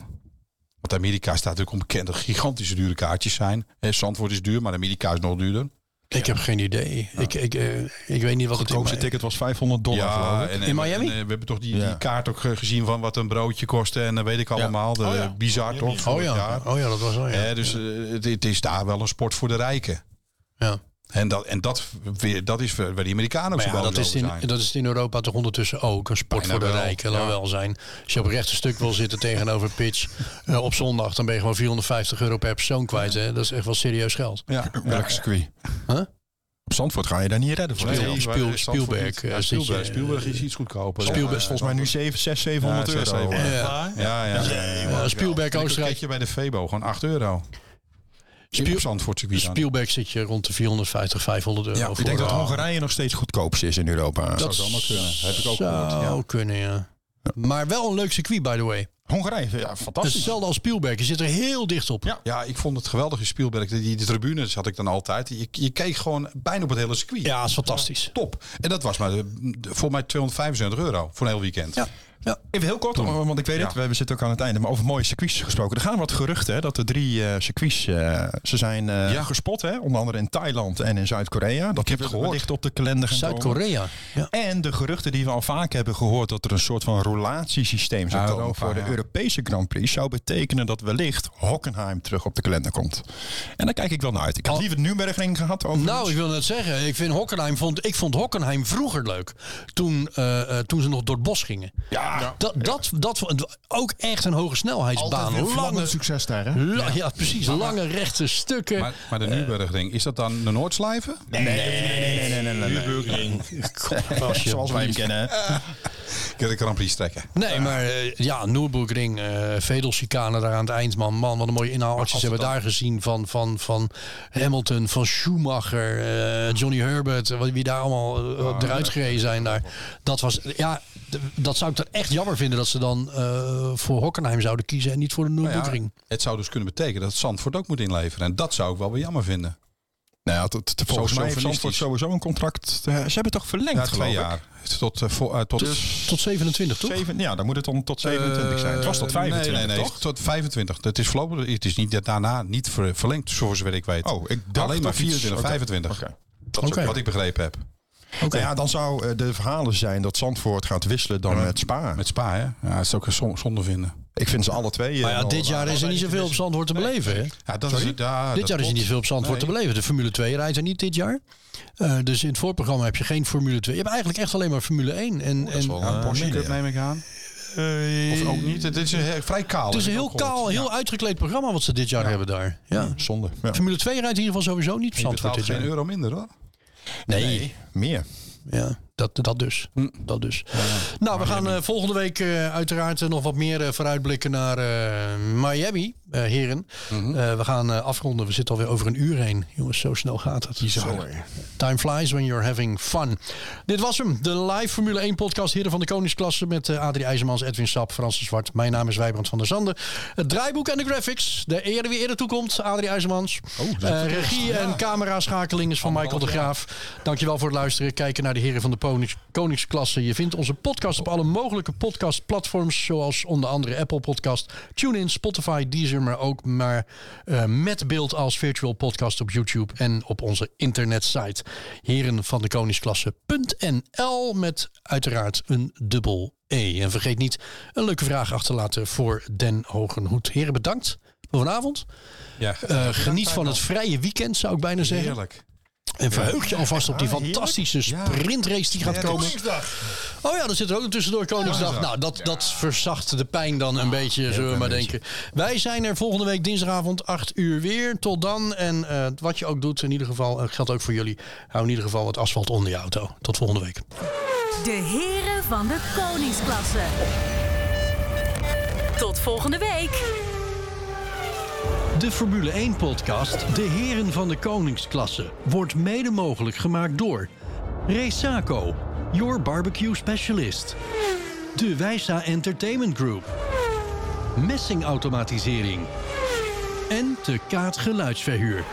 [SPEAKER 2] Want Amerika staat natuurlijk onbekend dat gigantische dure kaartjes zijn. Hè, Zandvoort is duur, maar Amerika is nog duurder.
[SPEAKER 1] Ik heb geen idee. Ik, ik, eh, ik weet niet wat
[SPEAKER 3] Het koopste
[SPEAKER 1] het is.
[SPEAKER 3] ticket was 500 dollar, geloof ik.
[SPEAKER 2] en,
[SPEAKER 1] In
[SPEAKER 2] en-
[SPEAKER 1] Miami?
[SPEAKER 2] en, eh, we hebben toch die,
[SPEAKER 3] Ja.
[SPEAKER 2] die kaart ook eh, gezien van wat een broodje kostte en dat weet ik allemaal. De, eh, Bizar toch?
[SPEAKER 1] Oh ja.
[SPEAKER 2] Vorig jaar.
[SPEAKER 1] oh ja, dat was wel ja.
[SPEAKER 2] Hè, dus eh, het, het is daar wel een sport voor de rijken.
[SPEAKER 1] ja.
[SPEAKER 2] En dat, en dat, weer- dat is waar die Amerikanen ook
[SPEAKER 1] Maar
[SPEAKER 2] zo
[SPEAKER 1] ja,
[SPEAKER 2] boos
[SPEAKER 1] dat is,
[SPEAKER 2] over
[SPEAKER 1] in,
[SPEAKER 2] zijn.
[SPEAKER 1] dat is in Europa toch ondertussen ook een sport
[SPEAKER 2] Bijna
[SPEAKER 1] voor de
[SPEAKER 2] wel,
[SPEAKER 1] rijken. Laat
[SPEAKER 2] ja.
[SPEAKER 1] wel zijn. Als je op een rechte stuk wil zitten tegenover pitch eh, op zondag, dan ben je gewoon 450 euro per persoon kwijt. Hè? Dat is echt wel serieus geld.
[SPEAKER 2] Ja,
[SPEAKER 3] Welk circuit?
[SPEAKER 1] Huh?
[SPEAKER 3] Op Zandvoort ga je daar niet redden voor.
[SPEAKER 1] Speel-
[SPEAKER 3] Nee,
[SPEAKER 1] Spiel-
[SPEAKER 2] waar is Zandvoort
[SPEAKER 1] Spielberg,
[SPEAKER 2] niet?
[SPEAKER 1] eh,
[SPEAKER 2] Ja,
[SPEAKER 1] zit
[SPEAKER 2] Spielberg,
[SPEAKER 1] je,
[SPEAKER 2] Spielberg is iets goedkoper.
[SPEAKER 1] Spielberg
[SPEAKER 2] Ja,
[SPEAKER 1] is
[SPEAKER 3] volgens mij nu 7, 6, 700
[SPEAKER 2] Ja, zes,
[SPEAKER 3] euro.
[SPEAKER 2] zeven.
[SPEAKER 1] Ah, Ja.
[SPEAKER 2] Ja, ja.
[SPEAKER 1] Eh, Spielberg
[SPEAKER 2] Een
[SPEAKER 1] Oostenrijk.
[SPEAKER 2] pakketje bij de Febo, gewoon 8 euro.
[SPEAKER 1] Spiel-
[SPEAKER 2] Spiel Zandvoort circuit dan.
[SPEAKER 1] Spielberg zit je rond de 450, 500 euro.
[SPEAKER 3] Ja,
[SPEAKER 1] voor.
[SPEAKER 3] ik denk dat Hongarije nog steeds goedkoopst is in Europa.
[SPEAKER 1] dat
[SPEAKER 2] zou zomaar kunnen. Heb ik ook
[SPEAKER 1] zou
[SPEAKER 2] gehoord, ja.
[SPEAKER 1] kunnen, ja. Maar wel een leuk circuit, by the way.
[SPEAKER 3] Hongarije, ja,
[SPEAKER 1] Het is
[SPEAKER 3] fantastisch.
[SPEAKER 1] hetzelfde als Spielberg. Je zit er heel dicht op.
[SPEAKER 2] Ja, ik vond het geweldig in Spielberg. Die, die tribunes had ik dan altijd. Je, je keek gewoon bijna op het hele circuit.
[SPEAKER 1] Ja, is fantastisch.
[SPEAKER 2] Top. En dat was maar de, de- voor mij 275 euro voor een heel weekend.
[SPEAKER 1] Ja. ja.
[SPEAKER 3] Even heel kort, want ik weet het, we zitten ook aan het einde. Maar over mooie circuits gesproken. Er gaan wat geruchten hè, dat de drie eh, circuits, eh, ze zijn eh,
[SPEAKER 2] Ja.
[SPEAKER 3] gespot. Hè, onder andere in Thailand en in Zuid-Korea. Dat
[SPEAKER 2] heb
[SPEAKER 3] die
[SPEAKER 2] het gehoord.
[SPEAKER 3] wellicht op de kalender gaan komen.
[SPEAKER 1] Zuid-Korea. Ja.
[SPEAKER 3] En de geruchten die we al vaak hebben gehoord dat er een soort van relatiesysteem zou
[SPEAKER 2] Ja,
[SPEAKER 3] komen
[SPEAKER 2] Europa,
[SPEAKER 3] voor de
[SPEAKER 2] ja.
[SPEAKER 3] Europese Grand Prix zou betekenen dat wellicht Hockenheim terug op de kalender komt. En daar kijk ik wel naar uit. Ik had
[SPEAKER 1] Al-
[SPEAKER 3] liever Nürburgring gehad. Over
[SPEAKER 1] Nou, ik wil net zeggen, ik, vind Hockenheim vond, ik vond Hockenheim vroeger leuk. Toen, eh, eh, toen ze nog door het bos gingen.
[SPEAKER 3] ja,
[SPEAKER 1] Dat, dat, dat, ook echt een hoge snelheidsbaan.
[SPEAKER 6] Altijd weer
[SPEAKER 1] lange,
[SPEAKER 6] vlammend succes daar, hè?
[SPEAKER 1] la- ja. precies. lange rechte stukken.
[SPEAKER 2] Maar, maar de Nürburgring, is dat dan de Noordslijven?
[SPEAKER 3] Eh. nee, nee, nee, nee, nee. Zoals wij hem
[SPEAKER 2] Eh,
[SPEAKER 3] kennen. hè.
[SPEAKER 2] Ik wil de Grand Prix trekken.
[SPEAKER 1] Nee, maar eh, ja, Nürburgring, eh Vedelchicane daar aan het eind, man. Man, wat een mooie inhaalacties hebben we daar gezien van, van, van Hamilton, van Schumacher, eh, Johnny Herbert, eh, wat- wie daar allemaal eh, eruit gereden zijn daar. Dat was, ja, d- dat zou ik dan echt jammer vinden dat ze dan eh, voor Hockenheim zouden kiezen en niet voor de Nürburgring.
[SPEAKER 2] het zou dus kunnen betekenen dat Zandvoort ook moet inleveren. En dat zou ik wel weer jammer vinden.
[SPEAKER 3] Nou ja, tot, tot, volgens
[SPEAKER 2] Sowieso
[SPEAKER 3] mij heeft Zandvoort
[SPEAKER 2] verliestisch.
[SPEAKER 3] sowieso een contract. eh, ze hebben toch verlengd,
[SPEAKER 2] Ja,
[SPEAKER 3] geloof
[SPEAKER 2] twee
[SPEAKER 3] ik?
[SPEAKER 2] jaar. Tot, eh, voor, eh, tot,
[SPEAKER 1] Tot 27, toch?
[SPEAKER 3] Zeven, ja, dan moet het dan tot 27 zijn. Het was tot
[SPEAKER 2] Eh,
[SPEAKER 3] 25,
[SPEAKER 2] nee, nee, nee,
[SPEAKER 3] toch?
[SPEAKER 2] Tot 25. Het is voorlopig. Het is niet dat daarna niet ver- verlengd, voor zover ik weet.
[SPEAKER 3] Oh, ik dacht
[SPEAKER 2] Alleen maar
[SPEAKER 3] dat iets-
[SPEAKER 2] 24,
[SPEAKER 3] oké.
[SPEAKER 2] 25.
[SPEAKER 3] Oké.
[SPEAKER 2] Dat is ook
[SPEAKER 1] Oké.
[SPEAKER 2] wat ik begrepen heb.
[SPEAKER 1] Oké.
[SPEAKER 3] Nou ja, dan zou eh, de verhalen zijn dat Zandvoort gaat wisselen dan met Spa.
[SPEAKER 2] Met Spa, hè? Ja, dat is ook een zon- zonde vinden.
[SPEAKER 3] Ik vind ze alle twee... eh,
[SPEAKER 1] Maar ja,
[SPEAKER 3] wel-
[SPEAKER 1] dit jaar is er niet zoveel op Zandvoort te beleven. Hè? Nou,
[SPEAKER 2] Ja, dat is, ja,
[SPEAKER 1] Dit
[SPEAKER 2] dat
[SPEAKER 1] jaar is er
[SPEAKER 2] klopt.
[SPEAKER 1] niet veel op Zandvoort te
[SPEAKER 2] Nee.
[SPEAKER 1] beleven. De Formule 2 rijdt er niet dit jaar. Eh, dus in het voorprogramma heb je geen Formule 2. Je hebt eigenlijk echt alleen maar Formule 1. En,
[SPEAKER 2] Dat is
[SPEAKER 1] en,
[SPEAKER 2] wel een Porsche
[SPEAKER 3] mede,
[SPEAKER 2] Cup, Eh, neem ik aan. Of ook niet. Het is een heel- vrij kaal.
[SPEAKER 1] het is een
[SPEAKER 2] heb ik
[SPEAKER 1] heel
[SPEAKER 2] ook gehoord.
[SPEAKER 1] kaal, heel uitgekleed programma wat ze dit jaar hebben daar. Ja.
[SPEAKER 3] Zonde. Ja.
[SPEAKER 1] Formule 2 rijdt in ieder geval sowieso niet op
[SPEAKER 2] Je
[SPEAKER 1] Zandvoort
[SPEAKER 2] betaalt
[SPEAKER 1] dit
[SPEAKER 2] geen
[SPEAKER 1] jaar.
[SPEAKER 2] euro minder, hoor.
[SPEAKER 3] Nee, meer.
[SPEAKER 1] Ja, dat, dat dus. Dat dus. Nou, we gaan eh, volgende week eh, uiteraard eh, nog wat meer eh, vooruitblikken naar eh, Miami, eh, heren. Eh, we gaan eh, afronden. We zitten alweer over een uur heen. Jongens, zo snel gaat het. Time flies when you're having fun. Dit was hem, de live Formule 1 podcast Heren van de Koningsklasse met eh, Adrie IJzermans, Edwin Sap, Frans de Zwart. Mijn naam is Wijbrand van der Zanden. Het draaiboek en de graphics, de eerder wie eerder toekomt, Adrie IJzermans. Eh, regie en cameraschakeling is van Michael de Graaf. Dankjewel voor het luisteren. Kijken naar de Heren van de Ponings- Koningsklasse. Je vindt onze podcast op alle mogelijke podcastplatforms, zoals onder andere Apple Podcast, TuneIn, Spotify, Deezer, maar ook maar eh, met beeld als virtual podcast op YouTube en op onze internetsite heren van de koningsklasse.nl met uiteraard een dubbel E. En vergeet niet een leuke vraag achter te laten voor Den Hogenhoed. Heren, bedankt voor vanavond.
[SPEAKER 2] Ja.
[SPEAKER 1] Eh, geniet van het vrije weekend, zou ik bijna zeggen.
[SPEAKER 2] Heerlijk.
[SPEAKER 1] En verheug je alvast op die fantastische sprintrace die gaat komen. Oh ja, er zit er ook een tussendoor Koningsdag. nou, dat, dat verzacht de pijn dan een beetje, zullen we maar denken. Wij zijn er volgende week dinsdagavond 8 uur weer. Tot dan. En eh, wat je ook doet, in ieder geval, eh, geldt ook voor jullie. Hou in ieder geval wat asfalt onder je auto. Tot volgende week.
[SPEAKER 4] De heren van de koningsklasse. Tot volgende week.
[SPEAKER 1] De Formule 1-podcast De Heren van de Koningsklasse wordt mede mogelijk gemaakt door Resaco, your barbecue specialist. De Wijsa Entertainment Group. Messingautomatisering. En de Kaat Geluidsverhuur.